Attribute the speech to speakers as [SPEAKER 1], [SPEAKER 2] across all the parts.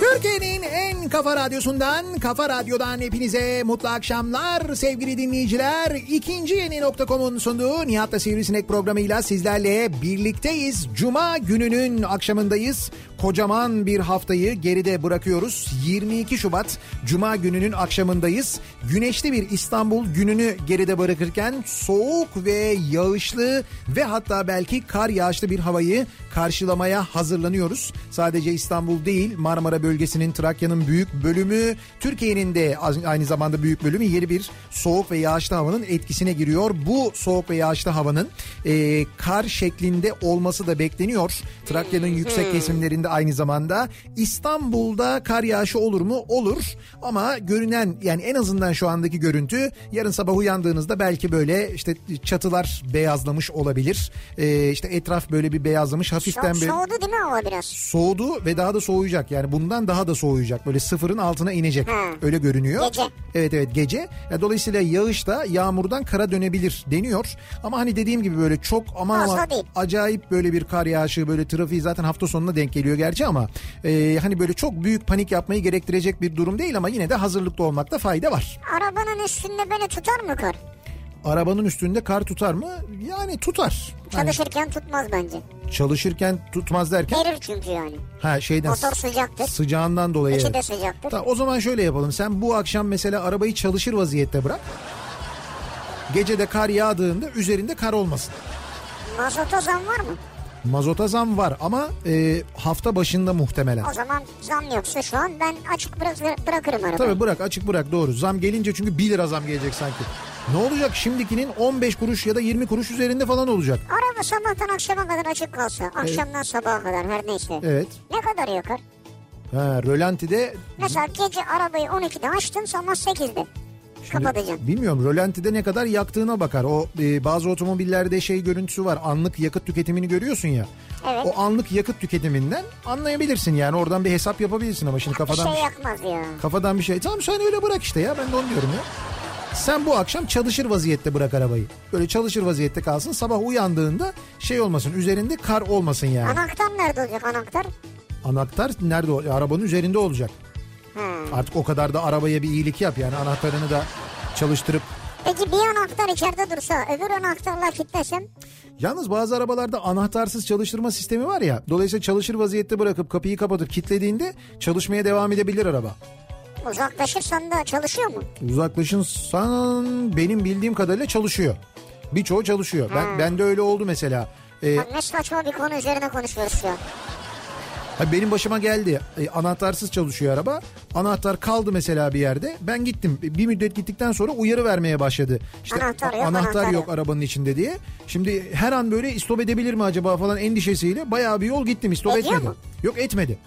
[SPEAKER 1] Türkiye'nin en kafa radyosundan, kafa radyodan hepinize mutlu akşamlar sevgili dinleyiciler. İkinci yeni nokta.com'un sunduğu Nihat'la Sivrisinek programıyla sizlerle birlikteyiz. Cuma gününün akşamındayız. Kocaman bir haftayı geride bırakıyoruz. 22 Şubat Cuma gününün akşamındayız. Güneşli bir İstanbul gününü geride bırakırken soğuk ve yağışlı ve hatta belki kar yağışlı bir havayı karşılamaya hazırlanıyoruz. Sadece İstanbul değil Marmara bölgesinin Trakya'nın büyük bölümü Türkiye'nin de az- aynı zamanda büyük bölümü yeni bir soğuk ve yağışlı havanın etkisine giriyor. Bu soğuk ve yağışlı havanın e, kar şeklinde olması da bekleniyor. Trakya'nın yüksek kesimlerinde aynı zamanda İstanbul'da kar yağışı olur mu? Olur ama görünen yani en azından şu andaki görüntü yarın sabah uyandığınızda belki böyle işte çatılar beyazlamış olabilir. E, işte etraf böyle bir beyazlamış hafiften
[SPEAKER 2] Çok
[SPEAKER 1] bir
[SPEAKER 2] soğudu değil mi hava biraz?
[SPEAKER 1] soğudu ve daha da soğuyacak. Yani bundan daha da soğuyacak. Böyle sıfırın altına inecek. Öyle görünüyor.
[SPEAKER 2] Gece.
[SPEAKER 1] Evet evet gece. Ya dolayısıyla yağış da yağmurdan kara dönebilir deniyor. Ama hani dediğim gibi böyle çok aman
[SPEAKER 2] Fazla
[SPEAKER 1] aman
[SPEAKER 2] değil.
[SPEAKER 1] acayip böyle bir kar yağışı böyle trafiği zaten hafta sonuna denk geliyor gerçi ama e, hani böyle çok büyük panik yapmayı gerektirecek bir durum değil ama yine de hazırlıklı olmakta fayda var.
[SPEAKER 2] Arabanın üstünde böyle tutar mı kar?
[SPEAKER 1] Arabanın üstünde kar tutar mı? Yani tutar. Hani
[SPEAKER 2] Çalışırken tutmaz bence.
[SPEAKER 1] çalışırken tutmaz derken
[SPEAKER 2] Erir çünkü yani.
[SPEAKER 1] ha şeyden
[SPEAKER 2] Motor sıcaktır.
[SPEAKER 1] sıcağından dolayı.
[SPEAKER 2] İçi
[SPEAKER 1] evet.
[SPEAKER 2] de sıcaktır.
[SPEAKER 1] Tamam, o zaman şöyle yapalım. Sen bu akşam mesela arabayı çalışır vaziyette bırak. Gece de kar yağdığında üzerinde kar olmasın.
[SPEAKER 2] Mazota zam var mı?
[SPEAKER 1] Mazota zam var ama e, hafta başında muhtemelen.
[SPEAKER 2] O zaman zam yoksa şu an ben açık bırak, bırakırım arabayı.
[SPEAKER 1] Tabii bırak açık bırak doğru. Zam gelince çünkü 1 lira zam gelecek sanki. Ne olacak şimdikinin 15 kuruş ya da 20 kuruş üzerinde falan olacak.
[SPEAKER 2] Araba sabahtan akşama kadar açık kalsa, akşamdan sabaha kadar her neyse.
[SPEAKER 1] Evet.
[SPEAKER 2] Ne kadar yakar?
[SPEAKER 1] Ha, rölantide
[SPEAKER 2] Mesela gece arabayı 12'de açtın sabah 8'de. Kapatacaksın.
[SPEAKER 1] Bilmiyorum rölantide ne kadar yaktığına bakar. O e, bazı otomobillerde şey görüntüsü var. Anlık yakıt tüketimini görüyorsun ya.
[SPEAKER 2] Evet.
[SPEAKER 1] O anlık yakıt tüketiminden anlayabilirsin yani. Oradan bir hesap yapabilirsin ama şimdi
[SPEAKER 2] Bir
[SPEAKER 1] kafadan
[SPEAKER 2] şey yakmaz ya.
[SPEAKER 1] kafadan bir şey. Tamam sen öyle bırak işte ya. Ben de onu diyorum ya. Sen bu akşam çalışır vaziyette bırak arabayı. Böyle çalışır vaziyette kalsın. Sabah uyandığında şey olmasın. Üzerinde kar olmasın yani.
[SPEAKER 2] Anahtar nerede olacak anahtar?
[SPEAKER 1] Anahtar nerede? o- Arabanın üzerinde olacak.
[SPEAKER 2] Hmm.
[SPEAKER 1] Artık o kadar da arabaya bir iyilik yap yani. Anahtarını da çalıştırıp
[SPEAKER 2] Peki bir anahtar içeride dursa öbür anahtarla kilitlesem
[SPEAKER 1] Yalnız bazı arabalarda anahtarsız çalıştırma sistemi var ya. Dolayısıyla çalışır vaziyette bırakıp kapıyı kapatıp kilitlediğinde çalışmaya devam edebilir araba.
[SPEAKER 2] uzaklaşırsan da çalışıyor mu?
[SPEAKER 1] Uzaklaşırsan benim bildiğim kadarıyla çalışıyor. Birçoğu çalışıyor. Ben bende öyle oldu mesela. Ee,
[SPEAKER 2] Bak ne saçma bir konu üzerine konuşuyoruz ya.
[SPEAKER 1] ha, benim başıma geldi. Ee, anahtarsız çalışıyor araba. Anahtar kaldı mesela bir yerde. Ben gittim. E, Bir müddet gittikten sonra uyarı vermeye başladı. İşte
[SPEAKER 2] Anahtar yok,
[SPEAKER 1] a-
[SPEAKER 2] anahtar
[SPEAKER 1] yok
[SPEAKER 2] yok.
[SPEAKER 1] arabanın içinde diye. Şimdi her an böyle istop edebilir mi acaba falan endişesiyle bayağı bir yol gittim. İstop
[SPEAKER 2] Ediyor
[SPEAKER 1] etmedi.
[SPEAKER 2] mu?
[SPEAKER 1] Yok etmedi.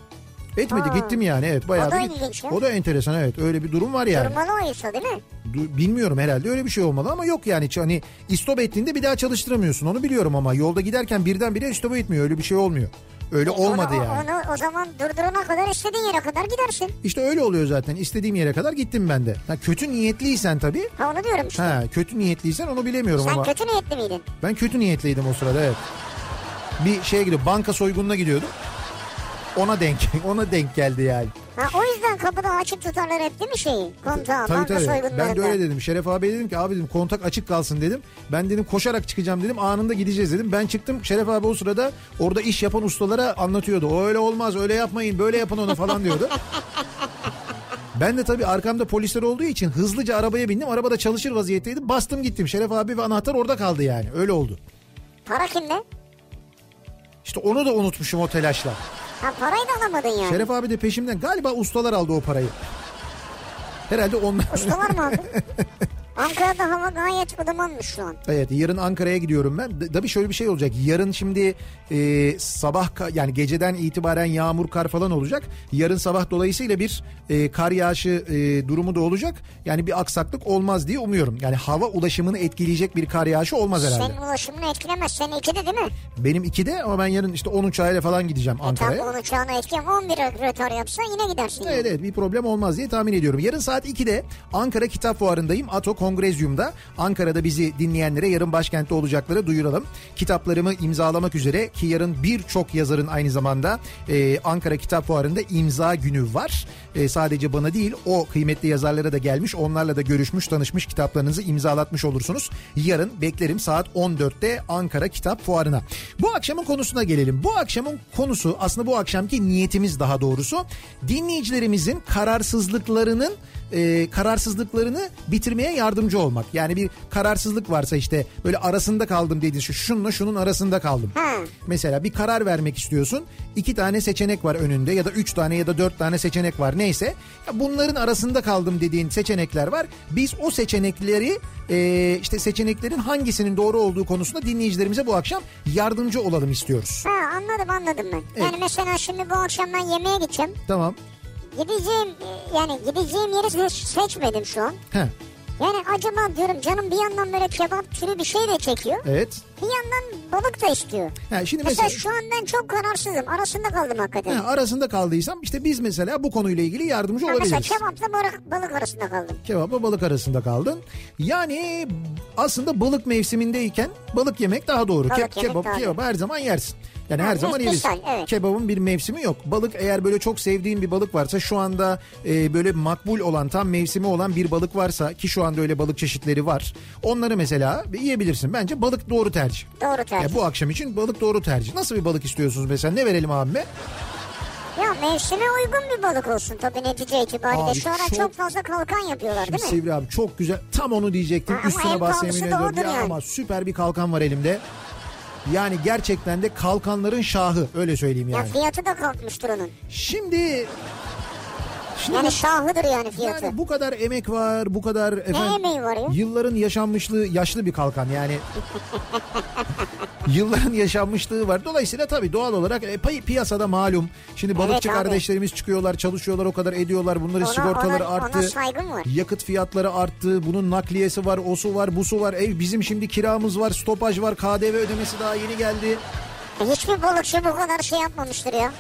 [SPEAKER 1] Etmedi
[SPEAKER 2] Aa.
[SPEAKER 1] gittim yani evet bayağı
[SPEAKER 2] O da
[SPEAKER 1] bir git-
[SPEAKER 2] ilginç ya.
[SPEAKER 1] O da enteresan evet öyle bir durum var yani.
[SPEAKER 2] Durmalı o işte değil mi?
[SPEAKER 1] Du- Bilmiyorum herhalde öyle bir şey olmalı ama yok yani Ç- hani istop ettiğinde bir daha çalıştıramıyorsun onu biliyorum ama yolda giderken birdenbire istop etmiyor öyle bir şey olmuyor.
[SPEAKER 2] E,
[SPEAKER 1] Öyle olmadı
[SPEAKER 2] onu,
[SPEAKER 1] yani.
[SPEAKER 2] Onu o zaman durdurana kadar istediğin yere kadar gidersin.
[SPEAKER 1] İşte öyle oluyor zaten istediğim yere kadar gittim ben de. Ha, kötü niyetliysen tabii.
[SPEAKER 2] Ha onu diyorum işte.
[SPEAKER 1] Ha, kötü niyetliysen onu bilemiyorum
[SPEAKER 2] Sen
[SPEAKER 1] ama
[SPEAKER 2] kötü niyetli miydin?
[SPEAKER 1] ben kötü niyetliydim o sırada evet. Bir şeye gidiyor banka soygununa gidiyordum. Ona denk ona denk geldi yani.
[SPEAKER 2] Ha o yüzden kapıda açık tutarlar hep değil mi şeyi? Kontağı,
[SPEAKER 1] Tabii
[SPEAKER 2] banka
[SPEAKER 1] tabii.
[SPEAKER 2] soygunlarında.
[SPEAKER 1] Ben de öyle dedim. Şeref abi dedim ki abi dedim kontak açık kalsın dedim. Ben dedim koşarak çıkacağım dedim. Anında gideceğiz dedim. Ben çıktım. Şeref abi o sırada orada iş yapan ustalara anlatıyordu. O öyle olmaz öyle yapmayın böyle yapın onu falan diyordu. Ben de tabii arkamda polisler olduğu için hızlıca arabaya bindim. Arabada çalışır vaziyetteydi. Bastım gittim. Şeref abi ve anahtar orada kaldı yani. Öyle oldu.
[SPEAKER 2] Para kimde?
[SPEAKER 1] İşte onu da unutmuşum o telaşla.
[SPEAKER 2] Ha parayı da alamadın yani.
[SPEAKER 1] Şeref abi de peşimden galiba ustalar aldı o parayı. Herhalde onlar.
[SPEAKER 2] Ustalar mı aldın? Ankara'da hava gayet ılımanmış şu an.
[SPEAKER 1] Evet yarın Ankara'ya gidiyorum ben. D- Tabii şöyle bir şey olacak. Yarın şimdi e, sabah ka- yani geceden itibaren yağmur kar falan olacak. Yarın sabah dolayısıyla bir e, kar yağışı e, durumu da olacak. Yani bir aksaklık olmaz diye umuyorum. Yani hava ulaşımını etkileyecek bir kar yağışı olmaz herhalde.
[SPEAKER 2] Senin ulaşımını etkilemez. Senin ikide değil mi?
[SPEAKER 1] Benim 2'de ama ben yarın işte 10 uçağıyla falan gideceğim Ankara'ya.
[SPEAKER 2] Tam onun uçağına etkilemez. 11 rötar yapsa yine gidersin. yani.
[SPEAKER 1] Evet evet bir problem olmaz diye tahmin ediyorum. Yarın saat 2'de Ankara Kitap Fuarı'ndayım. Ato Kongrezyum'da. Ankara'da bizi dinleyenlere yarın başkentte olacakları duyuralım. Kitaplarımı imzalamak üzere ki yarın birçok yazarın aynı zamanda e, Ankara Kitap Fuarı'nda imza günü var. E, sadece bana değil o kıymetli yazarlara da gelmiş. Onlarla da görüşmüş, tanışmış kitaplarınızı imzalatmış olursunuz. Yarın beklerim saat 14'te Ankara Kitap Fuarı'na. Bu akşamın konusuna gelelim. Bu akşamın konusu aslında bu akşamki niyetimiz daha doğrusu dinleyicilerimizin kararsızlıklarının e, kararsızlıklarını bitirmeye yardımcı olmak. Yani bir kararsızlık varsa işte böyle arasında kaldım dediğin şu şununla şunun arasında kaldım.
[SPEAKER 2] Ha.
[SPEAKER 1] Mesela bir karar vermek istiyorsun. iki tane seçenek var önünde ya da üç tane ya da dört tane seçenek var neyse. Ya bunların arasında kaldım dediğin seçenekler var. Biz o seçenekleri e, işte seçeneklerin hangisinin doğru olduğu konusunda dinleyicilerimize bu akşam yardımcı olalım istiyoruz.
[SPEAKER 2] Ha anladım anladım ben. Yani mesela şimdi bu akşam ben yemeğe gideceğim.
[SPEAKER 1] Tamam.
[SPEAKER 2] Gideceğim e, yani gideceğim yeri seç- seçmedim şu an.
[SPEAKER 1] Heh,
[SPEAKER 2] Yani acaba diyorum canım bir yandan böyle kebap türü bir şey de çekiyor.
[SPEAKER 1] evet.
[SPEAKER 2] Bir yandan balık da istiyor.
[SPEAKER 1] Ha, şimdi
[SPEAKER 2] Mesela,
[SPEAKER 1] mesela...
[SPEAKER 2] şu an ben çok kararsızım. Arasında kaldım hakikaten.
[SPEAKER 1] Ha, arasında kaldıysam işte biz mesela bu konuyla ilgili yardımcı
[SPEAKER 2] Ha, mesela
[SPEAKER 1] olabiliriz.
[SPEAKER 2] kebapla balık, balık arasında kaldım.
[SPEAKER 1] Kebapla balık arasında kaldın. Yani aslında balık mevsimindeyken balık yemek daha doğru.
[SPEAKER 2] Balık
[SPEAKER 1] Ke-
[SPEAKER 2] yemek
[SPEAKER 1] kebap,
[SPEAKER 2] daha
[SPEAKER 1] kebap her zaman yersin. Yani
[SPEAKER 2] Ha,
[SPEAKER 1] her zaman
[SPEAKER 2] mis-
[SPEAKER 1] yeriz.
[SPEAKER 2] misal, evet.
[SPEAKER 1] Kebabın bir mevsimi yok. Balık eğer böyle çok sevdiğin bir balık varsa şu anda e, böyle makbul olan tam mevsimi olan bir balık varsa ki şu anda öyle balık çeşitleri var. Onları mesela yiyebilirsin. Bence balık doğru tercih.
[SPEAKER 2] Doğru tercih.
[SPEAKER 1] Ya bu akşam için balık doğru tercih. Nasıl bir balık istiyorsunuz mesela? Ne verelim abime?
[SPEAKER 2] Ya mevsime uygun bir balık olsun tabii netice itibariyle.
[SPEAKER 1] Abi
[SPEAKER 2] Şu ara
[SPEAKER 1] çok-
[SPEAKER 2] çok... fazla kalkan yapıyorlar
[SPEAKER 1] Şimdi
[SPEAKER 2] değil mi?
[SPEAKER 1] Sivri abi çok güzel tam onu diyecektim
[SPEAKER 2] Ha, ama
[SPEAKER 1] üstüne
[SPEAKER 2] en
[SPEAKER 1] bas
[SPEAKER 2] pahalısı
[SPEAKER 1] yemin
[SPEAKER 2] da
[SPEAKER 1] ediyorum.
[SPEAKER 2] odur
[SPEAKER 1] Ya
[SPEAKER 2] yani.
[SPEAKER 1] Ama süper bir kalkan var elimde. Yani gerçekten de kalkanların şahı öyle söyleyeyim
[SPEAKER 2] Ya
[SPEAKER 1] yani.
[SPEAKER 2] fiyatı da kalkmıştır onun.
[SPEAKER 1] Şimdi şimdi
[SPEAKER 2] Yani şahıdır yani fiyatı.
[SPEAKER 1] yani bu kadar emek var, bu kadar efendim
[SPEAKER 2] emeği var ya?
[SPEAKER 1] yılların yaşanmışlığı, yaşlı bir kalkan yani. yılların yaşanmışlığı var. Dolayısıyla tabii doğal olarak e, pay- piyasada malum. Şimdi balıkçı
[SPEAKER 2] abi.
[SPEAKER 1] kardeşlerimiz çıkıyorlar, çalışıyorlar, o kadar ediyorlar. Bunların
[SPEAKER 2] Ona-
[SPEAKER 1] sigortaları
[SPEAKER 2] ona-
[SPEAKER 1] arttı.
[SPEAKER 2] ona saygım var.
[SPEAKER 1] Yakıt fiyatları arttı. Bunun nakliyesi var, o su var, bu su var. Ev bizim şimdi kiramız var, stopaj var, KDV ödemesi daha yeni geldi.
[SPEAKER 2] Hiçbir balıkçı bu kadar şey yapmamıştır ya.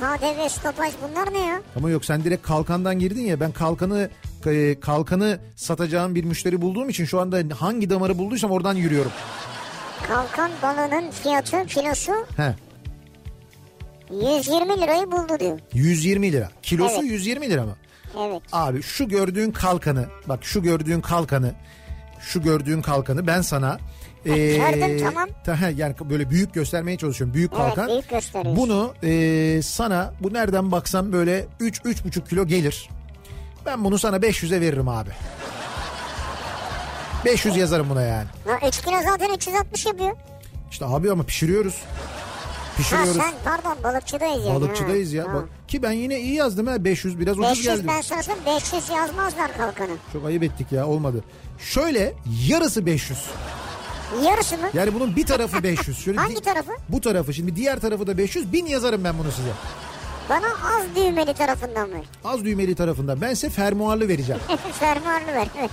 [SPEAKER 2] KDV, stopaj bunlar ne ya?
[SPEAKER 1] Ama yok sen direkt kalkandan girdin ya ben kalkanı e, kalkanı satacağım bir müşteri bulduğum için şu anda hangi damarı bulduysam oradan yürüyorum.
[SPEAKER 2] Kalkan balığının fiyatı kilosu
[SPEAKER 1] He.
[SPEAKER 2] 120 lirayı buldu diyor.
[SPEAKER 1] 120 lira. Kilosu
[SPEAKER 2] Evet.
[SPEAKER 1] 120 lira mı?
[SPEAKER 2] Evet.
[SPEAKER 1] Abi şu gördüğün kalkanı bak şu gördüğün kalkanı şu gördüğün kalkanı ben sana e,
[SPEAKER 2] gördüm, tamam.
[SPEAKER 1] ta- yani böyle büyük göstermeye çalışıyorum. Büyük
[SPEAKER 2] Evet,
[SPEAKER 1] kalkan.
[SPEAKER 2] büyük gösteriyorsun.
[SPEAKER 1] Bunu e, sana bu nereden baksam böyle 3 3,5 kilo gelir. Ben bunu sana 500'e veririm abi. 500 yazarım buna yani.
[SPEAKER 2] Lan 3 kilo zaten 360 yapıyor.
[SPEAKER 1] İşte abi ama pişiriyoruz.
[SPEAKER 2] Ha
[SPEAKER 1] Pişiriyoruz.
[SPEAKER 2] sen pardon balıkçıdayız yani.
[SPEAKER 1] Balıkçıdayız ya.
[SPEAKER 2] Ha.
[SPEAKER 1] Bak, ki ben yine iyi yazdım ha 500 biraz ucuz
[SPEAKER 2] 500
[SPEAKER 1] geldi.
[SPEAKER 2] ben sana söyleyeyim, 500 yazmazlar kalkanı.
[SPEAKER 1] Çok ayıp ettik ya olmadı. Şöyle yarısı 500.
[SPEAKER 2] Yarısı mı?
[SPEAKER 1] Yani bunun bir tarafı 500. Şöyle
[SPEAKER 2] Hangi
[SPEAKER 1] di-
[SPEAKER 2] tarafı?
[SPEAKER 1] Bu tarafı. Şimdi diğer tarafı da 500. 1000 yazarım ben bunu size.
[SPEAKER 2] Bana az düğmeli tarafından ver.
[SPEAKER 1] Az düğmeli tarafından. Ben size fermuarlı vereceğim.
[SPEAKER 2] Fermuarlı ver evet.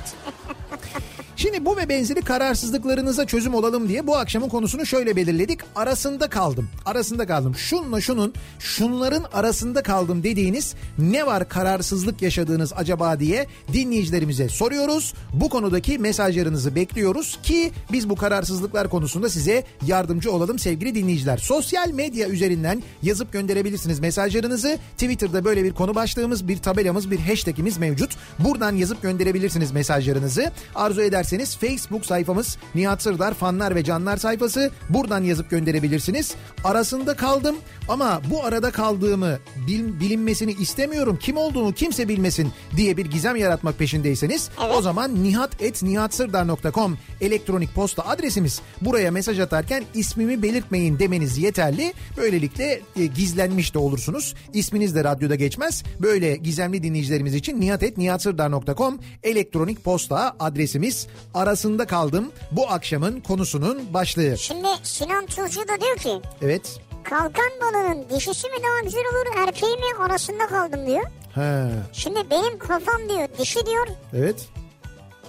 [SPEAKER 1] Şimdi bu ve benzeri kararsızlıklarınıza çözüm olalım diye bu akşamın konusunu şöyle belirledik. Arasında kaldım. Arasında kaldım. Şunla şunun, şunların arasında kaldım dediğiniz ne var kararsızlık yaşadığınız acaba diye dinleyicilerimize soruyoruz. Bu konudaki mesajlarınızı bekliyoruz ki biz bu kararsızlıklar konusunda size yardımcı olalım sevgili dinleyiciler. Sosyal medya üzerinden yazıp gönderebilirsiniz mesajları. mesajlarınızı Twitter'da böyle bir konu başlığımız, bir tabelamız, bir hashtagimiz mevcut. Buradan yazıp gönderebilirsiniz mesajlarınızı. Arzu ederseniz Facebook sayfamız Nihat Sırdar fanlar ve canlar sayfası. Buradan yazıp gönderebilirsiniz. Arasında kaldım ama bu arada kaldığımı bil- bilinmesini istemiyorum. Kim olduğumu kimse bilmesin diye bir gizem yaratmak peşindeyseniz o zaman nihat.nihatsırdar.com elektronik posta adresimiz. Buraya mesaj atarken ismimi belirtmeyin demeniz yeterli. Böylelikle e, gizlenmiş de olursunuz. İsminiz de radyoda geçmez. Böyle gizemli dinleyicilerimiz için nihat.nihatsırdar.com elektronik posta adresimiz. Arasında kaldım bu akşamın konusunun başlığı.
[SPEAKER 2] Şimdi Sinan Tuzcu da diyor ki
[SPEAKER 1] Evet.
[SPEAKER 2] kalkan balığının dişisi mi daha güzel olur erkeği mi arasında kaldım diyor.
[SPEAKER 1] Ha,
[SPEAKER 2] Şimdi benim kafam diyor dişi diyor.
[SPEAKER 1] evet.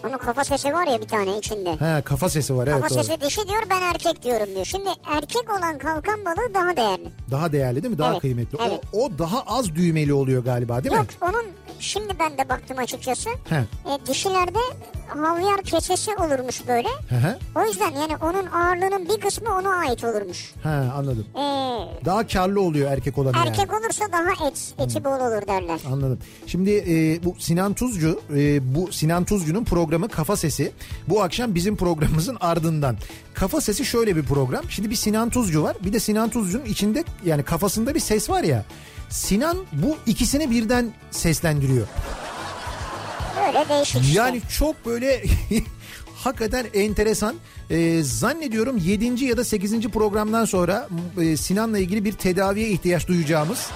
[SPEAKER 2] Onun kafa sesi var ya bir tane içinde.
[SPEAKER 1] Ha, kafa sesi var evet
[SPEAKER 2] kafa
[SPEAKER 1] doğru.
[SPEAKER 2] sesi dişi diyor ben erkek diyorum diyor. Şimdi erkek olan kalkan balığı daha değerli.
[SPEAKER 1] Daha değerli değil mi? Daha
[SPEAKER 2] Evet,
[SPEAKER 1] kıymetli.
[SPEAKER 2] evet.
[SPEAKER 1] O, o daha az düğmeli oluyor galiba değil
[SPEAKER 2] Yok
[SPEAKER 1] mi?
[SPEAKER 2] onun şimdi ben de baktım açıkçası.
[SPEAKER 1] He.
[SPEAKER 2] E, dişilerde havyar keçesi olurmuş böyle.
[SPEAKER 1] Hı hı.
[SPEAKER 2] O yüzden yani onun ağırlığının bir kısmı ona ait olurmuş.
[SPEAKER 1] Ha anladım.
[SPEAKER 2] E,
[SPEAKER 1] Daha karlı oluyor erkek olan yani. Hmm.
[SPEAKER 2] erkek olursa daha et, eti bol olur derler.
[SPEAKER 1] Anladım. Şimdi e, bu Sinan Tuzcu, e, bu Sinan Tuzcu'nun programı Kafa Sesi. Bu akşam bizim programımızın ardından. Kafa Sesi şöyle bir program. Şimdi bir Sinan Tuzcu var. Bir de Sinan Tuzcu'nun içinde yani kafasında bir ses var ya. Sinan bu ikisini birden seslendiriyor. Ah.
[SPEAKER 2] Böyle değişik işte.
[SPEAKER 1] Yani çok böyle hakikaten enteresan. Ee, zannediyorum 7. ya da 8. programdan sonra e, Sinan'la ilgili bir tedaviye ihtiyaç duyacağımız.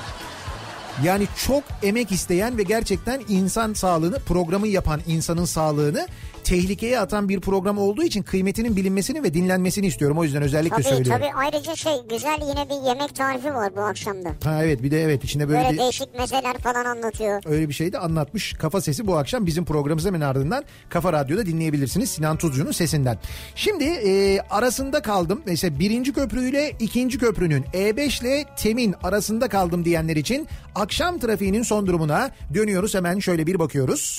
[SPEAKER 1] Yani çok emek isteyen ve gerçekten insan sağlığını, programı yapan insanın sağlığını tehlikeye atan bir program olduğu için kıymetinin bilinmesini ve dinlenmesini istiyorum. O yüzden özellikle
[SPEAKER 2] Tabii
[SPEAKER 1] söylüyorum.
[SPEAKER 2] tabii ayrıca şey güzel yine bir yemek tarifi var bu akşamda.
[SPEAKER 1] Ha evet bir de evet içinde böyle
[SPEAKER 2] Böyle
[SPEAKER 1] bir
[SPEAKER 2] değişik mezeler falan anlatıyor.
[SPEAKER 1] öyle bir şey de anlatmış. Kafa Sesi bu akşam bizim programımız hemen ardından Kafa Radyo'da dinleyebilirsiniz Sinan Tuzcu'nun sesinden. Şimdi e, arasında kaldım. Mesela birinci köprüyle ikinci köprünün E5 ile Temin arasında kaldım diyenler için akşam trafiğinin son durumuna dönüyoruz. Hemen şöyle bir bakıyoruz.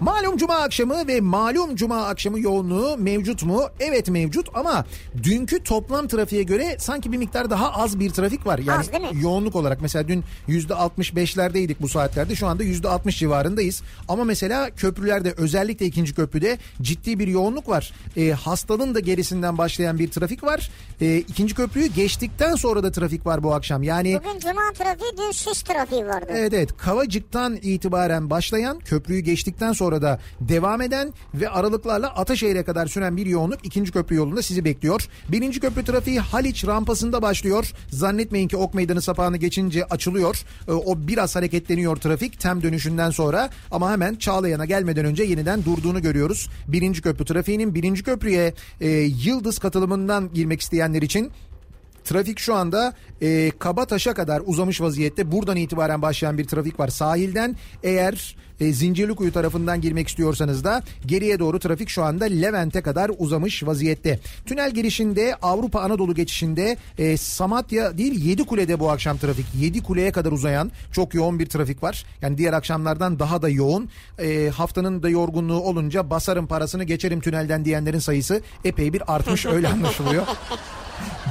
[SPEAKER 1] Malum cuma akşamı ve malum cuma akşamı yoğunluğu mevcut mu? Evet mevcut ama dünkü toplam trafiğe göre sanki bir miktar daha az bir trafik var. Yani
[SPEAKER 2] Az değil mi?
[SPEAKER 1] yoğunluk olarak mesela dün %65'lerdeydik bu saatlerde şu anda %60 civarındayız. Ama mesela köprülerde özellikle ikinci köprüde ciddi bir yoğunluk var. E, hastanın da gerisinden başlayan bir trafik var. E, ikinci köprüyü geçtikten sonra da trafik var bu akşam. Yani
[SPEAKER 2] Bugün cuma trafiği dün sis trafiği vardı.
[SPEAKER 1] Evet evet Kavacık'tan itibaren başlayan köprüyü geçtikten sonra da devam eden ve aralıklarla Ataşehir'e kadar süren bir yoğunluk ikinci köprü yolunda sizi bekliyor. Birinci köprü trafiği Haliç rampasında başlıyor. Zannetmeyin ki Ok Meydanı sapağını geçince açılıyor. Ee, O biraz hareketleniyor trafik tem dönüşünden sonra ama hemen Çağlayan'a gelmeden önce yeniden durduğunu görüyoruz. Birinci köprü trafiğinin birinci köprüye e, Yıldız katılımından girmek isteyenler için Trafik şu anda e, Kabataş'a kadar uzamış vaziyette. Buradan itibaren başlayan bir trafik var sahilden. Eğer e, Zincirlikuyu tarafından girmek istiyorsanız da geriye doğru trafik şu anda Levent'e kadar uzamış vaziyette. Tünel girişinde Avrupa Anadolu geçişinde e, Samatya değil Yedikule'de bu akşam trafik. Yedikule'ye kadar uzayan çok yoğun bir trafik var. Yani diğer akşamlardan daha da yoğun. E, haftanın da yorgunluğu olunca basarım parasını geçerim tünelden diyenlerin sayısı epey bir artmış öyle anlaşılıyor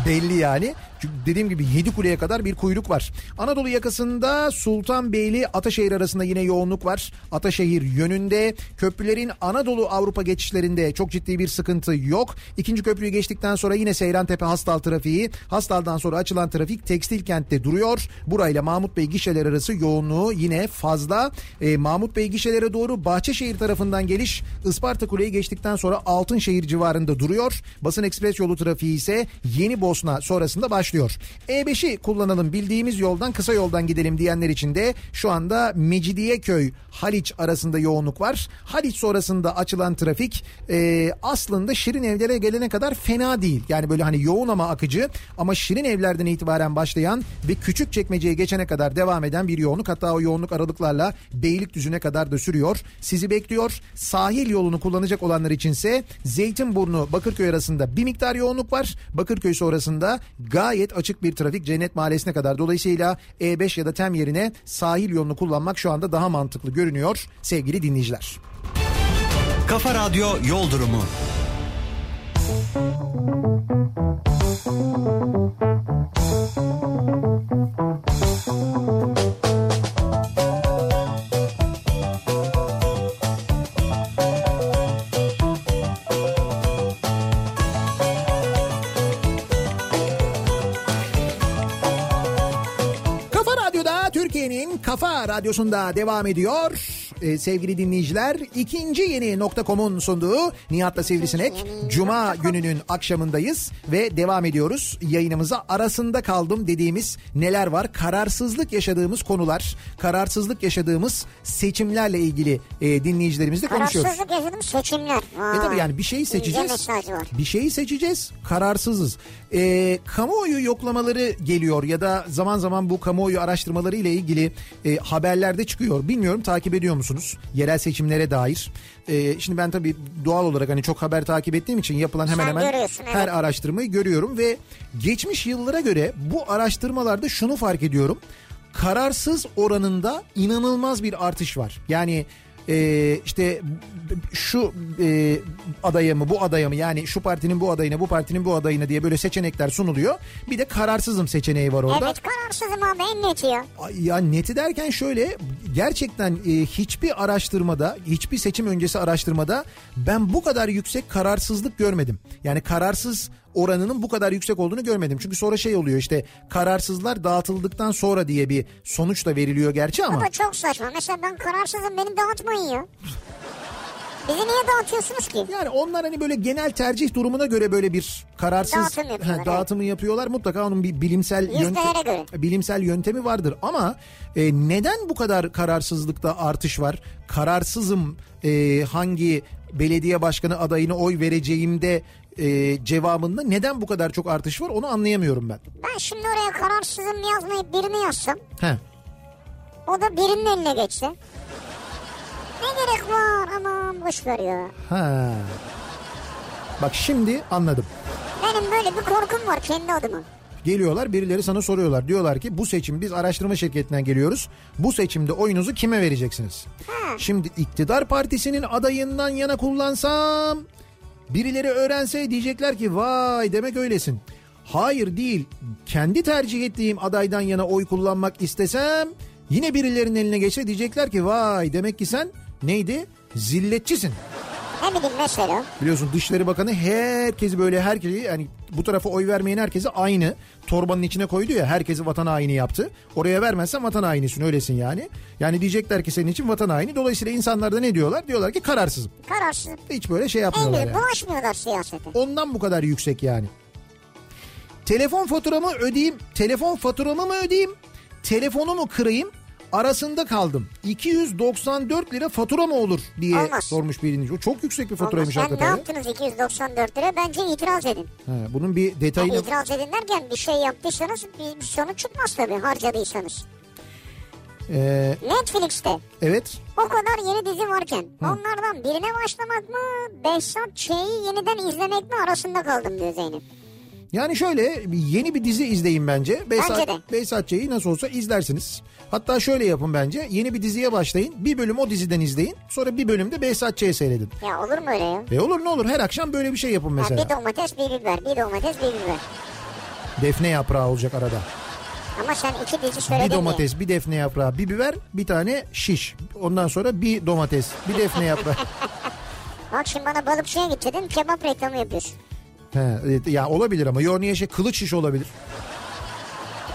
[SPEAKER 1] belli yani. Çünkü dediğim gibi Yedikule'ye kadar bir kuyruk var. Anadolu yakasında Sultanbeyli Ataşehir arasında yine yoğunluk var. Ataşehir yönünde köprülerin Anadolu Avrupa geçişlerinde çok ciddi bir sıkıntı yok. İkinci köprüyü geçtikten sonra yine Seyrantepe Hastal trafiği. Hastal'dan sonra açılan trafik Tekstil Kent'te duruyor. Burayla Mahmut Bey gişeler arası yoğunluğu yine fazla. Ee, Mahmut Bey gişelere doğru Bahçeşehir tarafından geliş Isparta Kule'yi geçtikten sonra Altınşehir civarında duruyor. Basın Ekspres yolu trafiği ise Yeni Bosna sonrasında başlıyor. E5'i kullanalım bildiğimiz yoldan kısa yoldan gidelim diyenler için de şu anda Mecidiyeköy Haliç arasında yoğunluk var. Haliç sonrasında açılan trafik e, aslında Şirin Evler'e gelene kadar fena değil. Yani böyle hani yoğun ama akıcı ama Şirin Evler'den itibaren başlayan ve küçük çekmeceye geçene kadar devam eden bir yoğunluk. Hatta o yoğunluk aralıklarla Beylikdüzü'ne kadar da sürüyor. Sizi bekliyor. Sahil yolunu kullanacak olanlar içinse Zeytinburnu Bakırköy arasında bir miktar yoğunluk var. Bakırköy sonrasında gayet açık bir trafik Cennet Mahallesi'ne kadar. Dolayısıyla E5 ya da TEM yerine sahil yolunu kullanmak şu anda daha mantıklı görünüyor sevgili dinleyiciler.
[SPEAKER 3] Kafa Radyo Yol Durumu.
[SPEAKER 1] Türkiye'nin Kafa Radyosu'nda devam ediyor. Ee, sevgili dinleyiciler ikinci yeni nokta.com'un sunduğu Nihat'la Sivrisinek Cuma gününün akşamındayız ve devam ediyoruz. Yayınımıza arasında kaldım dediğimiz neler var? Kararsızlık yaşadığımız konular, kararsızlık yaşadığımız seçimlerle ilgili e, dinleyicilerimizle konuşuyoruz.
[SPEAKER 2] Kararsızlık yaşadım seçimler. Vay.
[SPEAKER 1] E tabii yani bir şeyi
[SPEAKER 2] İnce
[SPEAKER 1] seçeceğiz.
[SPEAKER 2] mesajı var.
[SPEAKER 1] Bir şeyi seçeceğiz. Kararsızız. E, kamuoyu yoklamaları geliyor ya da zaman zaman bu kamuoyu araştırmaları ile ilgili e, haberlerde çıkıyor. Bilmiyorum takip ediyor musunuz? Yerel seçimlere dair. E, şimdi ben tabii doğal olarak hani çok haber takip ettiğim için yapılan hemen
[SPEAKER 2] Sen
[SPEAKER 1] hemen
[SPEAKER 2] görüyorsun, evet.
[SPEAKER 1] her araştırmayı görüyorum ve geçmiş yıllara göre bu araştırmalarda şunu fark ediyorum. Kararsız oranında inanılmaz bir artış var. Yani e, işte b- b- şu e, adaya mı bu adaya mı yani şu partinin bu adayına bu partinin bu adayına diye böyle seçenekler sunuluyor. Bir de kararsızım seçeneği var orada.
[SPEAKER 2] Evet kararsızım abi en neti ya.
[SPEAKER 1] Ay, Ya neti derken şöyle gerçekten e, hiçbir araştırmada hiçbir seçim öncesi araştırmada ben bu kadar yüksek kararsızlık görmedim. Yani kararsız oranının bu kadar yüksek olduğunu görmedim. Çünkü sonra şey oluyor işte kararsızlar dağıtıldıktan sonra diye bir sonuç da veriliyor gerçi
[SPEAKER 2] Bu
[SPEAKER 1] ama.
[SPEAKER 2] da çok saçma. Mesela ben kararsızım beni dağıtmayın ya. Bizi niye dağıtıyorsunuz ki?
[SPEAKER 1] Yani onlar hani böyle genel tercih durumuna göre böyle bir kararsız
[SPEAKER 2] Dağıtım yapıyorlar, evet.
[SPEAKER 1] dağıtımı yapıyorlar. Mutlaka onun bir bilimsel
[SPEAKER 2] Yüzdelere göre.
[SPEAKER 1] bilimsel yöntemi vardır ama e, neden bu kadar kararsızlıkta artış var? Kararsızım e, hangi belediye başkanı adayına oy vereceğimde e, cevabında neden bu kadar çok artış var onu anlayamıyorum ben.
[SPEAKER 2] Ben şimdi oraya kararsızım yazmayıp birini yazsam
[SPEAKER 1] He.
[SPEAKER 2] o da birinin eline geçse. Ne gerek var aman boş ver ya.
[SPEAKER 1] Ha. Bak şimdi anladım.
[SPEAKER 2] Benim böyle bir korkum var kendi adıma.
[SPEAKER 1] Geliyorlar birileri sana soruyorlar. Diyorlar ki bu seçim biz araştırma şirketinden geliyoruz. Bu seçimde oyunuzu kime vereceksiniz?
[SPEAKER 2] Ha.
[SPEAKER 1] Şimdi iktidar partisinin adayından yana kullansam birileri öğrense diyecekler ki vay demek öylesin. Hayır değil kendi tercih ettiğim adaydan yana oy kullanmak istesem yine birilerinin eline geçse diyecekler ki vay demek ki sen neydi zilletçisin.
[SPEAKER 2] Ne bileyim mesela.
[SPEAKER 1] Biliyorsun Dışişleri Bakanı herkesi böyle herkesi yani bu tarafa oy vermeyen herkesi aynı torbanın içine koydu ya herkesi vatan haini yaptı. Oraya vermezsen vatan hainisin öylesin yani. Yani diyecekler ki senin için vatan haini. Dolayısıyla insanlar da ne diyorlar? Diyorlar ki kararsızım.
[SPEAKER 2] Kararsızım.
[SPEAKER 1] Hiç böyle şey
[SPEAKER 2] En
[SPEAKER 1] yapmıyorlar
[SPEAKER 2] güzel
[SPEAKER 1] yani.
[SPEAKER 2] bulaşmıyorlar siyasete.
[SPEAKER 1] Ondan bu kadar yüksek yani. Telefon faturamı ödeyeyim, telefon faturamı mı ödeyeyim, telefonumu kırayım, arasında kaldım. 294 lira fatura mı olur diye
[SPEAKER 2] Olmaz.
[SPEAKER 1] sormuş bir dinleyici. O Çok yüksek bir faturaymış
[SPEAKER 2] Sen ne
[SPEAKER 1] hakikaten. ya.
[SPEAKER 2] yaptınız 294 lira? Bence itiraz edin.
[SPEAKER 1] Ha, bunun bir
[SPEAKER 2] Yani
[SPEAKER 1] detayını...
[SPEAKER 2] itiraz edin derken bir şey yaptıysanız bir, bir sonuç çıkmaz tabii harcadıysanız.
[SPEAKER 1] Ee,
[SPEAKER 2] Netflix'te
[SPEAKER 1] evet.
[SPEAKER 2] o kadar yeni dizi varken onlardan birine başlamak mı Behzat Ç'yi yeniden izlemek mi arasında kaldım diyor Zeynep.
[SPEAKER 1] Yani şöyle bir- yeni bir dizi izleyin bence.
[SPEAKER 2] Bence
[SPEAKER 1] Beysat,
[SPEAKER 2] de.
[SPEAKER 1] Beysatçı'yı nasıl olsa izlersiniz. Hatta şöyle yapın bence. Yeni bir diziye başlayın. Bir bölüm o diziden izleyin. Sonra bir bölümde Beysatçı'yı seyredin.
[SPEAKER 2] Ya olur mu öyle ya?
[SPEAKER 1] E olur ne olur her akşam böyle bir şey yapın
[SPEAKER 2] Ya
[SPEAKER 1] mesela.
[SPEAKER 2] bir domates bir biber bir domates bir biber.
[SPEAKER 1] Defne yaprağı olacak arada.
[SPEAKER 2] Ama sen iki dizi söyledin
[SPEAKER 1] Bir
[SPEAKER 2] diye.
[SPEAKER 1] domates, bir defne yaprağı, bir biber, bir tane şiş. Ondan sonra bir domates, bir defne yaprağı.
[SPEAKER 2] Bak şimdi bana balıkçıya git dedin kebap reklamı yapıyorsun.
[SPEAKER 1] He, e, ya olabilir ama yorniye şey kılıç şiş olabilir.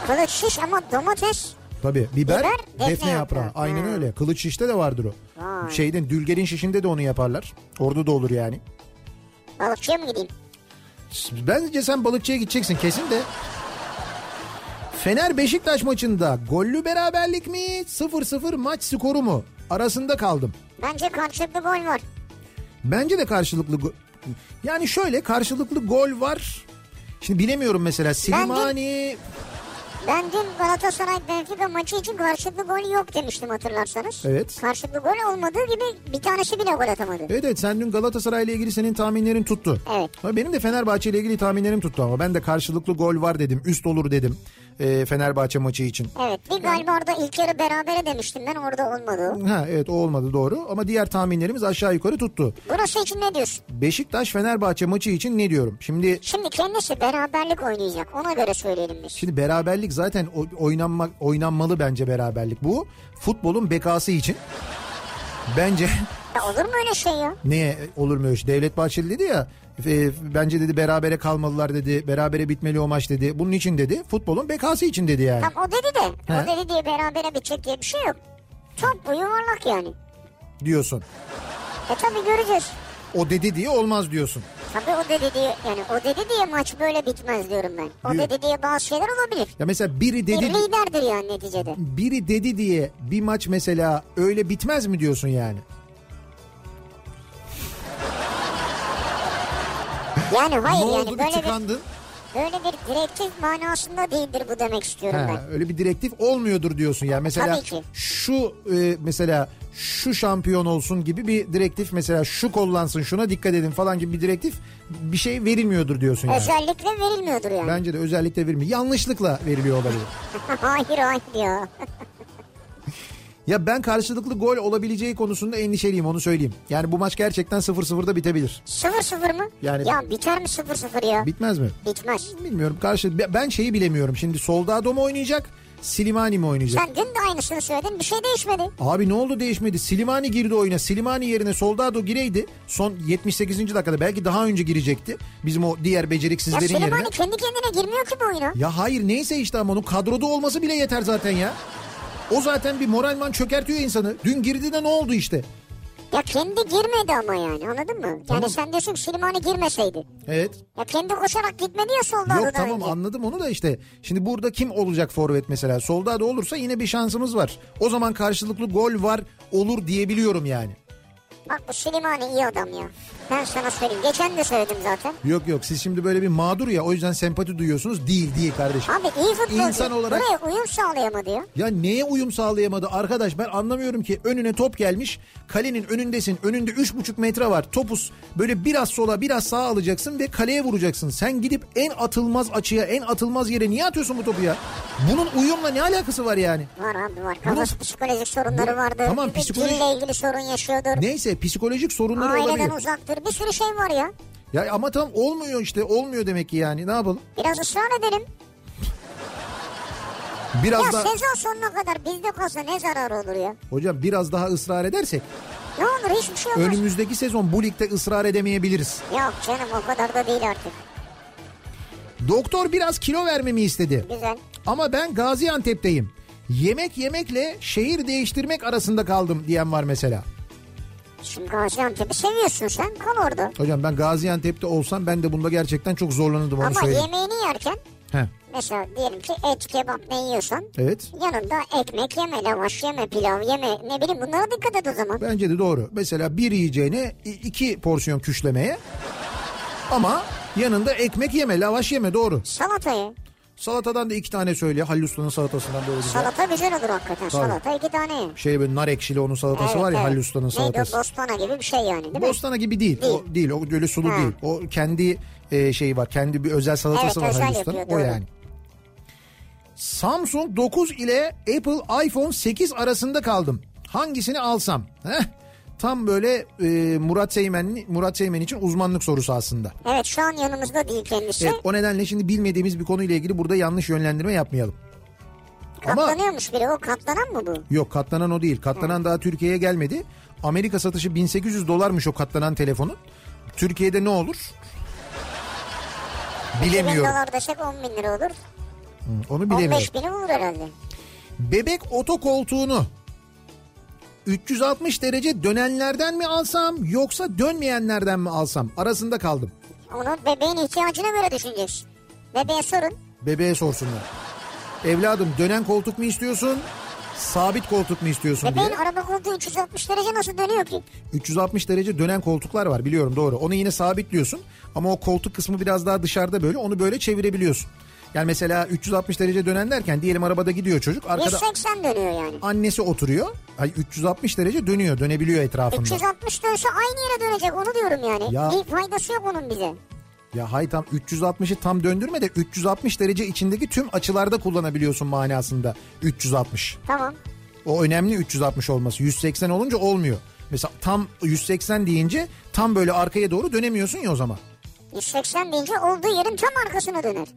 [SPEAKER 2] Kılıç şiş ama domates
[SPEAKER 1] Tabii biber,
[SPEAKER 2] Biber,
[SPEAKER 1] defne,
[SPEAKER 2] defne
[SPEAKER 1] yaprağı.
[SPEAKER 2] yaprağı.
[SPEAKER 1] Aynen
[SPEAKER 2] Ha.
[SPEAKER 1] öyle. Kılıç şişte de vardır o.
[SPEAKER 2] Vay.
[SPEAKER 1] Şeyden dülgerin şişinde de onu yaparlar. Orada da olur yani.
[SPEAKER 2] balıkçıya mı gideyim?
[SPEAKER 1] Bence sen balıkçıya gideceksin kesin de. Fener Beşiktaş maçında gollü beraberlik mi 0-0 maç skoru mu? Arasında kaldım.
[SPEAKER 2] Bence karşılıklı gol var.
[SPEAKER 1] Bence de karşılıklı go- yani şöyle karşılıklı gol var. Şimdi bilemiyorum mesela Slimani
[SPEAKER 2] Ben dün Galatasaray Benfica maçı için karşılıklı gol yok demiştim hatırlarsanız.
[SPEAKER 1] Evet.
[SPEAKER 2] Karşılıklı gol olmadığı gibi bir tanesi bile gol atamadı.
[SPEAKER 1] Evet evet sen dün Galatasaray ile ilgili senin tahminlerin tuttu.
[SPEAKER 2] Evet.
[SPEAKER 1] Ama benim de Fenerbahçe ile ilgili tahminlerim tuttu ama ben de karşılıklı gol var dedim. Üst olur dedim e, Fenerbahçe maçı için.
[SPEAKER 2] Evet bir galiba orada ilk yarı berabere demiştim ben orada olmadı o.
[SPEAKER 1] Ha evet o olmadı doğru ama diğer tahminlerimiz aşağı yukarı tuttu.
[SPEAKER 2] Burası için ne diyorsun?
[SPEAKER 1] Beşiktaş Fenerbahçe maçı için ne diyorum? Şimdi
[SPEAKER 2] Şimdi kendisi beraberlik oynayacak ona göre söyleyelim biz.
[SPEAKER 1] şimdi beraberlik zaten o- oynanmak oynanmalı bence beraberlik. Bu futbolun bekası için. Bence
[SPEAKER 2] Ya olur mu öyle şey ya?
[SPEAKER 1] Neye olur mu öyle şey? Devlet Bahçeli dedi ya E, bence dedi berabere kalmalılar dedi. Berabere bitmeli o maç dedi. Bunun için dedi. Futbolun bekası için dedi yani.
[SPEAKER 2] Tam o dedi de.
[SPEAKER 1] He.
[SPEAKER 2] O dedi diye berabere bitecek diye bir şey yok. Top bu yuvarlak yani.
[SPEAKER 1] Diyorsun.
[SPEAKER 2] E tabi göreceğiz.
[SPEAKER 1] O dedi diye olmaz diyorsun.
[SPEAKER 2] Tabi o dedi diye yani o dedi diye maç böyle bitmez diyorum ben. O
[SPEAKER 1] Diyor.
[SPEAKER 2] dedi diye bazı şeyler olabilir.
[SPEAKER 1] Ya mesela biri
[SPEAKER 2] Bir
[SPEAKER 1] dedi
[SPEAKER 2] liderdir yani neticede.
[SPEAKER 1] biri dedi diye bir maç mesela öyle bitmez mi diyorsun yani?
[SPEAKER 2] Yani hayır
[SPEAKER 1] ne
[SPEAKER 2] yani
[SPEAKER 1] oldu bir
[SPEAKER 2] böyle bir,
[SPEAKER 1] tıkandın?
[SPEAKER 2] böyle bir direktif manasında değildir bu demek istiyorum
[SPEAKER 1] Ha,
[SPEAKER 2] ben.
[SPEAKER 1] öyle bir direktif olmuyordur diyorsun yani. Mesela
[SPEAKER 2] Tabii ki.
[SPEAKER 1] şu e, mesela şu şampiyon olsun gibi bir direktif mesela şu kollansın şuna dikkat edin falan gibi bir direktif bir şey verilmiyordur diyorsun yani.
[SPEAKER 2] Özellikle verilmiyordur yani.
[SPEAKER 1] Bence de özellikle verilmiyor. Yanlışlıkla veriliyor olabilir.
[SPEAKER 2] hayır hayır ya.
[SPEAKER 1] ya ben karşılıklı gol olabileceği konusunda endişeliyim onu söyleyeyim. Yani bu maç gerçekten 0-0'da bitebilir.
[SPEAKER 2] 0-0 mı?
[SPEAKER 1] Yani-
[SPEAKER 2] ya biter mi 0-0 ya?
[SPEAKER 1] Bitmez mi?
[SPEAKER 2] Bitmez.
[SPEAKER 1] Bilmiyorum karşı be- ben şeyi bilemiyorum. Şimdi Soldado mu oynayacak? Silimani mi oynayacak?
[SPEAKER 2] Sen dün de aynısını söyledin bir şey değişmedi.
[SPEAKER 1] Abi ne oldu değişmedi. Silimani girdi oyuna. Silimani yerine Soldado gireydi. Son 78. dakikada belki daha önce girecekti. Bizim o diğer
[SPEAKER 2] Ya
[SPEAKER 1] beceriksizlerin yerine.
[SPEAKER 2] Selimani kendi kendine girmiyor ki bu oyuna.
[SPEAKER 1] Ya hayır neyse işte ama onun kadroda olması bile yeter zaten ya. O zaten bir moralman çökertiyor insanı. Dün girdi de ne oldu işte?
[SPEAKER 2] Ya kendi girmedi ama yani anladın mı? Yani
[SPEAKER 1] Tamam.
[SPEAKER 2] sen diyorsun ki Selimani girmeseydi.
[SPEAKER 1] Evet.
[SPEAKER 2] Ya kendi koşarak gitmedi ya solda
[SPEAKER 1] Yok tamam anladım onu da işte. Şimdi burada kim olacak forvet mesela? Soldado olursa yine bir şansımız var. O zaman karşılıklı gol var olur diyebiliyorum yani.
[SPEAKER 2] Bak bu Selimani iyi adam ya. Ben sana söyleyeyim. Geçen de söyledim zaten.
[SPEAKER 1] Yok yok siz şimdi böyle bir mağdur ya o yüzden sempati duyuyorsunuz. Değil değil kardeşim.
[SPEAKER 2] Abi iyi futbolcu.
[SPEAKER 1] İnsan olarak-
[SPEAKER 2] Buraya uyum sağlayamadı ya.
[SPEAKER 1] Ya neye uyum sağlayamadı arkadaş ben anlamıyorum ki önüne top gelmiş kalenin önündesin önünde 3,5 metre var topuz böyle biraz sola biraz sağa alacaksın ve kaleye vuracaksın sen gidip en atılmaz açıya en atılmaz yere niye atıyorsun bu topu ya bunun uyumla ne alakası var yani
[SPEAKER 2] Var abi var. Kafası psikolojik sorunları
[SPEAKER 1] Bu-
[SPEAKER 2] vardır.
[SPEAKER 1] Tamam,
[SPEAKER 2] Bir de
[SPEAKER 1] psikoloji-
[SPEAKER 2] Dille ilgili sorun yaşıyordur.
[SPEAKER 1] neyse psikolojik sorunları
[SPEAKER 2] Aileden
[SPEAKER 1] olabilir
[SPEAKER 2] uzaktır. Bir sürü şey var ya.
[SPEAKER 1] ya ama tam olmuyor işte olmuyor demek ki yani ne yapalım
[SPEAKER 2] Biraz ısrar edelim.
[SPEAKER 1] biraz
[SPEAKER 2] ya şey-
[SPEAKER 1] daha
[SPEAKER 2] sezon sonuna kadar bizde kalsa ne zararı olur ya?
[SPEAKER 1] hocam biraz daha ısrar edersek
[SPEAKER 2] Ne olur hiçbir şey olmaz.
[SPEAKER 1] önümüzdeki sezon bu ligde ısrar edemeyebiliriz
[SPEAKER 2] Yok canım o kadar da değil artık.
[SPEAKER 1] doktor biraz kilo vermemi istedi
[SPEAKER 2] Güzel.
[SPEAKER 1] Ama ben Gaziantep'teyim. Yemek yemekle şehir değiştirmek arasında kaldım diyen var mesela.
[SPEAKER 2] Şimdi Gaziantep'i seviyorsun sen. Kal orada.
[SPEAKER 1] Hocam ben Gaziantep'te olsam ben de bunda gerçekten çok zorlanırdım onu
[SPEAKER 2] Ama
[SPEAKER 1] söyleyeyim.
[SPEAKER 2] yemeğini yerken
[SPEAKER 1] Heh,
[SPEAKER 2] mesela diyelim ki et kebap ne yiyorsan
[SPEAKER 1] evet.
[SPEAKER 2] yanında ekmek yeme, lavaş yeme, pilav yeme ne bileyim bunlara dikkat et o zaman.
[SPEAKER 1] Bence de doğru. Mesela bir yiyeceğine i- iki porsiyon küşlemeye ama yanında ekmek yeme, lavaş yeme doğru.
[SPEAKER 2] Salatayı.
[SPEAKER 1] Salatadan da iki tane söyle. Halil Usta'nın salatasından böyle güzel.
[SPEAKER 2] Salata güzel olur hakikaten. Salata iki tane. ye.
[SPEAKER 1] Şey böyle nar ekşili onun salatası var ya Halil Usta'nın
[SPEAKER 2] Neydi
[SPEAKER 1] salatası.
[SPEAKER 2] o bostana gibi bir şey yani değil mi?
[SPEAKER 1] Bostana gibi değil.
[SPEAKER 2] Değil.
[SPEAKER 1] O değil. O öyle sulu
[SPEAKER 2] Ha.
[SPEAKER 1] değil. O kendi e, şeyi var. Kendi bir özel salatası
[SPEAKER 2] Evet,
[SPEAKER 1] var
[SPEAKER 2] özel
[SPEAKER 1] Halil Usta'nın.
[SPEAKER 2] yapıyor,
[SPEAKER 1] O
[SPEAKER 2] doğru.
[SPEAKER 1] yani. Samsung 9 ile Apple iPhone 8 arasında kaldım. Hangisini alsam? Heh. Tam böyle e, Murat Seymen Murat Seymen için uzmanlık sorusu aslında.
[SPEAKER 2] Evet şu an yanımızda değil kendisi.
[SPEAKER 1] Evet, o nedenle şimdi bilmediğimiz bir konuyla ilgili burada yanlış yönlendirme yapmayalım. Ama
[SPEAKER 2] Katlanıyormuş biri o katlanan mı bu?
[SPEAKER 1] Yok katlanan o değil. Katlanan daha Türkiye'ye gelmedi. Amerika satışı 1800 dolarmış o katlanan telefonun. Türkiye'de ne olur?
[SPEAKER 2] 2000
[SPEAKER 1] Bilemiyorum.
[SPEAKER 2] dolar desek 10 bin lira olur.
[SPEAKER 1] Onu
[SPEAKER 2] 15
[SPEAKER 1] bilemiyorum.
[SPEAKER 2] bini olur herhalde.
[SPEAKER 1] Bebek otokoltuğunu 360 derece dönenlerden mi alsam yoksa dönmeyenlerden mi alsam? Arasında kaldım.
[SPEAKER 2] Onu bebeğin ihtiyacına göre düşüneceksin. Bebeğe sorun.
[SPEAKER 1] Bebeğe sorsunlar. Evladım dönen koltuk mu istiyorsun? Sabit koltuk mu istiyorsun diye.
[SPEAKER 2] Bebeğin araba koltuğu 360 derece nasıl dönüyor ki?
[SPEAKER 1] 360 derece dönen koltuklar var biliyorum doğru. Onu yine sabitliyorsun ama o koltuk kısmı biraz daha dışarıda böyle onu böyle çevirebiliyorsun. Yani mesela 360 derece dönen derken diyelim arabada gidiyor çocuk arkada
[SPEAKER 2] 180 dönüyor yani.
[SPEAKER 1] annesi oturuyor. Ay 360 derece dönüyor dönebiliyor etrafında.
[SPEAKER 2] 360 dönse aynı yere dönecek onu diyorum yani.
[SPEAKER 1] Ya.
[SPEAKER 2] Bir faydası yok onun bize.
[SPEAKER 1] Ya hay tam 360'ı tam döndürme de 360 derece içindeki tüm açılarda kullanabiliyorsun manasında 360.
[SPEAKER 2] Tamam.
[SPEAKER 1] O önemli 360 olması. 180 olunca olmuyor. Mesela tam 180 deyince tam böyle arkaya doğru dönemiyorsun ya o zaman.
[SPEAKER 2] 180 deyince olduğu yerin tam arkasına döner.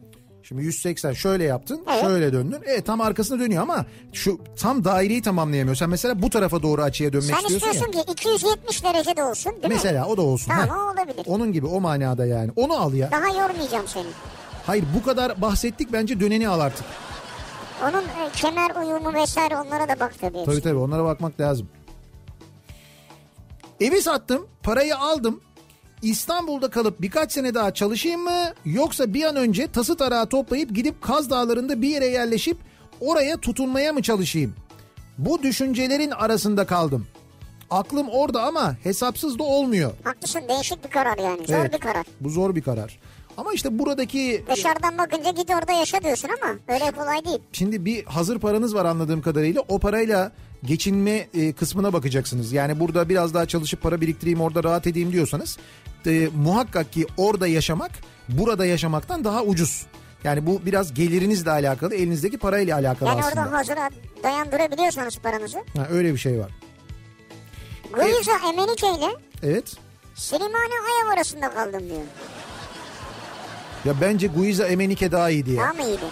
[SPEAKER 1] Şimdi 180 şöyle yaptın,
[SPEAKER 2] Evet.
[SPEAKER 1] şöyle döndün. E tam arkasına dönüyor ama şu tam daireyi tamamlayamıyor. Sen mesela bu tarafa doğru açıya dönmek
[SPEAKER 2] Sen
[SPEAKER 1] istiyorsun ya.
[SPEAKER 2] istiyorsun ki 270 derecede olsun değil mi?
[SPEAKER 1] Mesela o da olsun.
[SPEAKER 2] Tamam,
[SPEAKER 1] Ha.
[SPEAKER 2] o olabilir.
[SPEAKER 1] Onun gibi o manada yani. Onu al ya.
[SPEAKER 2] Daha yormayacağım seni.
[SPEAKER 1] Hayır bu kadar bahsettik bence döneni al artık.
[SPEAKER 2] Onun e, kemer uyumu vesaire onlara da bak tabii.
[SPEAKER 1] Tabii tabii onlara bakmak lazım. Evi sattım, parayı aldım. İstanbul'da kalıp birkaç sene daha çalışayım mı? Yoksa bir an önce tası tarağı toplayıp gidip Kaz Dağları'nda bir yere yerleşip oraya tutunmaya mı çalışayım? Bu düşüncelerin arasında kaldım. Aklım orada ama hesapsız da olmuyor.
[SPEAKER 2] Haklısın değişik bir karar yani. Zor
[SPEAKER 1] Evet,
[SPEAKER 2] bir karar.
[SPEAKER 1] Bu zor bir karar. Ama işte buradaki
[SPEAKER 2] Dışarıdan bakınca git orada yaşa diyorsun ama öyle kolay değil.
[SPEAKER 1] Şimdi bir hazır paranız var anladığım kadarıyla. O parayla geçinme e, kısmına bakacaksınız. Yani burada biraz daha çalışıp para biriktireyim orada rahat edeyim diyorsanız e, muhakkak ki orada yaşamak burada yaşamaktan daha ucuz. Yani bu biraz gelirinizle alakalı, elinizdeki parayla alakalı
[SPEAKER 2] Yani
[SPEAKER 1] aslında.
[SPEAKER 2] orada hazıra dayandırabiliyorsanız paranızı.
[SPEAKER 1] Ha, öyle bir şey var.
[SPEAKER 2] Guiza Emenike ile
[SPEAKER 1] Evet.
[SPEAKER 2] Silimani Ayav arasında kaldım diyor.
[SPEAKER 1] Ya bence Guiza Emenike daha iyi diye.
[SPEAKER 2] Daha mı iyiydi?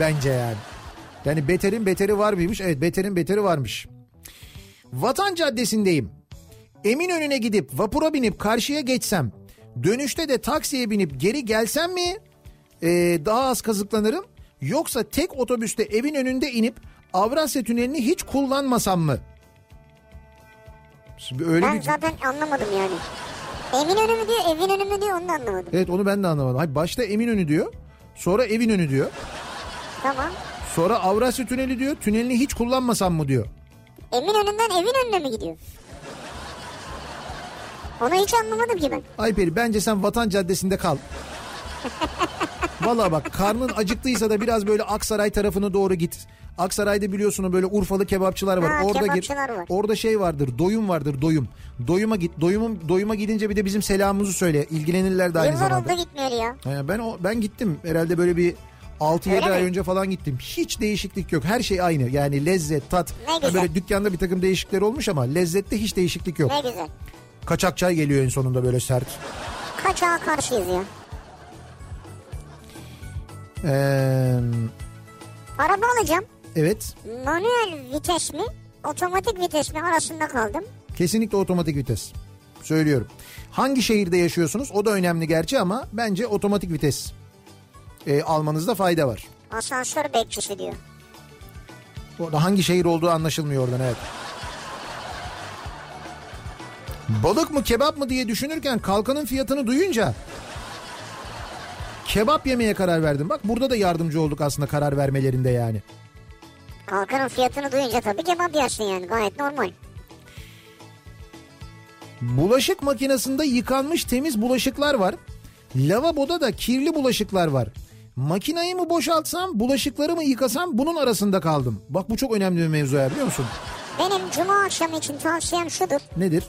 [SPEAKER 1] Bence yani. Yani beterin beteri var mıymış? Evet beterin beteri varmış. Vatan Caddesi'ndeyim. Eminönü'ne gidip vapura binip karşıya geçsem. Dönüşte de taksiye binip geri gelsem mi? Ee, daha az kazıklanırım. Yoksa tek otobüste evin önünde inip Avrasya Tüneli'ni hiç kullanmasam mı? Şimdi öyle
[SPEAKER 2] Ben
[SPEAKER 1] bir...
[SPEAKER 2] zaten anlamadım yani. Evin önü mü diyor, evin önü mü diyor onu da anlamadım.
[SPEAKER 1] Evet onu ben de anlamadım. Hayır, başta Eminönü diyor. Sonra evin önü diyor.
[SPEAKER 2] Tamam.
[SPEAKER 1] Sonra Avrasya Tüneli diyor. Tünelini hiç kullanmasam mı diyor.
[SPEAKER 2] Emin önünden evin önüne mi gidiyor? Onu hiç anlamadım ki ben.
[SPEAKER 1] Ayperi bence sen Vatan Caddesi'nde kal. Valla bak karnın acıktıysa da biraz böyle Aksaray tarafına doğru git. Aksaray'da biliyorsun o böyle Urfalı kebapçılar var.
[SPEAKER 2] Ha,
[SPEAKER 1] Orada git.
[SPEAKER 2] kebapçılar var.
[SPEAKER 1] Orada şey vardır. Doyum vardır. Doyum. Doyuma git. Doyumun doyuma gidince bir de bizim selamımızı söyle. İlgilenirler de aynı
[SPEAKER 2] Yıllar
[SPEAKER 1] zamanda.
[SPEAKER 2] oldu gitmiyor ya.
[SPEAKER 1] He, ben o ben gittim. Herhalde böyle bir 6-7
[SPEAKER 2] Öyle
[SPEAKER 1] ay
[SPEAKER 2] mi?
[SPEAKER 1] önce falan gittim. Hiç değişiklik yok. Her şey aynı. Yani lezzet, tat.
[SPEAKER 2] Ne
[SPEAKER 1] Ha,
[SPEAKER 2] güzel.
[SPEAKER 1] Böyle dükkanda bir takım değişiklikler olmuş ama lezzette hiç değişiklik yok.
[SPEAKER 2] Ne güzel.
[SPEAKER 1] Kaçak çay geliyor en sonunda böyle sert.
[SPEAKER 2] Kaçağa karşıyız ya.
[SPEAKER 1] Ee,
[SPEAKER 2] Araba alacağım.
[SPEAKER 1] evet.
[SPEAKER 2] Manuel vites mi? Otomatik vites mi arasında kaldım.
[SPEAKER 1] Kesinlikle otomatik vites. Söylüyorum. Hangi şehirde yaşıyorsunuz? O da önemli gerçi ama bence otomatik vites e, almanızda fayda var.
[SPEAKER 2] Asansör bekçisi diyor.
[SPEAKER 1] Orada hangi şehir olduğu anlaşılmıyor oradan evet. Balık mı kebap mı diye düşünürken kalkanın fiyatını duyunca kebap yemeye karar verdim. Bak burada da yardımcı olduk aslında karar vermelerinde yani.
[SPEAKER 2] Kalkanın fiyatını duyunca tabii kebap yersin yani gayet normal.
[SPEAKER 1] Bulaşık makinesinde yıkanmış temiz bulaşıklar var. Lavaboda da kirli bulaşıklar var. Makinayı mı boşaltsam, bulaşıkları mı yıkasam bunun arasında kaldım. Bak bu çok önemli bir mevzu ya biliyor musun?
[SPEAKER 2] Benim cuma akşamı için tavsiyem şudur.
[SPEAKER 1] Nedir?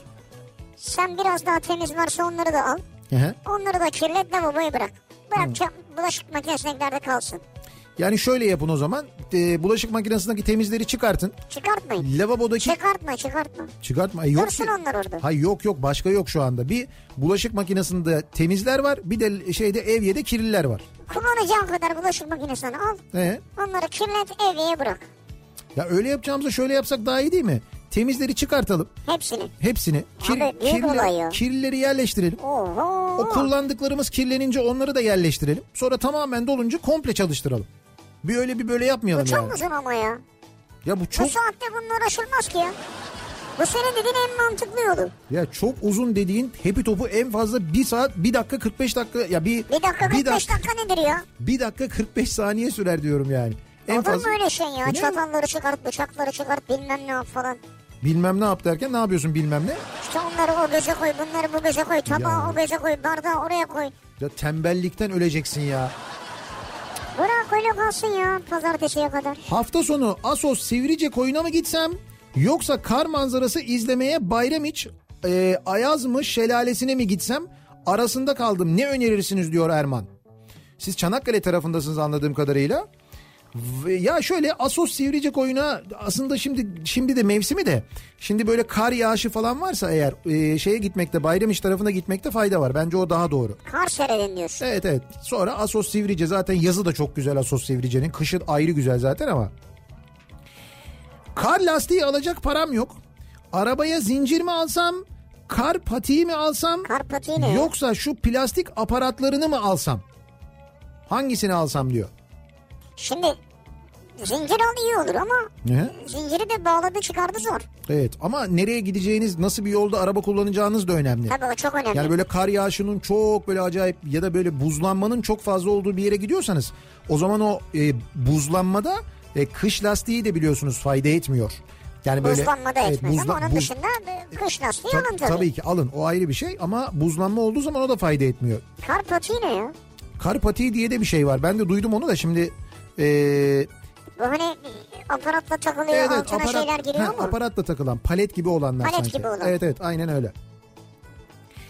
[SPEAKER 2] Sen biraz daha temiz varsa onları da al.
[SPEAKER 1] Hı hı.
[SPEAKER 2] Onları da kirlet lavaboya bırak. Bırak
[SPEAKER 1] Hmm.
[SPEAKER 2] çam- bulaşık makinesindekilerde kalsın.
[SPEAKER 1] Yani şöyle yapın o zaman. E, bulaşık makinesindeki temizleri çıkartın.
[SPEAKER 2] Çıkartmayın.
[SPEAKER 1] Lavabodaki
[SPEAKER 2] Çıkartma çıkartma.
[SPEAKER 1] çıkartma. E, yok
[SPEAKER 2] Dursun
[SPEAKER 1] ki-
[SPEAKER 2] onlar orada.
[SPEAKER 1] Hayır yok yok başka yok şu anda. Bir bulaşık makinesinde temizler var. Bir de şeyde evyede kirliler var.
[SPEAKER 2] Kullanacağın kadar bulaşık makinesini al.
[SPEAKER 1] Ee?
[SPEAKER 2] Onları kirlet eviye bırak.
[SPEAKER 1] Ya öyle yapacağımıza şöyle yapsak daha iyi değil mi? Temizleri çıkartalım.
[SPEAKER 2] Hepsini.
[SPEAKER 1] Hepsini kir,
[SPEAKER 2] Abi büyük
[SPEAKER 1] kirli-
[SPEAKER 2] olay ya.
[SPEAKER 1] kirlileri yerleştirelim.
[SPEAKER 2] Oho.
[SPEAKER 1] O kullandıklarımız kirlenince onları da yerleştirelim. Sonra tamamen dolunca komple çalıştıralım. Bir öyle bir böyle yapmayalım
[SPEAKER 2] Bu çok
[SPEAKER 1] yani.
[SPEAKER 2] uzun ama ya.
[SPEAKER 1] Ya bu
[SPEAKER 2] Bu
[SPEAKER 1] çok
[SPEAKER 2] saatte bununla uğraşılmaz ki ya. Bu senin dediğin en mantıklı yolu.
[SPEAKER 1] ya çok uzun dediğin happy topu en fazla 1 saat 1 dakika 45 dakika ya bir
[SPEAKER 2] Bir dakika 45
[SPEAKER 1] bir dak-
[SPEAKER 2] dakika nedir ya?
[SPEAKER 1] bir dakika 45 saniye sürer diyorum yani. En
[SPEAKER 2] Olur
[SPEAKER 1] fazla E
[SPEAKER 2] mu öyle şey ya?
[SPEAKER 1] Öyle mi?
[SPEAKER 2] Çatalları çıkart, bıçakları çıkart bilmem ne yap falan.
[SPEAKER 1] bilmem ne yap derken ne yapıyorsun bilmem ne.
[SPEAKER 2] İşte onları o göze koy, bunları bu göze koy, tabağı
[SPEAKER 1] Ya.
[SPEAKER 2] o göze koy, bardağı oraya koy.
[SPEAKER 1] Ya tembellikten öleceksin ya.
[SPEAKER 2] Bırak öyle kalsın ya pazartesiye kadar.
[SPEAKER 1] Hafta sonu Asos Sivrice koyuna mı gitsem yoksa kar manzarası izlemeye Bayramiç e, Ayaz mı şelalesine mi gitsem arasında kaldım ne önerirsiniz diyor Erman. Siz Çanakkale tarafındasınız anladığım kadarıyla. V- Ya şöyle Asos Sivrice koyuna aslında şimdi şimdi de mevsimi de şimdi böyle kar yağışı falan varsa eğer e, şeye gitmekte Bayramış tarafına gitmekte fayda var. Bence o daha doğru.
[SPEAKER 2] Kar seyredin diyorsun.
[SPEAKER 1] Evet evet. Sonra Asos Sivrice zaten yazı da çok güzel Asos Sivrice'nin. Kışı ayrı güzel zaten ama. Kar lastiği alacak param yok. Arabaya zincir mi alsam? Kar patiği mi alsam?
[SPEAKER 2] Kar patiği ne? Yok.
[SPEAKER 1] Yoksa şu plastik aparatlarını mı alsam? Hangisini alsam diyor.
[SPEAKER 2] Şimdi zincir al iyi olur ama
[SPEAKER 1] Ne?
[SPEAKER 2] zinciri de bağladı çıkardı zor.
[SPEAKER 1] Evet ama nereye gideceğiniz, nasıl bir yolda araba kullanacağınız da önemli.
[SPEAKER 2] Tabii o çok önemli.
[SPEAKER 1] Yani böyle kar yağışının çok böyle acayip ya da böyle buzlanmanın çok fazla olduğu bir yere gidiyorsanız o zaman o e, buzlanmada e, kış lastiği de biliyorsunuz fayda etmiyor. Yani böyle
[SPEAKER 2] Buzlanmada
[SPEAKER 1] evet,
[SPEAKER 2] etmez
[SPEAKER 1] buzla-
[SPEAKER 2] ama onun
[SPEAKER 1] buz-
[SPEAKER 2] dışında e, kış lastiği
[SPEAKER 1] Ta-
[SPEAKER 2] alın tabii.
[SPEAKER 1] tabii ki alın o ayrı bir şey ama buzlanma olduğu zaman o da fayda etmiyor.
[SPEAKER 2] Kar patiği ne ya?
[SPEAKER 1] Kar patiği diye de bir şey var. Ben de duydum onu da şimdi e,
[SPEAKER 2] Bu hani aparatla takılıyor
[SPEAKER 1] Evet, evet,
[SPEAKER 2] altına
[SPEAKER 1] aparat-
[SPEAKER 2] şeyler giriyor
[SPEAKER 1] ha,
[SPEAKER 2] mu?
[SPEAKER 1] Aparatla takılan palet gibi olanlar
[SPEAKER 2] Palet
[SPEAKER 1] sanki.
[SPEAKER 2] gibi olan.
[SPEAKER 1] Evet evet aynen öyle.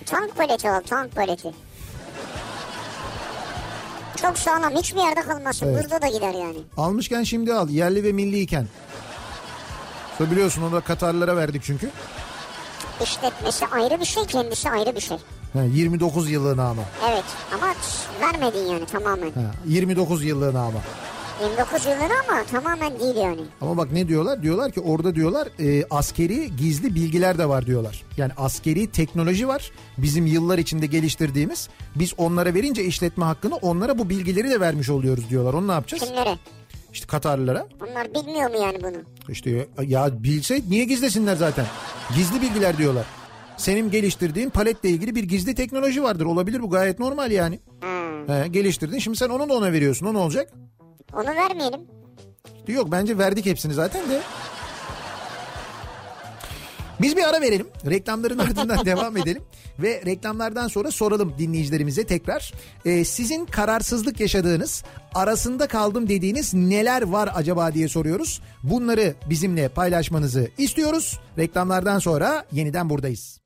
[SPEAKER 2] Tank paleti al tank paleti. Çok sağlam hiçbir yerde kalmasın.
[SPEAKER 1] Evet.
[SPEAKER 2] Hızlı da gider yani.
[SPEAKER 1] Almışken şimdi al yerli ve milliyken. Sonra biliyorsun onu da Katarlara verdik çünkü.
[SPEAKER 2] İşletmesi ayrı bir şey kendisi ayrı bir şey.
[SPEAKER 1] Ha, 29 yıllığına ama.
[SPEAKER 2] Evet ama vermedin yani tamamen.
[SPEAKER 1] Ha, 29 yıllığına ama.
[SPEAKER 2] 29 yılları ama tamamen değil yani.
[SPEAKER 1] Ama bak ne diyorlar? Diyorlar ki orada diyorlar e, askeri gizli bilgiler de var diyorlar. Yani askeri teknoloji var. Bizim yıllar içinde geliştirdiğimiz. Biz onlara verince işletme hakkını onlara bu bilgileri de vermiş oluyoruz diyorlar. Onu ne yapacağız?
[SPEAKER 2] Kimlere?
[SPEAKER 1] İşte Katarlılara.
[SPEAKER 2] Onlar bilmiyor mu yani bunu?
[SPEAKER 1] İşte ya bilse niye gizlesinler zaten? Gizli bilgiler diyorlar. Senin geliştirdiğin paletle ilgili bir gizli teknoloji vardır. Olabilir bu gayet normal yani.
[SPEAKER 2] Ha.
[SPEAKER 1] He, geliştirdin şimdi sen onu da ona veriyorsun. O ne olacak?
[SPEAKER 2] Onu vermeyelim.
[SPEAKER 1] İşte Yok bence verdik hepsini zaten de. Biz bir ara verelim. Reklamların ardından devam edelim. Ve reklamlardan sonra soralım dinleyicilerimize tekrar. Ee, sizin kararsızlık yaşadığınız, arasında kaldım dediğiniz neler var acaba diye soruyoruz. Bunları bizimle paylaşmanızı istiyoruz. Reklamlardan sonra yeniden buradayız.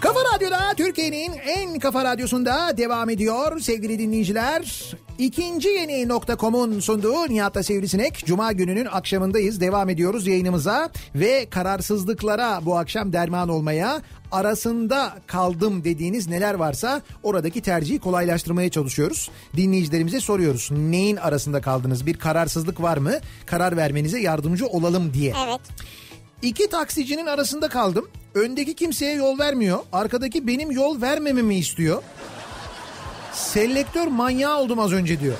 [SPEAKER 1] Kafa Radyo'da Türkiye'nin en kafa radyosunda devam ediyor sevgili dinleyiciler. İkinci yeni nokta.com'un sunduğu Nihat'ta Sivrisinek. Cuma gününün akşamındayız. Devam ediyoruz yayınımıza ve kararsızlıklara bu akşam derman olmaya arasında kaldım dediğiniz neler varsa oradaki tercihi kolaylaştırmaya çalışıyoruz. Dinleyicilerimize soruyoruz. Neyin arasında kaldınız? Bir kararsızlık var mı? Karar vermenize yardımcı olalım diye.
[SPEAKER 2] Evet.
[SPEAKER 1] İki taksicinin arasında kaldım. Öndeki kimseye yol vermiyor. Arkadaki benim yol vermememi istiyor. Selektör manyağı oldum az önce diyor.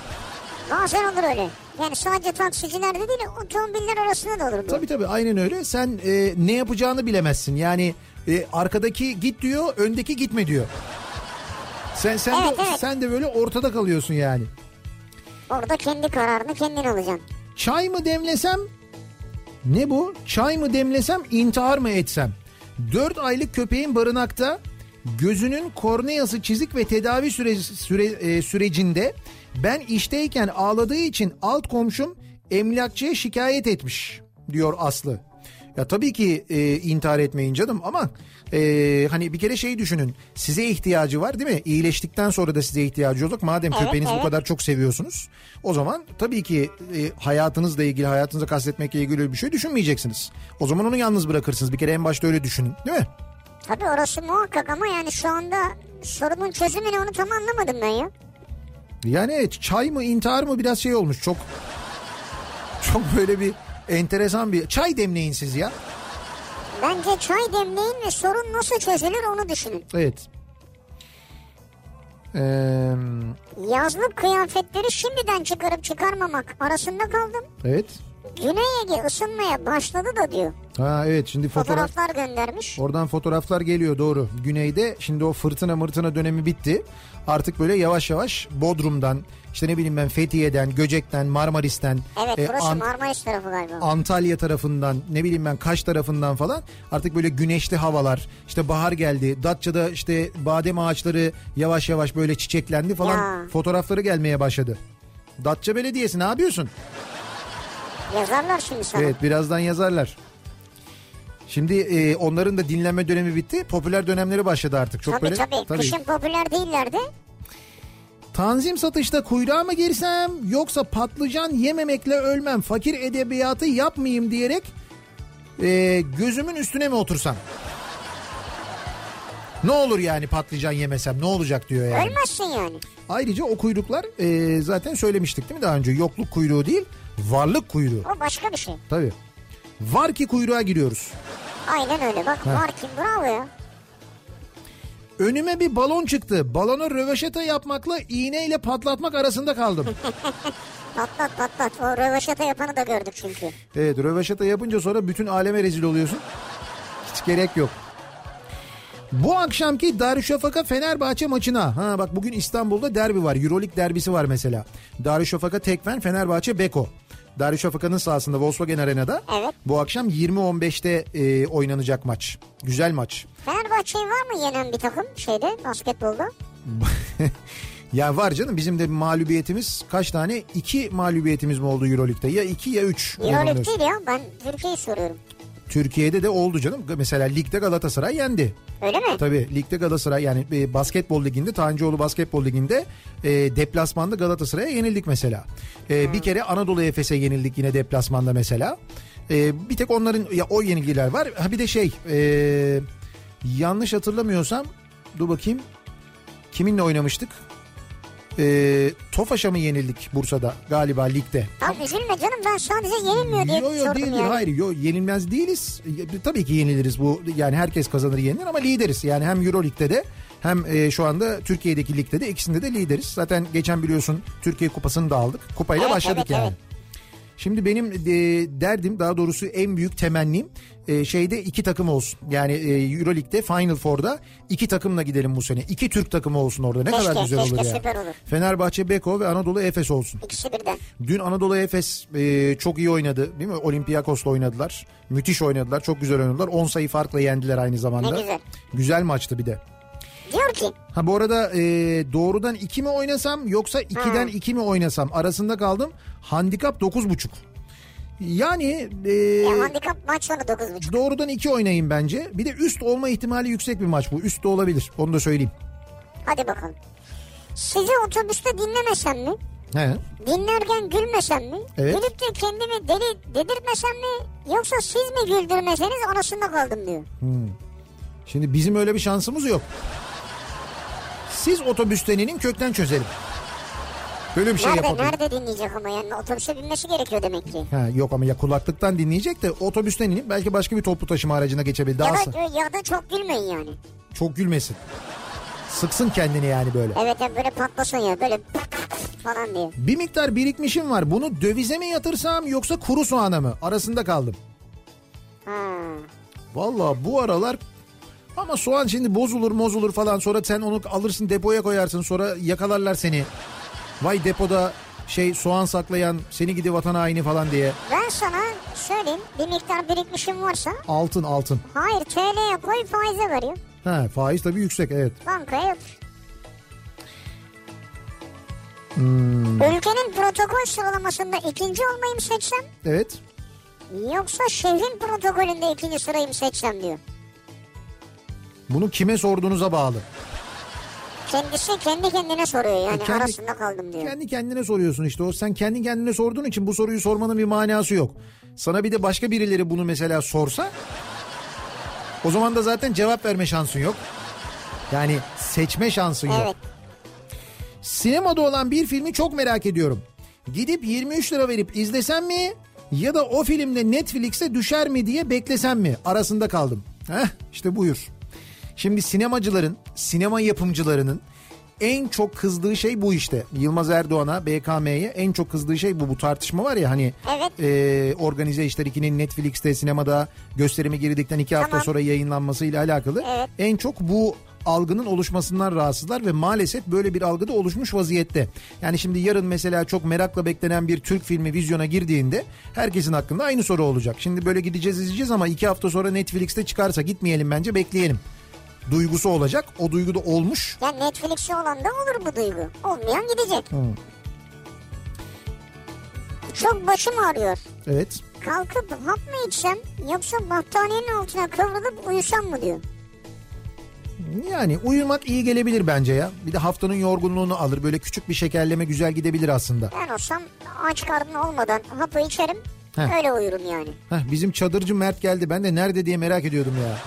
[SPEAKER 2] Bazen olur öyle. Yani sadece taksicilerde değil otomobiller arasında da olur bu.
[SPEAKER 1] Tabii tabii aynen öyle. Sen e, ne yapacağını bilemezsin. Yani e, arkadaki git diyor, öndeki gitme diyor. Sen sen
[SPEAKER 2] Evet,
[SPEAKER 1] de,
[SPEAKER 2] evet.
[SPEAKER 1] sen de böyle ortada kalıyorsun yani.
[SPEAKER 2] Orada kendi kararını kendin alacaksın.
[SPEAKER 1] Çay mı demlesem? Ne bu? Çay mı demlesem, intihar mı etsem? 4 aylık köpeğin barınakta gözünün korneası çizik ve tedavi süre, süre- e, sürecinde ben işteyken ağladığı için alt komşum emlakçıya şikayet etmiş diyor Aslı. Ya tabii ki e, intihar etmeyin canım ama e, hani bir kere şey düşünün size ihtiyacı var değil mi? İyileştikten sonra da size ihtiyacı olacak madem
[SPEAKER 2] Evet,
[SPEAKER 1] köpeğiniz bu
[SPEAKER 2] evet.
[SPEAKER 1] kadar kadar çok seviyorsunuz. O zaman tabii ki e, hayatınızla ilgili, hayatınıza kastetmekle ilgili bir şey düşünmeyeceksiniz. O zaman onu yalnız bırakırsınız. Bir kere en başta öyle düşünün, değil mi?
[SPEAKER 2] Tabii orası muhakkak ama yani şu anda sorunun çözümünü onu tam anlamadım ben ya.
[SPEAKER 1] Yani evet, çay mı, intihar mı biraz şey olmuş. Çok çok böyle bir enteresan bir çay demleyin siz ya.
[SPEAKER 2] Bence çay demleyin ve sorun nasıl çözülür onu düşünün.
[SPEAKER 1] Evet. Ee,
[SPEAKER 2] Yazlık kıyafetleri şimdiden çıkarıp çıkarmamak arasında kaldım.
[SPEAKER 1] evet.
[SPEAKER 2] Güney Ege ısınmaya başladı da diyor.
[SPEAKER 1] Ha evet şimdi fotoğraf
[SPEAKER 2] Fotoğraflar göndermiş.
[SPEAKER 1] Oradan fotoğraflar geliyor doğru. Güneyde şimdi o fırtına mırtına dönemi bitti. Artık böyle yavaş yavaş Bodrum'dan işte ne bileyim ben Fethiye'den, Göcek'ten, Marmaris'ten,
[SPEAKER 2] Evet
[SPEAKER 1] e,
[SPEAKER 2] burası
[SPEAKER 1] Ant-
[SPEAKER 2] Marmaris tarafı galiba.
[SPEAKER 1] Antalya tarafından ne bileyim ben Kaş tarafından falan artık böyle güneşli havalar işte bahar geldi. Datça'da işte badem ağaçları yavaş yavaş böyle çiçeklendi falan
[SPEAKER 2] Ya.
[SPEAKER 1] fotoğrafları gelmeye başladı. Datça Belediyesi ne yapıyorsun?
[SPEAKER 2] Yazarlar şimdi sana.
[SPEAKER 1] Evet birazdan yazarlar. Şimdi e, onların da dinlenme dönemi bitti. Popüler dönemleri başladı artık. Çok
[SPEAKER 2] tabii
[SPEAKER 1] böyle,
[SPEAKER 2] tabii. Kışın popüler değillerdi.
[SPEAKER 1] Tanzim satışta kuyruğa mı girsem yoksa patlıcan yememekle ölmem fakir edebiyatı yapmayayım diyerek e, gözümün üstüne mi otursam? Ne olur yani patlıcan yemesem ne olacak diyor yani.
[SPEAKER 2] Ölmezsin yani.
[SPEAKER 1] Ayrıca o kuyruklar e, zaten söylemiştik değil mi daha önce yokluk kuyruğu değil varlık kuyruğu.
[SPEAKER 2] O başka bir şey.
[SPEAKER 1] Tabii. Var ki kuyruğa giriyoruz.
[SPEAKER 2] Aynen öyle. Bak var kim bravo ya.
[SPEAKER 1] Önüme bir balon çıktı. Balonu röveşata yapmakla iğneyle patlatmak arasında kaldım.
[SPEAKER 2] Patlat patlat. O röveşata yapanı da gördük çünkü.
[SPEAKER 1] evet röveşata yapınca sonra bütün aleme rezil oluyorsun. Hiç gerek yok. Bu akşamki Darüşşafaka Fenerbahçe maçına. Ha bak bugün İstanbul'da derbi var. Euroleague derbisi var mesela. Darüşşafaka Tekfen Fenerbahçe Beko. Darüşşafaka'nın sahasında Volkswagen Arena'da.
[SPEAKER 2] Evet.
[SPEAKER 1] Bu akşam 20.15'te e, oynanacak maç. Güzel maç.
[SPEAKER 2] Fenerbahçe'yi var mı yenen bir takım şeyde basketbolda?
[SPEAKER 1] ya var canım bizim de mağlubiyetimiz kaç tane? İki mağlubiyetimiz mi oldu Euroleague'de? Ya iki ya üç.
[SPEAKER 2] Euroleague
[SPEAKER 1] yanılmıyorsam.
[SPEAKER 2] değil ya ben Türkiye'yi soruyorum.
[SPEAKER 1] Türkiye'de de oldu canım. Mesela ligde Galatasaray yendi.
[SPEAKER 2] Öyle mi?
[SPEAKER 1] E, Tabii ligde Galatasaray yani e, basketbol liginde Tancıoğlu basketbol liginde e, deplasmanda Galatasaray'a yenildik mesela. E, Bir kere Anadolu Efes'e yenildik yine deplasmanda mesela. E, bir tek onların ya o yenilgiler var. Ha bir de şey e, yanlış hatırlamıyorsam dur bakayım kiminle oynamıştık? E, Tofaş'a mı yenildik Bursa'da galiba ligde?
[SPEAKER 2] Tamam üzülme canım ben sadece yenilmiyor diye
[SPEAKER 1] Yo yo
[SPEAKER 2] sordum
[SPEAKER 1] değil, değil.
[SPEAKER 2] yani.
[SPEAKER 1] hayır yo yenilmez değiliz. E, Tabii ki yeniliriz bu yani herkes kazanır yenilir ama lideriz. Yani hem Euroleague'de de hem e, şu anda Türkiye'deki ligde de ikisinde de lideriz. Zaten geçen biliyorsun Türkiye Kupası'nı da aldık. Kupayla
[SPEAKER 2] Evet,
[SPEAKER 1] başladık
[SPEAKER 2] evet,
[SPEAKER 1] yani.
[SPEAKER 2] evet.
[SPEAKER 1] Şimdi benim e, derdim daha doğrusu en büyük temennim e, şeyde iki takım olsun. Yani e, Euroleague'de Final Four'da iki takımla gidelim bu sene. İki Türk takımı olsun orada. Ne
[SPEAKER 2] Keşke,
[SPEAKER 1] kadar güzel
[SPEAKER 2] keşke
[SPEAKER 1] olur ya.
[SPEAKER 2] süper olur.
[SPEAKER 1] Fenerbahçe, Beko ve Anadolu Efes olsun.
[SPEAKER 2] İkisi birden.
[SPEAKER 1] Dün Anadolu Efes e, çok iyi oynadı değil mi? Olympiakos'la oynadılar. Müthiş oynadılar. Çok güzel oynadılar. 10 sayı farkla yendiler aynı zamanda.
[SPEAKER 2] Ne güzel.
[SPEAKER 1] Güzel maçtı bir de.
[SPEAKER 2] Diyor ki
[SPEAKER 1] Ha bu arada e, doğrudan 2 mi oynasam yoksa 2'den
[SPEAKER 2] Hmm.
[SPEAKER 1] 2 mi oynasam arasında kaldım. Handikap 9.5. Yani e,
[SPEAKER 2] ya handikap maç sonu 9.30.
[SPEAKER 1] doğrudan 2 oynayın bence. Bir de üst olma ihtimali yüksek bir maç bu. Üst de olabilir. Onu da söyleyeyim.
[SPEAKER 2] Hadi bakalım. Sizi otobüste dinlemesem mi?
[SPEAKER 1] He.
[SPEAKER 2] Dinlerken gülmesem mi?
[SPEAKER 1] Evet.
[SPEAKER 2] Gülüp de kendimi deli dedirtmesem mi? Yoksa siz mi güldürmeseniz arasında kaldım diyor.
[SPEAKER 1] Şimdi bizim öyle bir şansımız yok. Siz otobüsteninin kökten çözelim. Böyle bir şey
[SPEAKER 2] nerede
[SPEAKER 1] yapalım.
[SPEAKER 2] nerede dinleyecek ama yani otobüse binmesi gerekiyor demek ki.
[SPEAKER 1] Ha, yok ama ya kulaklıktan dinleyecek de otobüsten inip belki başka bir toplu taşıma aracına geçebilir. Daha
[SPEAKER 2] ya, da, ya da çok gülmeyin yani.
[SPEAKER 1] çok gülmesin. Sıksın kendini yani böyle.
[SPEAKER 2] Evet evet böyle patlasın ya böyle falan diye.
[SPEAKER 1] Bir miktar birikmişim var. Bunu dövize mi yatırsam yoksa kuru soğana mı? Arasında kaldım.
[SPEAKER 2] Ha.
[SPEAKER 1] Valla bu aralar ama soğan şimdi bozulur mozulur falan sonra sen onu alırsın depoya koyarsın sonra yakalarlar seni. Vay depoda şey soğan saklayan seni gidi vatan haini falan diye.
[SPEAKER 2] Ben sana söyleyeyim bir miktar birikmişim varsa
[SPEAKER 1] Altın altın.
[SPEAKER 2] hayır TL'ye koy faize veriyor.
[SPEAKER 1] Ha faiz tabii yüksek evet.
[SPEAKER 2] Bankaya yatır.
[SPEAKER 1] Hmm.
[SPEAKER 2] Ülkenin protokol sıralamasında ikinci olmayı mı seçsem
[SPEAKER 1] Evet.
[SPEAKER 2] yoksa şehrin protokolünde ikinci sırayı mı seçsem diyor.
[SPEAKER 1] Bunu kime sorduğunuza bağlı.
[SPEAKER 2] Kendisi kendi kendine soruyor yani
[SPEAKER 1] E, kendi-
[SPEAKER 2] arasında kaldım diyor.
[SPEAKER 1] Kendi kendine soruyorsun işte o. Sen kendi kendine sorduğun için bu soruyu sormanın bir manası yok. Sana bir de başka birileri bunu mesela sorsa o zaman da zaten cevap verme şansın yok. Yani seçme şansın yok.
[SPEAKER 2] Evet.
[SPEAKER 1] Sinemada olan bir filmi çok merak ediyorum. Gidip 23 lira verip izlesem mi ya da o filmde Netflix'e düşer mi diye beklesem mi? Arasında kaldım. Heh işte buyur. Şimdi sinemacıların, sinema yapımcılarının en çok kızdığı şey bu işte. Yılmaz Erdoğan'a, BKM'ye en çok kızdığı şey bu. Bu tartışma var ya hani
[SPEAKER 2] Evet.
[SPEAKER 1] e, organize işler 2'nin Netflix'te sinemada gösterime girdikten iki hafta
[SPEAKER 2] Tamam.
[SPEAKER 1] sonra yayınlanmasıyla alakalı.
[SPEAKER 2] Evet.
[SPEAKER 1] En çok bu algının oluşmasından rahatsızlar ve maalesef böyle bir algı da oluşmuş vaziyette. Yani şimdi yarın mesela çok merakla beklenen bir Türk filmi vizyona girdiğinde herkesin hakkında aynı soru olacak. Şimdi böyle gideceğiz izleyeceğiz ama iki hafta sonra Netflix'te çıkarsa gitmeyelim bence bekleyelim. Duygusu olacak. O duygu da olmuş.
[SPEAKER 2] Ya Netflix'e olan da olur bu duygu. Olmayan gidecek. Çok başım ağrıyor.
[SPEAKER 1] Evet.
[SPEAKER 2] Kalkıp hap mı içsem yoksa battaniyenin altına kıvrılıp uyusam mı diyor.
[SPEAKER 1] Yani uyumak iyi gelebilir bence ya. Bir de haftanın yorgunluğunu alır. Böyle küçük bir şekerleme güzel gidebilir aslında.
[SPEAKER 2] Ben olsam aç karnım olmadan hapı içerim.
[SPEAKER 1] Heh.
[SPEAKER 2] Öyle uyurum yani.
[SPEAKER 1] Heh, bizim çadırcı Mert geldi. Ben de nerede diye merak ediyordum ya.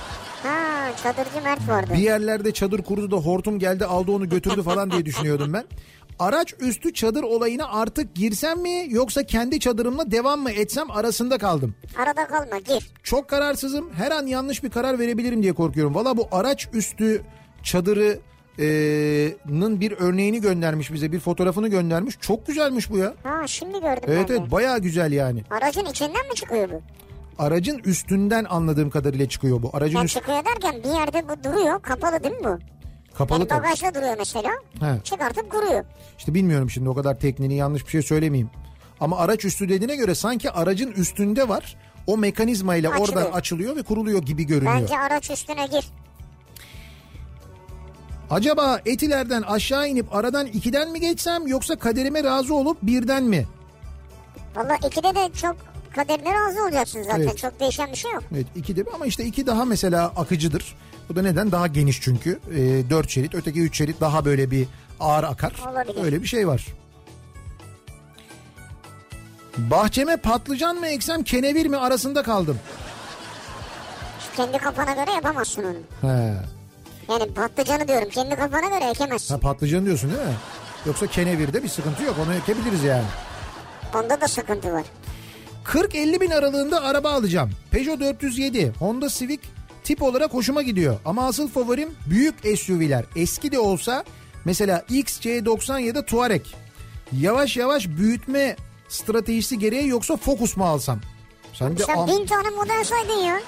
[SPEAKER 2] Ha çadırcı Mert vardı.
[SPEAKER 1] Bir yerlerde çadır kurdu da hortum geldi aldı onu götürdü falan diye düşünüyordum ben. Araç üstü çadır olayına artık girsem mi yoksa kendi çadırımla devam mı etsem arasında kaldım.
[SPEAKER 2] Arada kalma gir.
[SPEAKER 1] Çok kararsızım her an yanlış bir karar verebilirim diye korkuyorum. Valla bu araç üstü çadırı e, nın bir örneğini göndermiş bize bir fotoğrafını göndermiş. Çok güzelmiş bu ya.
[SPEAKER 2] Ha şimdi gördüm
[SPEAKER 1] Evet
[SPEAKER 2] ben de.
[SPEAKER 1] evet baya güzel yani.
[SPEAKER 2] Aracın içinden mi çıkıyor bu?
[SPEAKER 1] Aracın üstünden anladığım kadarıyla çıkıyor bu. Aracın
[SPEAKER 2] Ya
[SPEAKER 1] üstü
[SPEAKER 2] çıkıyor derken bir yerde bu duruyor. Kapalı değil mi bu?
[SPEAKER 1] kapalı
[SPEAKER 2] Yani
[SPEAKER 1] tabii.
[SPEAKER 2] bagajda duruyor mesela.
[SPEAKER 1] He.
[SPEAKER 2] Çıkartıp kuruyor.
[SPEAKER 1] İşte bilmiyorum şimdi o kadar tekniğini yanlış bir şey söylemeyeyim. Ama araç üstü dediğine göre sanki aracın üstünde var. O mekanizmayla
[SPEAKER 2] Açılıyor.
[SPEAKER 1] oradan açılıyor ve kuruluyor gibi görünüyor.
[SPEAKER 2] Bence araç üstüne gir.
[SPEAKER 1] Acaba etilerden aşağı inip aradan ikiden mi geçsem yoksa kaderime razı olup birden mi?
[SPEAKER 2] Valla ikide de çok kaderine razı olacaksın zaten.
[SPEAKER 1] Evet.
[SPEAKER 2] Çok değişen bir şey yok.
[SPEAKER 1] Evet iki de ama işte iki daha mesela akıcıdır. Bu da neden? Daha geniş çünkü. Ee, dört şerit öteki üç şerit daha böyle bir ağır akar.
[SPEAKER 2] Olabilir.
[SPEAKER 1] Öyle bir şey var. Bahçeme patlıcan mı eksem kenevir mi arasında kaldım.
[SPEAKER 2] Şu Kendi kafana göre yapamazsın onu.
[SPEAKER 1] He.
[SPEAKER 2] Yani patlıcanı diyorum kendi kafana göre
[SPEAKER 1] Ha
[SPEAKER 2] ekemezsin.
[SPEAKER 1] patlıcan diyorsun değil mi? Yoksa kenevirde bir sıkıntı yok onu ekebiliriz yani.
[SPEAKER 2] Onda da sıkıntı var.
[SPEAKER 1] 40-50 bin aralığında araba alacağım. Peugeot 407, Honda Civic tip olarak hoşuma gidiyor. Ama asıl favorim büyük SUV'ler. Eski de olsa mesela XC90 ya da Touareg. Yavaş yavaş büyütme stratejisi gereği yoksa Focus mu alsam? Sen, bir
[SPEAKER 2] Sen
[SPEAKER 1] al-
[SPEAKER 2] bin tane model saydın ya.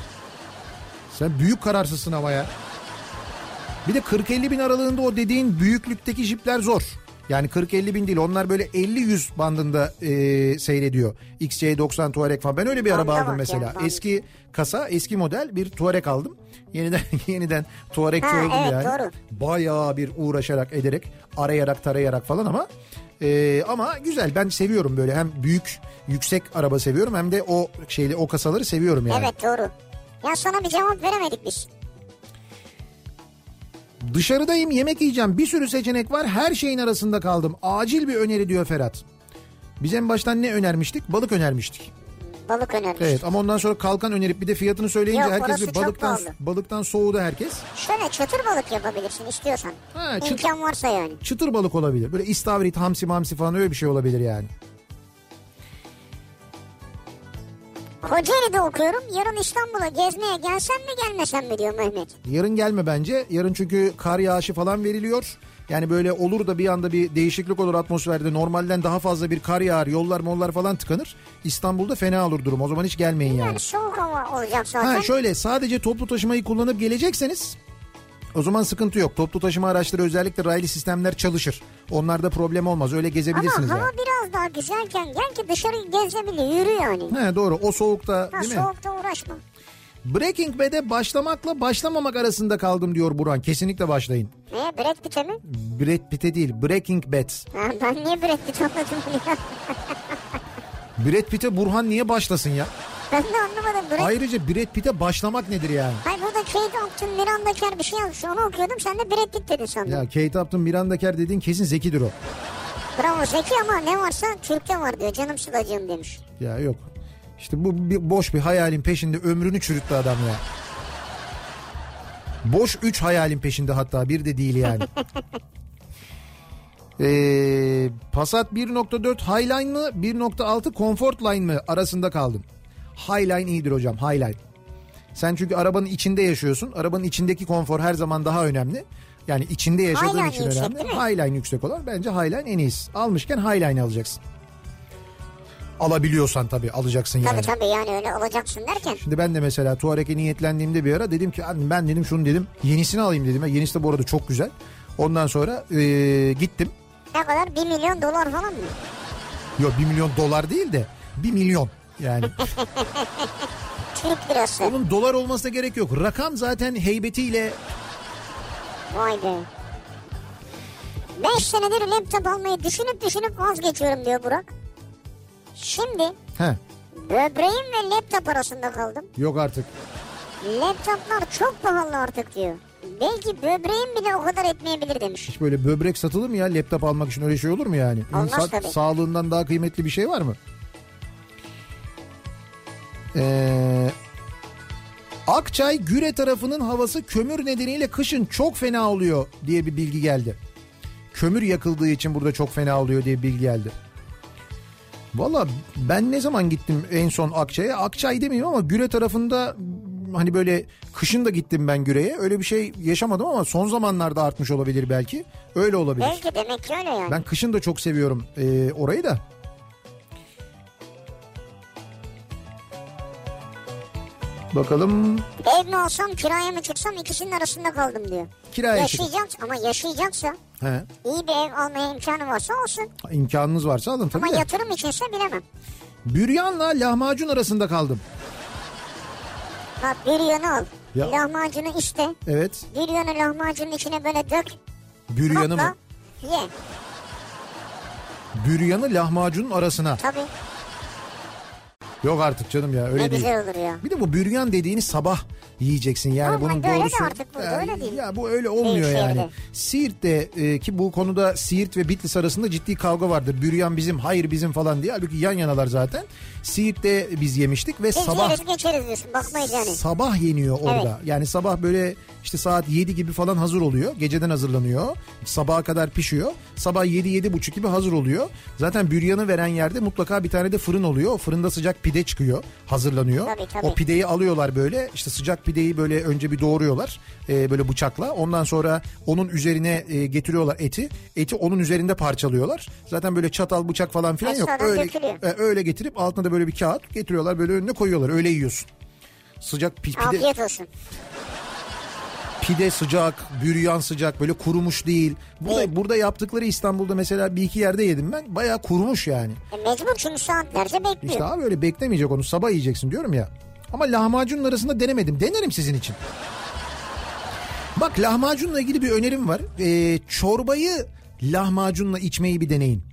[SPEAKER 1] sen büyük kararsızsın ama ya. Bir de 40-50 bin aralığında o dediğin büyüklükteki jipler zor. Yani 40-50 bin değil onlar böyle 50-100 bandında e, seyrediyor. XC90 Touareg falan. Ben öyle bir araba
[SPEAKER 2] Banda
[SPEAKER 1] aldım
[SPEAKER 2] bak
[SPEAKER 1] mesela.
[SPEAKER 2] ya, banda.
[SPEAKER 1] Eski kasa eski model bir Touareg aldım. Yeniden yeniden Touareg
[SPEAKER 2] Ha,
[SPEAKER 1] oldum
[SPEAKER 2] evet,
[SPEAKER 1] yani.
[SPEAKER 2] doğru.
[SPEAKER 1] Bayağı bir uğraşarak ederek arayarak tarayarak falan ama e, ama güzel ben seviyorum böyle hem büyük yüksek araba seviyorum hem de o şeyle o kasaları seviyorum yani.
[SPEAKER 2] Evet doğru. Ya sana bir cevap veremedik biz.
[SPEAKER 1] Dışarıdayım yemek yiyeceğim bir sürü seçenek var her şeyin arasında kaldım. Acil bir öneri diyor Ferhat. Biz en baştan ne önermiştik? Balık önermiştik.
[SPEAKER 2] Balık önermiş.
[SPEAKER 1] Evet ama ondan sonra kalkan önerip bir de fiyatını söyleyince
[SPEAKER 2] Yok,
[SPEAKER 1] herkes
[SPEAKER 2] orası
[SPEAKER 1] bir
[SPEAKER 2] çok
[SPEAKER 1] balıktan
[SPEAKER 2] pahalı.
[SPEAKER 1] balıktan soğudu herkes.
[SPEAKER 2] Şöyle çıtır balık yapabilirsin istiyorsan.
[SPEAKER 1] Ha, çıt-
[SPEAKER 2] İmkan varsa yani.
[SPEAKER 1] Çıtır balık olabilir. Böyle istavrit, hamsi mamsi falan öyle bir şey olabilir yani.
[SPEAKER 2] Kocaeli'de okuyorum. Yarın İstanbul'a gezmeye gelsen mi gelmesen mi diyor Mehmet.
[SPEAKER 1] Yarın gelme bence. Yarın çünkü kar yağışı falan veriliyor. Yani böyle olur da bir anda bir değişiklik olur atmosferde. Normalden daha fazla bir kar yağar, yollar mollar falan tıkanır. İstanbul'da fena olur durum. O zaman hiç gelmeyin yani.
[SPEAKER 2] Yani soğuk hava olacak zaten.
[SPEAKER 1] Ha şöyle sadece toplu taşımayı kullanıp gelecekseniz o zaman sıkıntı yok. Toplu taşıma araçları özellikle raylı sistemler çalışır. Onlarda problem olmaz. Öyle
[SPEAKER 2] Ama
[SPEAKER 1] gezebilirsiniz
[SPEAKER 2] hava
[SPEAKER 1] yani.
[SPEAKER 2] biraz daha güzelken gel ki dışarı gezebilir yürü yani.
[SPEAKER 1] He doğru. O soğukta
[SPEAKER 2] Ha,
[SPEAKER 1] değil mi?
[SPEAKER 2] soğukta uğraşma.
[SPEAKER 1] Breaking Bad'e başlamakla başlamamak arasında kaldım diyor Burhan. Kesinlikle başlayın.
[SPEAKER 2] Neye Brad Pitt'e mi?
[SPEAKER 1] Brad Pitt'e değil Breaking Bad.
[SPEAKER 2] Ha, ben niye Brad Pitt anladım ya?
[SPEAKER 1] Brad Pitt'e Burhan niye başlasın ya?
[SPEAKER 2] ben de anlamadım. Brad... Hayır.
[SPEAKER 1] Ayrıca Brad Pitt'e başlamak nedir yani?
[SPEAKER 2] burada Kate Upton, Miranda Kerr bir şey yazmış. Onu okuyordum. Sen de Brad Pitt dedin sandım.
[SPEAKER 1] Ya Kate Upton, Miranda Kerr dediğin kesin zekidir o.
[SPEAKER 2] Bravo Zeki ama ne varsa Türk'te var diyor. Canım sılacığım demiş.
[SPEAKER 1] Ya yok. İşte bu bir boş bir hayalin peşinde ömrünü çürüttü adam ya. Boş üç hayalin peşinde hatta bir de değil yani. Ee, Passat 1.4 Highline mı 1.6 Comfort Line mı arasında kaldım. Highline iyidir hocam Highline. Sen çünkü arabanın içinde yaşıyorsun. Arabanın içindeki konfor her zaman daha önemli. Yani içinde yaşadığın
[SPEAKER 2] Highline
[SPEAKER 1] için
[SPEAKER 2] yüksek
[SPEAKER 1] önemli.
[SPEAKER 2] değil mi?
[SPEAKER 1] Highline yüksek olan bence Highline en iyisi. Almışken Highline alacaksın. Alabiliyorsan tabii alacaksın yani.
[SPEAKER 2] Tabii tabii yani öyle olacaksın derken.
[SPEAKER 1] Şimdi ben de mesela Tuareg'e niyetlendiğimde bir ara dedim ki "Abi ben dedim şunu dedim yenisini alayım dedim. Yenisi de bu arada çok güzel. Ondan sonra eee, gittim.
[SPEAKER 2] Ne kadar? 1 milyon dolar falan mı?
[SPEAKER 1] Yok 1 milyon dolar değil de 1 milyon yani.
[SPEAKER 2] Türk lirası.
[SPEAKER 1] Onun dolar olmasına gerek yok. Rakam zaten heybetiyle
[SPEAKER 2] Vay be. 5 senedir laptop almayı düşünüp düşünüp vazgeçiyorum diyor Burak. Şimdi
[SPEAKER 1] Heh,
[SPEAKER 2] böbreğim ve laptop arasında kaldım.
[SPEAKER 1] yok artık.
[SPEAKER 2] Laptoplar çok pahalı artık diyor. Belki böbreğim bile o kadar etmeyebilir demiş.
[SPEAKER 1] Hiç böyle böbrek satılır mı ya laptop almak için öyle şey olur mu yani?
[SPEAKER 2] Olmaz
[SPEAKER 1] İnsan
[SPEAKER 2] tabii.
[SPEAKER 1] sağlığından daha kıymetli bir şey var mı? Ee, Akçay Güre tarafının havası kömür nedeniyle kışın çok fena oluyor diye bir bilgi geldi. Kömür yakıldığı için burada çok fena oluyor diye bir bilgi geldi. Valla ben ne zaman gittim en son Akçay'a? Akçay demeyeyim ama Güre tarafında m, hani böyle kışın da gittim ben Güre'ye. Öyle bir şey yaşamadım ama son zamanlarda artmış olabilir belki. Öyle olabilir.
[SPEAKER 2] Belki demek ki öyle yani.
[SPEAKER 1] Ben kışın da çok seviyorum e, orayı da. Bakalım
[SPEAKER 2] Ev mi alsam kiraya mı çıksam ikisinin arasında kaldım diyor.
[SPEAKER 1] kiraya çıkın.
[SPEAKER 2] Yaşayacak ama yaşayacaksa
[SPEAKER 1] He.
[SPEAKER 2] iyi bir ev almaya imkanı varsa olsun.
[SPEAKER 1] İmkanınız varsa alın tabii
[SPEAKER 2] Ama
[SPEAKER 1] de.
[SPEAKER 2] yatırım içinse bilemem.
[SPEAKER 1] Büryanla lahmacun arasında kaldım.
[SPEAKER 2] Bak büryanı al.
[SPEAKER 1] Ya.
[SPEAKER 2] Lahmacunu iste.
[SPEAKER 1] Evet.
[SPEAKER 2] Büryanı lahmacunun içine böyle dök.
[SPEAKER 1] Büryanı
[SPEAKER 2] Patla.
[SPEAKER 1] mı?
[SPEAKER 2] Ye.
[SPEAKER 1] Büryanı lahmacunun arasına.
[SPEAKER 2] Tabii.
[SPEAKER 1] Yok artık canım ya öyle
[SPEAKER 2] ne
[SPEAKER 1] değil.
[SPEAKER 2] güzel olur ya.
[SPEAKER 1] Bir de bu büryan dediğini sabah yiyeceksin yani
[SPEAKER 2] Ama
[SPEAKER 1] bunun
[SPEAKER 2] böyle de
[SPEAKER 1] doğrusu.
[SPEAKER 2] artık burada,
[SPEAKER 1] Ya-
[SPEAKER 2] öyle değil.
[SPEAKER 1] Ya bu öyle olmuyor
[SPEAKER 2] Büyük
[SPEAKER 1] yani.
[SPEAKER 2] şehirde.
[SPEAKER 1] Siirt'te e, ki bu konuda Siirt ve Bitlis arasında ciddi kavga vardır. Büryan bizim, hayır bizim falan diye. Halbuki yan yanalar zaten. Siirt'te biz yemiştik ve
[SPEAKER 2] Biz
[SPEAKER 1] sabah
[SPEAKER 2] yeriz geçeriz diyorsun. Bakmayız yani.
[SPEAKER 1] sabah yeniyor orada. Yani sabah böyle işte saat 7 gibi falan hazır oluyor. Geceden hazırlanıyor. Sabaha kadar pişiyor. Sabah 7 yedi buçuk gibi hazır oluyor. Zaten büryanı veren yerde mutlaka bir tane de fırın oluyor. O fırında sıcak pide çıkıyor. Hazırlanıyor.
[SPEAKER 2] Tabii, tabii.
[SPEAKER 1] O pideyi alıyorlar böyle. İşte sıcak pideyi böyle önce bir doğruyorlar. Ee, böyle bıçakla. Ondan sonra onun üzerine e, getiriyorlar eti. Eti onun üzerinde parçalıyorlar. Zaten böyle çatal bıçak falan filan yok.
[SPEAKER 2] Ekstradan
[SPEAKER 1] Öyle,
[SPEAKER 2] dökülüyor.
[SPEAKER 1] e, öyle getirip altına da böyle bir kağıt getiriyorlar. Böyle önüne koyuyorlar. Öyle yiyorsun. Sıcak pi- pide,
[SPEAKER 2] Afiyet olsun.
[SPEAKER 1] pide sıcak, büryan sıcak böyle kurumuş değil. Burada, burada yaptıkları İstanbul'da mesela bir iki yerde yedim ben. Bayağı kurumuş yani.
[SPEAKER 2] E mecbur çünkü saatlerce bekliyor.
[SPEAKER 1] İşte abi öyle beklemeyecek onu sabah yiyeceksin diyorum ya. Ama lahmacunun arasında denemedim. Denerim sizin için. Bak lahmacunla ilgili bir önerim var. Ee, çorbayı lahmacunla içmeyi bir deneyin.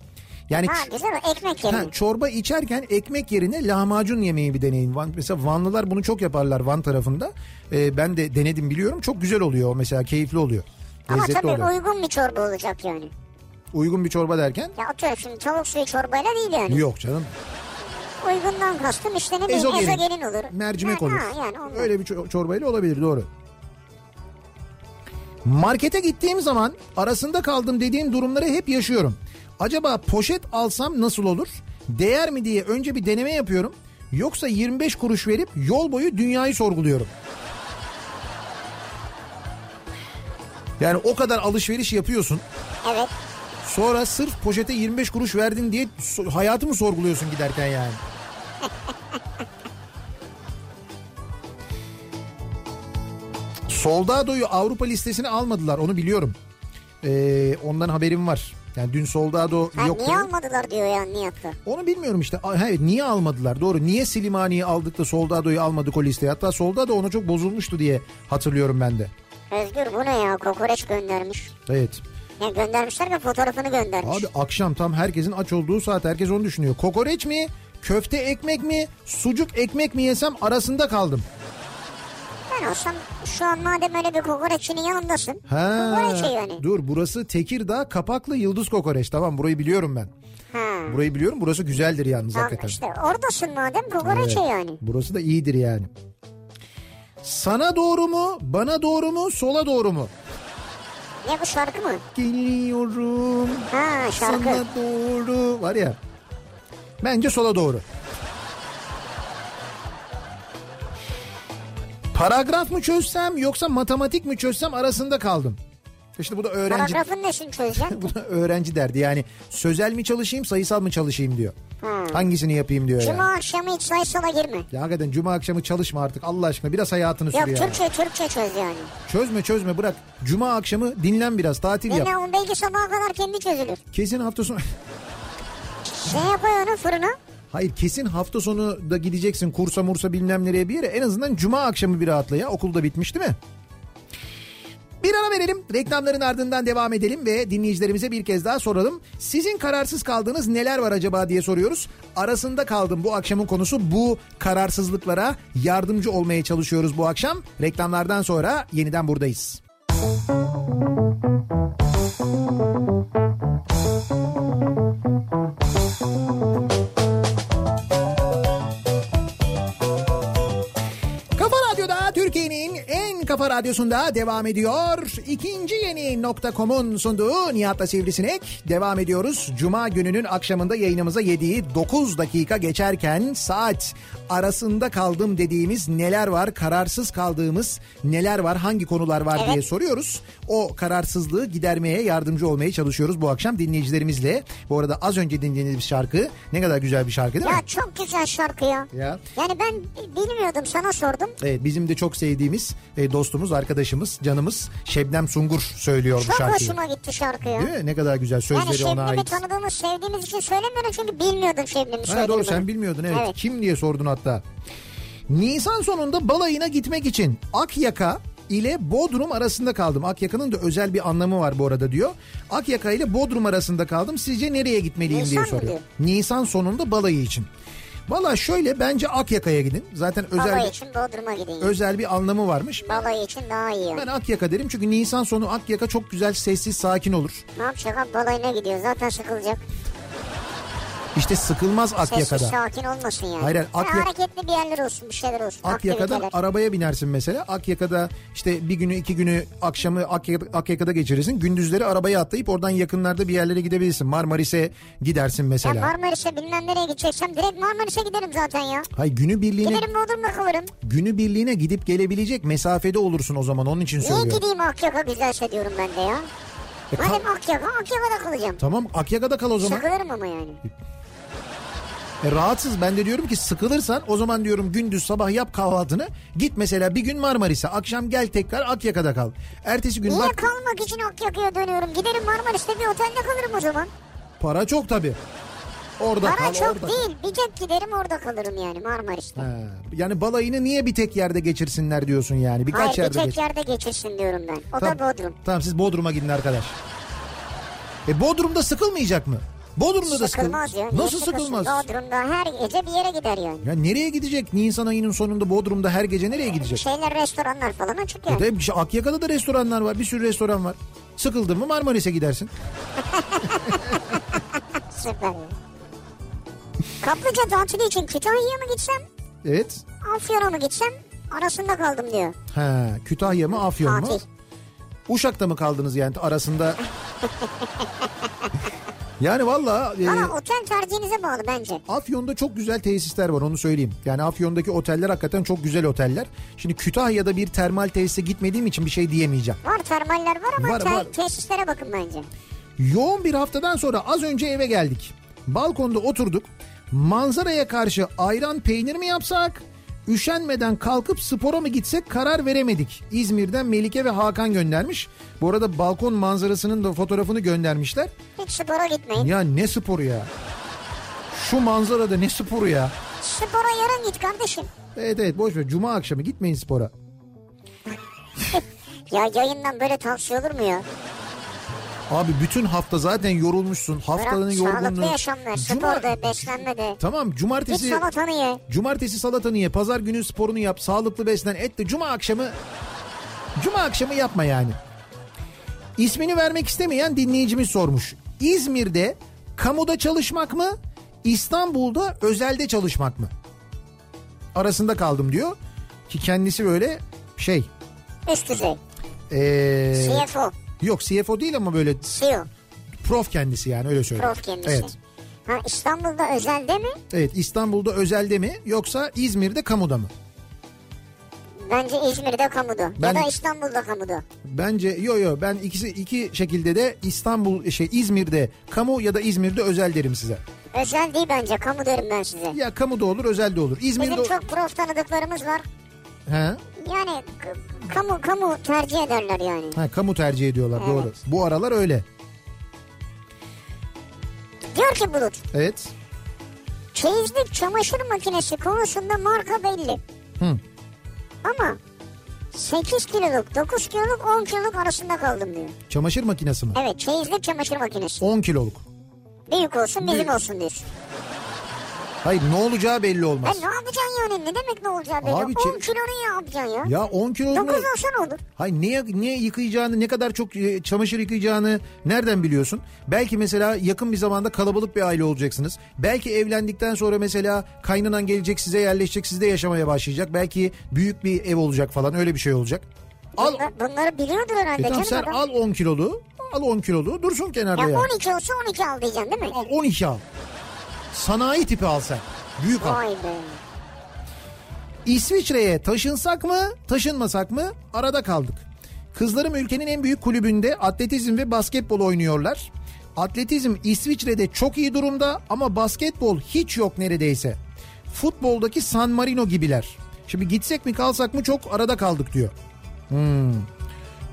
[SPEAKER 1] Yani
[SPEAKER 2] Ha
[SPEAKER 1] ç-
[SPEAKER 2] güzel o ekmek
[SPEAKER 1] Ha,
[SPEAKER 2] yemeği.
[SPEAKER 1] çorba içerken ekmek yerine lahmacun yemeği bir deneyin. Van, mesela Vanlılar bunu çok yaparlar Van tarafında. Ee, ben de denedim biliyorum. Çok güzel oluyor mesela keyifli oluyor.
[SPEAKER 2] Ama
[SPEAKER 1] Lezzetli
[SPEAKER 2] tabii
[SPEAKER 1] oluyor.
[SPEAKER 2] uygun bir çorba olacak yani.
[SPEAKER 1] Uygun bir çorba derken?
[SPEAKER 2] Ya atıyorum şimdi tavuk suyu çorbayla değil yani.
[SPEAKER 1] Yok canım.
[SPEAKER 2] Uygundan kastım işte ne bileyim
[SPEAKER 1] Ezogelin.
[SPEAKER 2] ezogelin, olur.
[SPEAKER 1] Mercimek
[SPEAKER 2] Ha,
[SPEAKER 1] olur.
[SPEAKER 2] Ha, yani onlar.
[SPEAKER 1] Öyle bir ço- çorbayla olabilir doğru. Markete gittiğim zaman arasında kaldım dediğim durumları hep yaşıyorum. Acaba poşet alsam nasıl olur? Değer mi diye önce bir deneme yapıyorum. Yoksa 25 kuruş verip yol boyu dünyayı sorguluyorum. Yani o kadar alışveriş yapıyorsun.
[SPEAKER 2] Evet.
[SPEAKER 1] Sonra sırf poşete 25 kuruş verdin diye so- hayatı mı sorguluyorsun giderken yani? Soldado'yu Avrupa listesine almadılar onu biliyorum. Ee, ondan haberim var. Yani dün Soldado
[SPEAKER 2] Ha,
[SPEAKER 1] yoktu.
[SPEAKER 2] niye almadılar diyor ya Nihat'la.
[SPEAKER 1] Onu bilmiyorum işte. A- Hayır, niye almadılar? Doğru. Niye Silimani'yi aldık da Soldado'yu almadık o listeye? Hatta Soldado ona çok bozulmuştu diye hatırlıyorum ben de.
[SPEAKER 2] Özgür bu ne ya kokoreç göndermiş.
[SPEAKER 1] Evet.
[SPEAKER 2] Ya göndermişler ve fotoğrafını göndermiş.
[SPEAKER 1] Abi akşam tam herkesin aç olduğu saat herkes onu düşünüyor. Kokoreç mi? Köfte ekmek mi? Sucuk ekmek mi yesem arasında kaldım.
[SPEAKER 2] Ben olsam şu an madem öyle bir kokoreççinin yanındasın.
[SPEAKER 1] Ha.
[SPEAKER 2] Kokoreç yani.
[SPEAKER 1] Dur burası Tekirdağ Kapaklı Yıldız Kokoreç. Tamam burayı biliyorum ben.
[SPEAKER 2] Ha.
[SPEAKER 1] Burayı biliyorum. Burası güzeldir yalnız
[SPEAKER 2] Tamam
[SPEAKER 1] hakikaten.
[SPEAKER 2] işte oradasın madem kokoreç ye yani.
[SPEAKER 1] Burası da iyidir yani. Sana doğru mu? Bana doğru mu? Sola doğru mu?
[SPEAKER 2] Ne bu şarkı mı?
[SPEAKER 1] Geliyorum.
[SPEAKER 2] Ha şarkı.
[SPEAKER 1] Sana doğru. Var ya. Bence sola doğru. Paragraf mı çözsem yoksa matematik mi çözsem arasında kaldım. İşte bu da öğrenci
[SPEAKER 2] Paragrafın nesini çözeceksin?
[SPEAKER 1] bu da öğrenci derdi. Yani sözel mi çalışayım, sayısal mı çalışayım diyor. Hangisini yapayım diyor yani.
[SPEAKER 2] Cuma akşamı hiç sayısala girme.
[SPEAKER 1] Ya hakikaten cuma akşamı çalışma artık Allah aşkına biraz hayatını sür
[SPEAKER 2] Yok
[SPEAKER 1] ya.
[SPEAKER 2] Türkçe Türkçe çöz yani.
[SPEAKER 1] Çözme çözme bırak. Cuma akşamı dinlen biraz tatil yap.
[SPEAKER 2] Dinle onu belki sabaha kadar kendi çözülür.
[SPEAKER 1] Kesin hafta sonu...
[SPEAKER 2] Şey yapıyor onu fırına.
[SPEAKER 1] Hayır kesin hafta sonu da gideceksin kursa mursa bilmem nereye bir yere. En azından cuma akşamı bir rahatla ya. Okul da bitmiş değil mi? Bir ara verelim. Reklamların ardından devam edelim ve dinleyicilerimize bir kez daha soralım. Sizin kararsız kaldığınız neler var acaba diye soruyoruz. Arasında kaldım bu akşamın konusu bu kararsızlıklara yardımcı olmaya çalışıyoruz bu akşam. Reklamlardan sonra yeniden buradayız. Kafa Radyo'da Türkiye'nin en kafa radyosunda devam ediyor. İkinci yeni nokta.com'un sunduğu Nihat'la Sivrisinek. Devam ediyoruz. Cuma gününün akşamında yayınımıza yediği 9 dakika geçerken saat arasında kaldım dediğimiz neler var, kararsız kaldığımız neler var, hangi konular var
[SPEAKER 2] Evet.
[SPEAKER 1] diye soruyoruz. O kararsızlığı gidermeye yardımcı olmaya çalışıyoruz bu akşam dinleyicilerimizle. Bu arada az önce dinlediğimiz şarkı ne kadar güzel bir şarkı değil mi?
[SPEAKER 2] Ya çok güzel şarkı ya.
[SPEAKER 1] Ya.
[SPEAKER 2] Yani ben bi- bilmiyordum sana sordum.
[SPEAKER 1] Evet E, bizim de çok sevdiğimiz e, dostumuz, arkadaşımız, canımız Şebnem Sungur söylüyor bu
[SPEAKER 2] Çok
[SPEAKER 1] şarkıyı.
[SPEAKER 2] hoşuma gitti şarkı ya.
[SPEAKER 1] Değil mi? Ne kadar güzel
[SPEAKER 2] Yani
[SPEAKER 1] sözleri ona
[SPEAKER 2] Şebnem'i
[SPEAKER 1] ait.
[SPEAKER 2] tanıdığımız sevdiğimiz için söylemiyorum çünkü bilmiyordum Şebnem'i
[SPEAKER 1] Ha,
[SPEAKER 2] söylediğimi.
[SPEAKER 1] doğru sen bilmiyordun evet.
[SPEAKER 2] Evet.
[SPEAKER 1] Kim diye sordun hatta. Nisan sonunda balayına gitmek için Akyaka ile Bodrum arasında kaldım. Akyaka'nın da özel bir anlamı var bu arada diyor. Akyaka ile Bodrum arasında kaldım. Sizce nereye gitmeliyim
[SPEAKER 2] Nisan
[SPEAKER 1] diye
[SPEAKER 2] mı
[SPEAKER 1] soruyor.
[SPEAKER 2] diyor?
[SPEAKER 1] Nisan sonunda balayı için. Valla şöyle bence Akyaka'ya gidin. Zaten özel
[SPEAKER 2] Balayı
[SPEAKER 1] bir,
[SPEAKER 2] için Bodrum'a gideyim.
[SPEAKER 1] özel bir anlamı varmış.
[SPEAKER 2] Balayı için daha iyi yani.
[SPEAKER 1] Ben Akyaka derim çünkü Nisan sonu Akyaka çok güzel sessiz sakin olur.
[SPEAKER 2] Ne yapacak abi balayına gidiyor zaten sıkılacak.
[SPEAKER 1] İşte sıkılmaz
[SPEAKER 2] Sessiz
[SPEAKER 1] Akyaka'da.
[SPEAKER 2] sakin olmasın yani.
[SPEAKER 1] Hayır, hayır,
[SPEAKER 2] Yani
[SPEAKER 1] Akya-
[SPEAKER 2] hareketli bir yerler olsun bir şeyler olsun.
[SPEAKER 1] Akyaka'dan
[SPEAKER 2] aktiviteler.
[SPEAKER 1] arabaya binersin mesela. Akyaka'da işte bir günü iki günü akşamı Akya- Akyaka'da geçirirsin. Gündüzleri arabaya atlayıp oradan yakınlarda bir yerlere gidebilirsin. Marmaris'e gidersin
[SPEAKER 2] Ya
[SPEAKER 1] mesela.
[SPEAKER 2] Marmaris'e bilmem nereye gideceksem direkt Marmaris'e giderim zaten ya.
[SPEAKER 1] Hayır günü birliğine
[SPEAKER 2] Giderim Bodrum'da kalırım.
[SPEAKER 1] günü birliğine gidip gelebilecek mesafede olursun o zaman. Onun için
[SPEAKER 2] Niye
[SPEAKER 1] söylüyorum.
[SPEAKER 2] gideyim Akyaka güzelse diyorum ben de ya.
[SPEAKER 1] E, ka-
[SPEAKER 2] Madem Akyaka, Akyaka'da kalacağım.
[SPEAKER 1] tamam Akyaka'da kal o zaman.
[SPEAKER 2] Sıkılırım ama yani.
[SPEAKER 1] E, rahatsız ben de diyorum ki sıkılırsan o zaman diyorum gündüz sabah yap kahvaltını git mesela bir gün Marmaris'e akşam gel tekrar Akyaka'da kal. Ertesi gün
[SPEAKER 2] Niye
[SPEAKER 1] E, bak
[SPEAKER 2] kalmak için Akyaka'ya dönüyorum? Giderim Marmaris'te bir otelde kalırım o zaman.
[SPEAKER 1] para çok tabii. Orada
[SPEAKER 2] Para
[SPEAKER 1] kal
[SPEAKER 2] çok
[SPEAKER 1] orada. kal.
[SPEAKER 2] değil. Bir tek giderim orada kalırım yani Marmaris'te.
[SPEAKER 1] Ha, yani balayını niye bir tek yerde geçirsinler diyorsun yani birkaç
[SPEAKER 2] Hayır bir
[SPEAKER 1] yerde
[SPEAKER 2] tek
[SPEAKER 1] geçir.
[SPEAKER 2] yerde geçirsin diyorum ben. O da Bodrum.
[SPEAKER 1] Tamam siz Bodrum'a gidin arkadaş. E Bodrum'da sıkılmayacak mı? Bodrum'da da
[SPEAKER 2] Sıkılmaz ya.
[SPEAKER 1] sıkıl-
[SPEAKER 2] Niye
[SPEAKER 1] Nasıl
[SPEAKER 2] sıkılsın?
[SPEAKER 1] sıkılmaz?
[SPEAKER 2] Bodrum'da her gece bir yere gider yani.
[SPEAKER 1] Ya nereye gidecek? Nisan ayının sonunda Bodrum'da her gece nereye gidecek?
[SPEAKER 2] Şeyler restoranlar falan açık
[SPEAKER 1] E
[SPEAKER 2] yani.
[SPEAKER 1] de, işte Akyaka'da da restoranlar var. Bir sürü restoran var. Sıkıldın mı Marmaris'e gidersin.
[SPEAKER 2] Süper ya. Kaplıca tatili için Kütahya'ya mı gitsem?
[SPEAKER 1] Evet.
[SPEAKER 2] Afyon'a mı gitsem? Arasında kaldım diyor.
[SPEAKER 1] Ha, Kütahya mı Afyon mu?
[SPEAKER 2] Tatil.
[SPEAKER 1] Uşak'ta mı kaldınız yani arasında? yani valla e,
[SPEAKER 2] Ama otel tercihinize bağlı bence.
[SPEAKER 1] Afyon'da çok güzel tesisler var onu söyleyeyim. Yani Afyon'daki oteller hakikaten çok güzel oteller. Şimdi Kütahya'da bir termal tesise gitmediğim için bir şey diyemeyeceğim.
[SPEAKER 2] Var termaller var ama
[SPEAKER 1] Var,
[SPEAKER 2] te-
[SPEAKER 1] var.
[SPEAKER 2] tesislere bakın bence.
[SPEAKER 1] Yoğun bir haftadan sonra az önce eve geldik. Balkonda oturduk. Manzaraya karşı ayran peynir mi yapsak? Üşenmeden kalkıp spora mı gitsek karar veremedik. İzmir'den Melike ve Hakan göndermiş. Bu arada balkon manzarasının da fotoğrafını göndermişler.
[SPEAKER 2] Hiç spora gitmeyin.
[SPEAKER 1] Ya ne sporu ya? Şu manzarada ne sporu ya?
[SPEAKER 2] Spora yarın git kardeşim.
[SPEAKER 1] Evet evet boş ver. Cuma akşamı gitmeyin spora.
[SPEAKER 2] Ya yayından böyle tavsiye olur mu ya?
[SPEAKER 1] Abi bütün hafta zaten yorulmuşsun. Haftanın
[SPEAKER 2] Bırak sağlıklı
[SPEAKER 1] yorgunluğu.
[SPEAKER 2] yaşam ver.
[SPEAKER 1] Cuma-
[SPEAKER 2] Sporda, beslenmede.
[SPEAKER 1] Tamam
[SPEAKER 2] Git
[SPEAKER 1] cumartesi
[SPEAKER 2] salatanı ye.
[SPEAKER 1] cumartesi salatanı ye. Pazar günü sporunu yap. Sağlıklı beslen. Et de cuma akşamı cuma akşamı yapma yani. İsmini vermek istemeyen dinleyicimiz sormuş. İzmir'de kamuda çalışmak mı? İstanbul'da özelde çalışmak mı? Arasında kaldım diyor. Ki kendisi böyle şey.
[SPEAKER 2] Üst düzey.
[SPEAKER 1] ee,
[SPEAKER 2] CFO.
[SPEAKER 1] yok CFO değil ama böyle
[SPEAKER 2] CEO.
[SPEAKER 1] prof kendisi yani öyle söyleyeyim.
[SPEAKER 2] E Prof kendisi.
[SPEAKER 1] Evet.
[SPEAKER 2] Ha, İstanbul'da özelde mi?
[SPEAKER 1] Evet İstanbul'da özelde mi yoksa İzmir'de kamuda mı?
[SPEAKER 2] Bence İzmir'de kamudu.
[SPEAKER 1] Ben-
[SPEAKER 2] Ya da İstanbul'da kamudu.
[SPEAKER 1] Bence yo yo ben ikisi iki şekilde de İstanbul şey İzmir'de kamu ya da İzmir'de özel derim size.
[SPEAKER 2] Özel değil bence. Kamu derim ben size.
[SPEAKER 1] Ya kamu da olur özel de olur. İzmir'de
[SPEAKER 2] Bizim çok prof tanıdıklarımız var.
[SPEAKER 1] He?
[SPEAKER 2] Yani k- kamu kamu tercih ederler yani.
[SPEAKER 1] Ha, kamu tercih ediyorlar doğru. Bu aralar öyle.
[SPEAKER 2] Diyor ki Bulut,
[SPEAKER 1] Evet.
[SPEAKER 2] çeyizlik çamaşır makinesi konusunda marka belli.
[SPEAKER 1] Hı.
[SPEAKER 2] Ama 8 kiloluk, 9 kiloluk, 10 kiloluk arasında kaldım diyor.
[SPEAKER 1] Çamaşır makinesi mi?
[SPEAKER 2] Evet çeyizlik çamaşır makinesi.
[SPEAKER 1] 10 kiloluk.
[SPEAKER 2] Büyük olsun bizim olsun diyorsun.
[SPEAKER 1] Hayır ne olacağı belli
[SPEAKER 2] Ya
[SPEAKER 1] olmaz.
[SPEAKER 2] ne yapacaksın yani? Ne demek ne olacağı belli.
[SPEAKER 1] Abi
[SPEAKER 2] 10
[SPEAKER 1] çe-
[SPEAKER 2] kilo ne yapacaksın ya?
[SPEAKER 1] Ya 10 kiloluk.
[SPEAKER 2] 9
[SPEAKER 1] mu?
[SPEAKER 2] olsa ne olur?
[SPEAKER 1] Hayır ne, ne yıkayacağını ne kadar çok e, çamaşır yıkayacağını nereden biliyorsun? Belki mesela yakın bir zamanda kalabalık bir aile olacaksınız. Belki evlendikten sonra mesela kaynanan gelecek size yerleşecek sizde yaşamaya başlayacak. Belki büyük bir ev olacak falan öyle bir şey olacak. Al
[SPEAKER 2] Bunla- Bunları biliyordur
[SPEAKER 1] e
[SPEAKER 2] herhalde.
[SPEAKER 1] tamam
[SPEAKER 2] canım
[SPEAKER 1] sen
[SPEAKER 2] adam.
[SPEAKER 1] al 10 kilolu al 10 kilolu dursun kenarda
[SPEAKER 2] Ya
[SPEAKER 1] ya.
[SPEAKER 2] 12 olsa 12 al diyeceksin değil mi?
[SPEAKER 1] Al 12 al. Sanayi tipi al sen. Büyük al.
[SPEAKER 2] Vay be.
[SPEAKER 1] İsviçre'ye taşınsak mı, taşınmasak mı? Arada kaldık. Kızlarım ülkenin en büyük kulübünde atletizm ve basketbol oynuyorlar. Atletizm İsviçre'de çok iyi durumda ama basketbol hiç yok neredeyse. Futboldaki San Marino gibiler. Şimdi gitsek mi kalsak mı çok arada kaldık diyor. Hmm.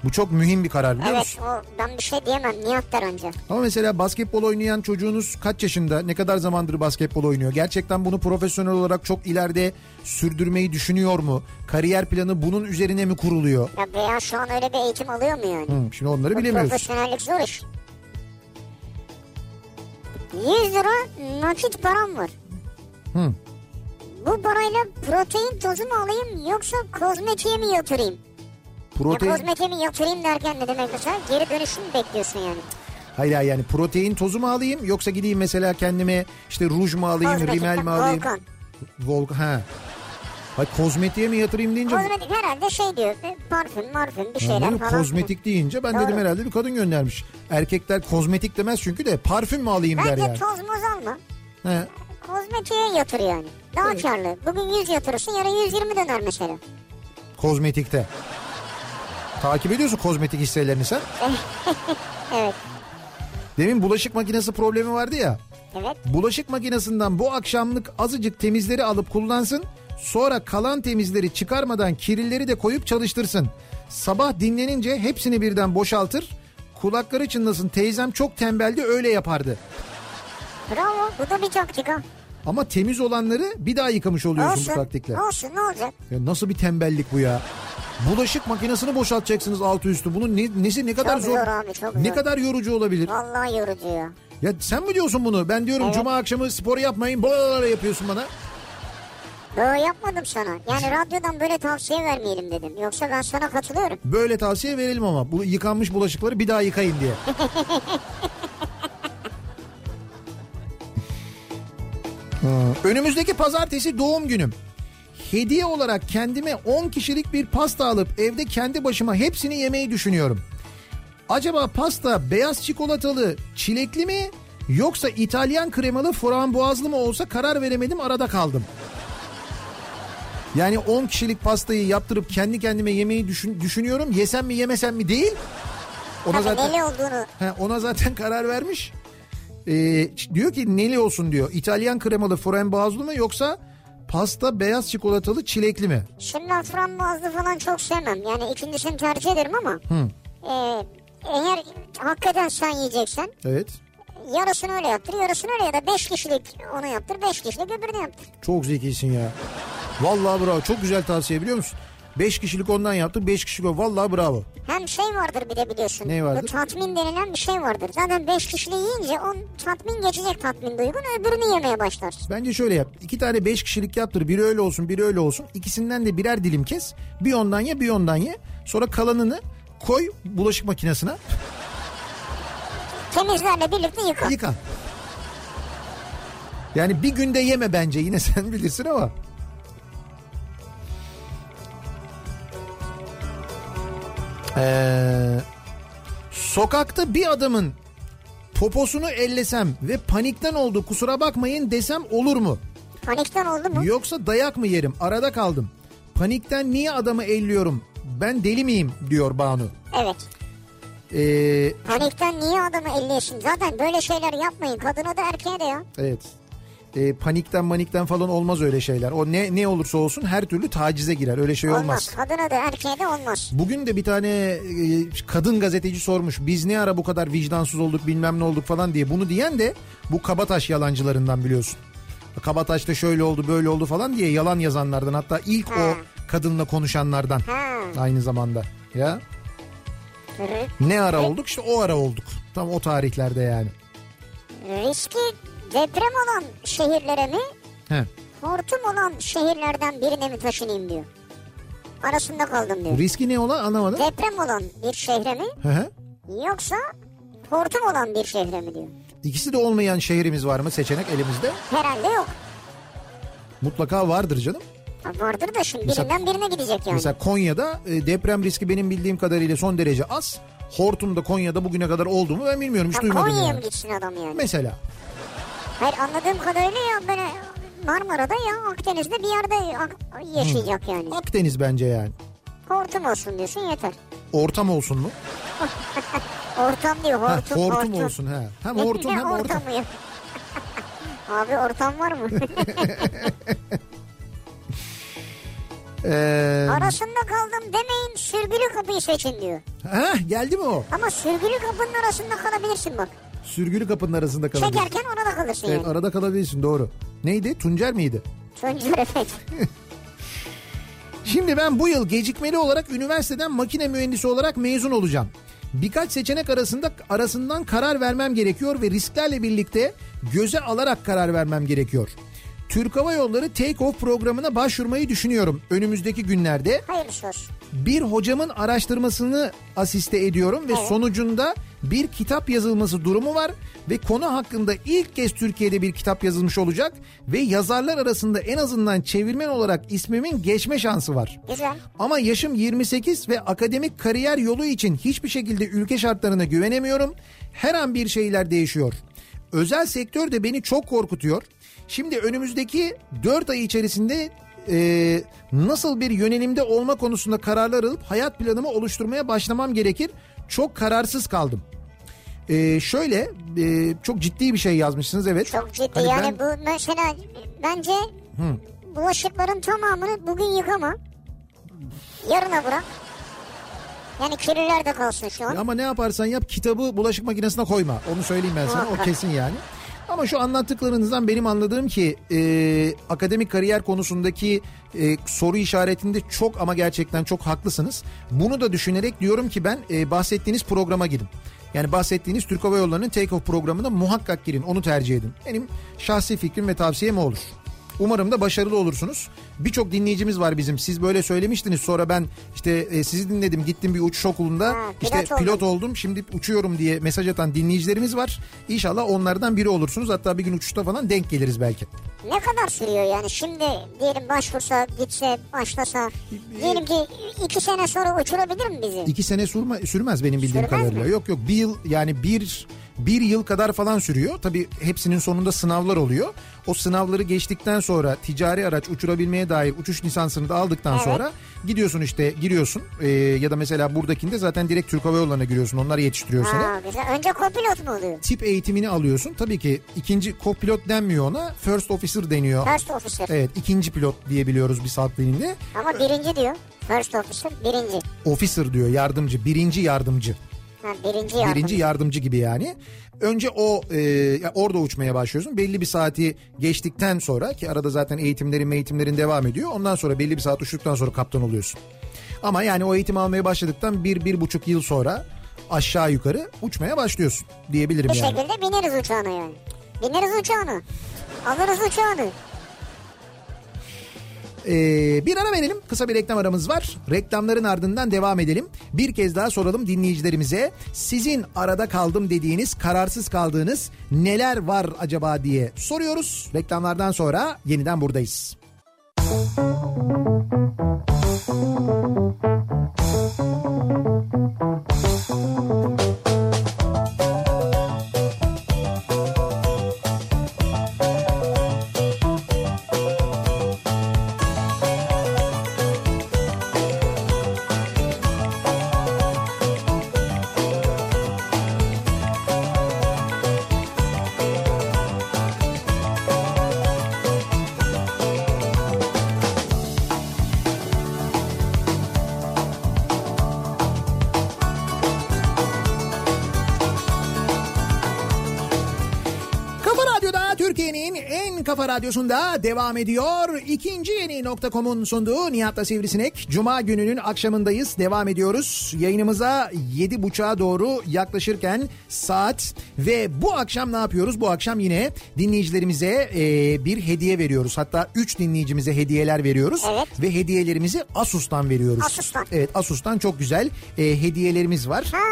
[SPEAKER 1] Bu çok mühim bir karar biliyor musun?
[SPEAKER 2] Evet o, ben bir şey diyemem Nihat der önce.
[SPEAKER 1] Ama mesela basketbol oynayan çocuğunuz kaç yaşında, ne kadar zamandır basketbol oynuyor? Gerçekten bunu profesyonel olarak çok ileride sürdürmeyi düşünüyor mu? Kariyer planı bunun üzerine mi kuruluyor?
[SPEAKER 2] Ya veya şu an öyle bir eğitim alıyor mu yani?
[SPEAKER 1] Hı, şimdi onları
[SPEAKER 2] Bu
[SPEAKER 1] bilemiyoruz.
[SPEAKER 2] Profesyonellik zor iş. 100 lira nakit param var.
[SPEAKER 1] Hı.
[SPEAKER 2] Bu parayla protein tozu mu alayım yoksa kozmetiğe mi yatırayım? Ya
[SPEAKER 1] Protein,
[SPEAKER 2] kozmetiğe mi yatırayım derken ne demek mesela? Geri dönüşüm mü bekliyorsun yani?
[SPEAKER 1] hayır hayır yani protein tozu mu alayım yoksa gideyim mesela kendime işte ruj mu alayım,
[SPEAKER 2] Kozmetikten
[SPEAKER 1] rimel mi alayım?
[SPEAKER 2] Volkan.
[SPEAKER 1] Volkan. Ha. Hayır, kozmetiğe mi yatırayım deyince
[SPEAKER 2] Kozmetik herhalde şey diyor. e, Parfüm marfüm bir şeyler
[SPEAKER 1] Anladım,
[SPEAKER 2] falan.
[SPEAKER 1] kozmetik deyince ben
[SPEAKER 2] Doğru.
[SPEAKER 1] dedim herhalde bir kadın göndermiş. Erkekler kozmetik demez çünkü de parfüm mü alayım der
[SPEAKER 2] Bence
[SPEAKER 1] yani.
[SPEAKER 2] toz moz alma.
[SPEAKER 1] He.
[SPEAKER 2] Kozmetiğe yatır yani. Daha karlı. Bugün 100 yatırırsın yarın 120 döner mesela.
[SPEAKER 1] Kozmetikte. Takip ediyorsun kozmetik hisselerini sen.
[SPEAKER 2] Evet.
[SPEAKER 1] Demin bulaşık makinesi problemi vardı ya.
[SPEAKER 2] Evet.
[SPEAKER 1] Bulaşık makinesinden bu akşamlık azıcık temizleri alıp kullansın. Sonra kalan temizleri çıkarmadan kirlileri de koyup çalıştırsın. Sabah dinlenince hepsini birden boşaltır. Kulakları çınlasın teyzem çok tembeldi öyle yapardı.
[SPEAKER 2] Bravo. Bu da bir taktik ha.
[SPEAKER 1] Ama temiz olanları bir daha yıkamış oluyorsun bu taktikle.
[SPEAKER 2] Olsun ne olacak?
[SPEAKER 1] Ya nasıl bir tembellik bu ya? Bulaşık makinesini boşaltacaksınız altı üstü. Bunun ne, nesi ne kadar
[SPEAKER 2] Çok
[SPEAKER 1] zor,
[SPEAKER 2] zor abi, çok
[SPEAKER 1] ne
[SPEAKER 2] zor.
[SPEAKER 1] kadar yorucu olabilir?
[SPEAKER 2] Vallahi yorucu ya.
[SPEAKER 1] Ya sen mi diyorsun bunu? Ben diyorum
[SPEAKER 2] Evet.
[SPEAKER 1] cuma akşamı spor yapmayın. Böyle yapıyorsun bana.
[SPEAKER 2] Böyle yapmadım sana. Yani radyodan böyle tavsiye vermeyelim dedim. Yoksa ben sana katılıyorum.
[SPEAKER 1] Böyle tavsiye verelim ama bu yıkanmış bulaşıkları bir daha yıkayın diye. Ha, Önümüzdeki pazartesi doğum günüm. Hediye olarak kendime 10 kişilik bir pasta alıp evde kendi başıma hepsini yemeyi düşünüyorum. Acaba pasta beyaz çikolatalı, çilekli mi yoksa İtalyan kremalı frambuazlı mı olsa karar veremedim arada kaldım. Yani 10 kişilik pastayı yaptırıp kendi kendime yemeyi düşün- düşünüyorum. Yesem mi yemesem mi değil. Ona
[SPEAKER 2] Tabii
[SPEAKER 1] zaten
[SPEAKER 2] neli olduğunu.
[SPEAKER 1] He, ona zaten karar vermiş. Ee, ç- diyor ki neli olsun diyor. İtalyan kremalı frambuazlı mı yoksa pasta beyaz çikolatalı çilekli mi?
[SPEAKER 2] Şimdi ben frambuazlı falan çok sevmem. Yani ikincisini tercih ederim ama. e, eğer hakikaten sen yiyeceksen
[SPEAKER 1] Evet.
[SPEAKER 2] yarısını öyle yaptır yarısını öyle ya da 5 kişilik onu yaptır 5 kişilik öbürünü yaptır.
[SPEAKER 1] Çok zekisin ya. Vallahi bravo. Çok güzel tavsiye biliyor musun? 5 kişilik ondan yaptık. 5 kişilik o. Vallahi bravo.
[SPEAKER 2] Hem şey vardır bir de biliyorsun.
[SPEAKER 1] Ne vardır?
[SPEAKER 2] Bu tatmin denilen bir şey vardır. Zaten 5 kişiliği yiyince on tatmin geçecek tatmin duygun öbürünü yemeye başlarsın.
[SPEAKER 1] Bence şöyle yap. İki tane 5 kişilik yaptır. Biri öyle olsun, biri öyle olsun. İkisinden de birer dilim kes. Bir ondan ye, bir ondan ye. Sonra kalanını koy bulaşık makinesine.
[SPEAKER 2] Temizlerle birlikte yıka.
[SPEAKER 1] Yıka. Yani bir günde yeme bence yine sen bilirsin ama. Ee, sokakta bir adamın poposunu ellesem ve panikten oldu kusura bakmayın desem olur mu?
[SPEAKER 2] Panikten oldu mu?
[SPEAKER 1] Yoksa dayak mı yerim? Arada kaldım. Panikten niye adamı elliyorum? Ben deli miyim diyor Banu.
[SPEAKER 2] Evet.
[SPEAKER 1] Ee,
[SPEAKER 2] Panikten niye adamı elliyorsun? Zaten böyle şeyler yapmayın. Kadına da erkeğe de ya.
[SPEAKER 1] Evet. E, panikten manikten falan olmaz öyle şeyler. O ne ne olursa olsun her türlü tacize girer. Öyle şey
[SPEAKER 2] Olmaz.
[SPEAKER 1] olmaz.
[SPEAKER 2] Kadına da erkeğe de olmaz.
[SPEAKER 1] Bugün de bir tane e, kadın gazeteci sormuş. Biz ne ara bu kadar vicdansız olduk bilmem ne olduk falan diye. Bunu diyen de bu Kabataş yalancılarından biliyorsun. Kabataş'ta şöyle oldu böyle oldu falan diye yalan yazanlardan. Hatta ilk
[SPEAKER 2] Ha.
[SPEAKER 1] o kadınla konuşanlardan
[SPEAKER 2] Ha.
[SPEAKER 1] aynı zamanda. Ya
[SPEAKER 2] r-
[SPEAKER 1] ne ara olduk işte o ara olduk. Tam o tarihlerde yani.
[SPEAKER 2] riski deprem olan şehirlere mi?
[SPEAKER 1] He.
[SPEAKER 2] Hortum olan şehirlerden birine mi taşınayım diyor. Arasında kaldım diyor.
[SPEAKER 1] Riski ne olan anlamadım.
[SPEAKER 2] Deprem olan bir şehre mi?
[SPEAKER 1] Hı hı.
[SPEAKER 2] Yoksa hortum olan bir şehre mi diyor.
[SPEAKER 1] İkisi de olmayan şehrimiz var mı seçenek elimizde?
[SPEAKER 2] Herhalde yok.
[SPEAKER 1] Mutlaka vardır canım.
[SPEAKER 2] Ha, Vardır da şimdi
[SPEAKER 1] Mesela-
[SPEAKER 2] birinden birine gidecek yani.
[SPEAKER 1] Mesela Konya'da e, deprem riski benim bildiğim kadarıyla son derece az. Hortum'da Konya'da bugüne kadar oldu mu ben bilmiyorum hiç
[SPEAKER 2] Ha,
[SPEAKER 1] duymadım
[SPEAKER 2] Konya'ya
[SPEAKER 1] yani.
[SPEAKER 2] mı gitsin adam yani?
[SPEAKER 1] Mesela
[SPEAKER 2] Hayır anladığım kadarıyla ya böyle Marmara'da ya Akdeniz'de bir yerde ak-
[SPEAKER 1] Hmm.
[SPEAKER 2] yaşayacak yani.
[SPEAKER 1] Akdeniz bence yani.
[SPEAKER 2] Hortum olsun diyorsun yeter.
[SPEAKER 1] Ortam olsun mu?
[SPEAKER 2] Ortam diyor
[SPEAKER 1] Ha,
[SPEAKER 2] hortum.
[SPEAKER 1] hortum, olsun ha. Hem
[SPEAKER 2] Ne-
[SPEAKER 1] hortum
[SPEAKER 2] ne
[SPEAKER 1] hem ortam.
[SPEAKER 2] ortamı ya? Abi ortam var mı?
[SPEAKER 1] Ee,
[SPEAKER 2] Arasında kaldım demeyin sürgülü kapıyı seçin diyor.
[SPEAKER 1] ha, geldi mi o?
[SPEAKER 2] Ama sürgülü kapının arasında kalabilirsin bak.
[SPEAKER 1] Sürgülü kapının arasında kalabilir.
[SPEAKER 2] Çekerken ona da kalırsın
[SPEAKER 1] Evet
[SPEAKER 2] yani.
[SPEAKER 1] arada kalabilirsin doğru. Neydi? Tuncer miydi?
[SPEAKER 2] Tuncer Efendi.
[SPEAKER 1] Şimdi ben bu yıl gecikmeli olarak üniversiteden makine mühendisi olarak mezun olacağım. Birkaç seçenek arasında arasından karar vermem gerekiyor ve risklerle birlikte göze alarak karar vermem gerekiyor. Türk Hava Yolları Take Off programına başvurmayı düşünüyorum önümüzdeki günlerde.
[SPEAKER 2] Hayırlısı olsun.
[SPEAKER 1] Bir hocamın araştırmasını asiste ediyorum ve
[SPEAKER 2] Evet.
[SPEAKER 1] sonucunda bir kitap yazılması durumu var ve konu hakkında ilk kez Türkiye'de bir kitap yazılmış olacak ve yazarlar arasında en azından çevirmen olarak ismimin geçme şansı var.
[SPEAKER 2] Güzel.
[SPEAKER 1] Ama yaşım 28 ve akademik kariyer yolu için hiçbir şekilde ülke şartlarına güvenemiyorum. Her an bir şeyler değişiyor. Özel sektör de beni çok korkutuyor. Şimdi önümüzdeki 4 ay içerisinde e, nasıl bir yönelimde olma konusunda kararlar alıp hayat planımı oluşturmaya başlamam gerekir. Çok kararsız kaldım. E, şöyle e, çok ciddi bir şey yazmışsınız evet.
[SPEAKER 2] Çok ciddi
[SPEAKER 1] Hani
[SPEAKER 2] yani
[SPEAKER 1] ben-
[SPEAKER 2] bu mesela bence bulaşıkların tamamını bugün yıkama. Yarına bırak. Yani kirliler de kalsın şu an.
[SPEAKER 1] Ama ne yaparsan yap kitabı bulaşık makinesine koyma. Onu söyleyeyim ben sana. O
[SPEAKER 2] Muhakkak.
[SPEAKER 1] kesin yani. Ama şu anlattıklarınızdan benim anladığım ki e, akademik kariyer konusundaki e, soru işaretinde çok ama gerçekten çok haklısınız. Bunu da düşünerek diyorum ki ben e, bahsettiğiniz programa gidin. Yani bahsettiğiniz Türk Hava Yolları'nın take-off programına muhakkak girin. Onu tercih edin. Benim şahsi fikrim ve tavsiyem o olur. Umarım da başarılı olursunuz. Birçok dinleyicimiz var bizim. Siz böyle söylemiştiniz. Sonra ben işte e, sizi dinledim. Gittim bir uçuş okulunda.
[SPEAKER 2] Ha, pilot
[SPEAKER 1] işte
[SPEAKER 2] oldum.
[SPEAKER 1] pilot oldum. Şimdi uçuyorum diye mesaj atan dinleyicilerimiz var. İnşallah onlardan biri olursunuz. Hatta bir gün uçuşta falan denk geliriz belki.
[SPEAKER 2] Ne kadar sürüyor yani şimdi diyelim başvursa gitse başlasa diyelim ki iki sene sonra uçurabilir mi bizi?
[SPEAKER 1] İki sene sürme, sürmez benim bildiğim
[SPEAKER 2] Sürmez
[SPEAKER 1] kadarıyla.
[SPEAKER 2] mi?
[SPEAKER 1] Yok yok bir yıl yani bir bir yıl kadar falan sürüyor. Tabii hepsinin sonunda sınavlar oluyor. O sınavları geçtikten sonra ticari araç uçurabilmeye dair uçuş lisansını da aldıktan
[SPEAKER 2] Evet.
[SPEAKER 1] sonra gidiyorsun işte giriyorsun Ee, ya da mesela buradakinde zaten direkt Türk Hava Yolları'na giriyorsun. Onlar yetiştiriyor seni.
[SPEAKER 2] Ha, güzel. Önce kopilot mu oluyor?
[SPEAKER 1] Tip eğitimini alıyorsun. Tabii ki ikinci kopilot denmiyor ona. First officer deniyor.
[SPEAKER 2] First officer.
[SPEAKER 1] Evet ikinci pilot diyebiliyoruz biz halk dilinde.
[SPEAKER 2] Ama birinci diyor. First officer birinci.
[SPEAKER 1] Officer diyor yardımcı birinci yardımcı.
[SPEAKER 2] Ha, birinci yardım.
[SPEAKER 1] Birinci yardımcı gibi yani. Önce o e, ya orada uçmaya başlıyorsun. Belli bir saati geçtikten sonra ki arada zaten eğitimlerin eğitimlerin devam ediyor. Ondan sonra belli bir saat uçtuktan sonra kaptan oluyorsun. Ama yani o eğitim almaya başladıktan bir, bir buçuk yıl sonra aşağı yukarı uçmaya başlıyorsun diyebilirim
[SPEAKER 2] Bir
[SPEAKER 1] yani.
[SPEAKER 2] şekilde bineriz uçağına yani. Bineriz uçağına. Alırız uçağını.
[SPEAKER 1] Ee, bir ara verelim. Kısa bir reklam aramız var. Reklamların ardından devam edelim. Bir kez daha soralım dinleyicilerimize. Sizin arada kaldım dediğiniz, kararsız kaldığınız neler var acaba diye soruyoruz. Reklamlardan sonra yeniden buradayız. Kafa Radyosu'nda devam ediyor. İkinci yeni nokta.com'un sunduğu Nihat'la Sivrisinek. Cuma gününün akşamındayız. Devam ediyoruz. Yayınımıza yedi buçuğa doğru yaklaşırken saat ve bu akşam ne yapıyoruz? Bu akşam yine dinleyicilerimize e, bir hediye veriyoruz. Hatta üç dinleyicimize hediyeler veriyoruz.
[SPEAKER 2] Evet.
[SPEAKER 1] Ve hediyelerimizi Asus'tan veriyoruz.
[SPEAKER 2] Asus'tan.
[SPEAKER 1] Evet Asus'tan çok güzel e, hediyelerimiz var.
[SPEAKER 2] Ha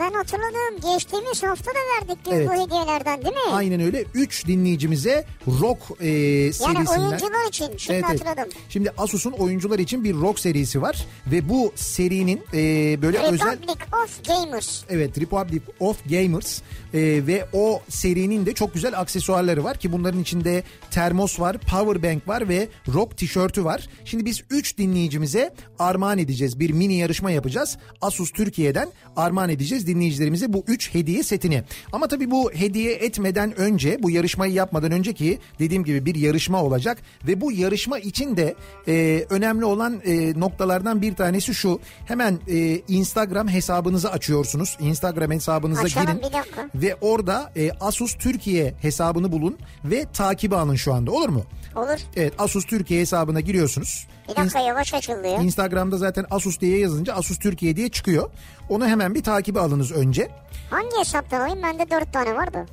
[SPEAKER 2] ben hatırladım. Geçtiğimiz hafta da verdik biz
[SPEAKER 1] Evet.
[SPEAKER 2] bu hediyelerden değil mi?
[SPEAKER 1] Aynen öyle. 3 dinleyicimize rock e, serisinden.
[SPEAKER 2] oyuncular için, şimdi hatırladım.
[SPEAKER 1] Şimdi Asus'un oyuncular için bir rock serisi var ve bu serinin e, böyle özel
[SPEAKER 2] Republic of Gamers.
[SPEAKER 1] Evet Republic of Gamers e, ve o serinin de çok güzel aksesuarları var ki bunların içinde termos var, power bank var ve rock tişörtü var. Şimdi biz 3 dinleyicimize armağan edeceğiz. Bir mini yarışma yapacağız. Asus Türkiye'den armağan edeceğiz dinleyicilerimize bu 3 hediye setini. Ama tabii bu hediye etmeden önce bu yarışmayı yapmadan önce ki dediğim gibi bir yarışma olacak ve bu yarışma için de e, önemli olan e, noktalardan bir tanesi şu. Hemen e, Instagram hesabınızı açıyorsunuz. Instagram hesabınıza
[SPEAKER 2] Açalım,
[SPEAKER 1] girin
[SPEAKER 2] bir dakika.
[SPEAKER 1] ve orada e, Asus Türkiye hesabını bulun ve takibi alın şu anda olur mu?
[SPEAKER 2] Olur.
[SPEAKER 1] Evet Asus Türkiye hesabına giriyorsunuz.
[SPEAKER 2] Bir dakika yavaş açıldı ya.
[SPEAKER 1] Instagram'da zaten Asus diye yazınca Asus Türkiye diye çıkıyor. Onu hemen bir takibi alınız önce.
[SPEAKER 2] Hangi hesaptan alayım? Bende dört tane vardı.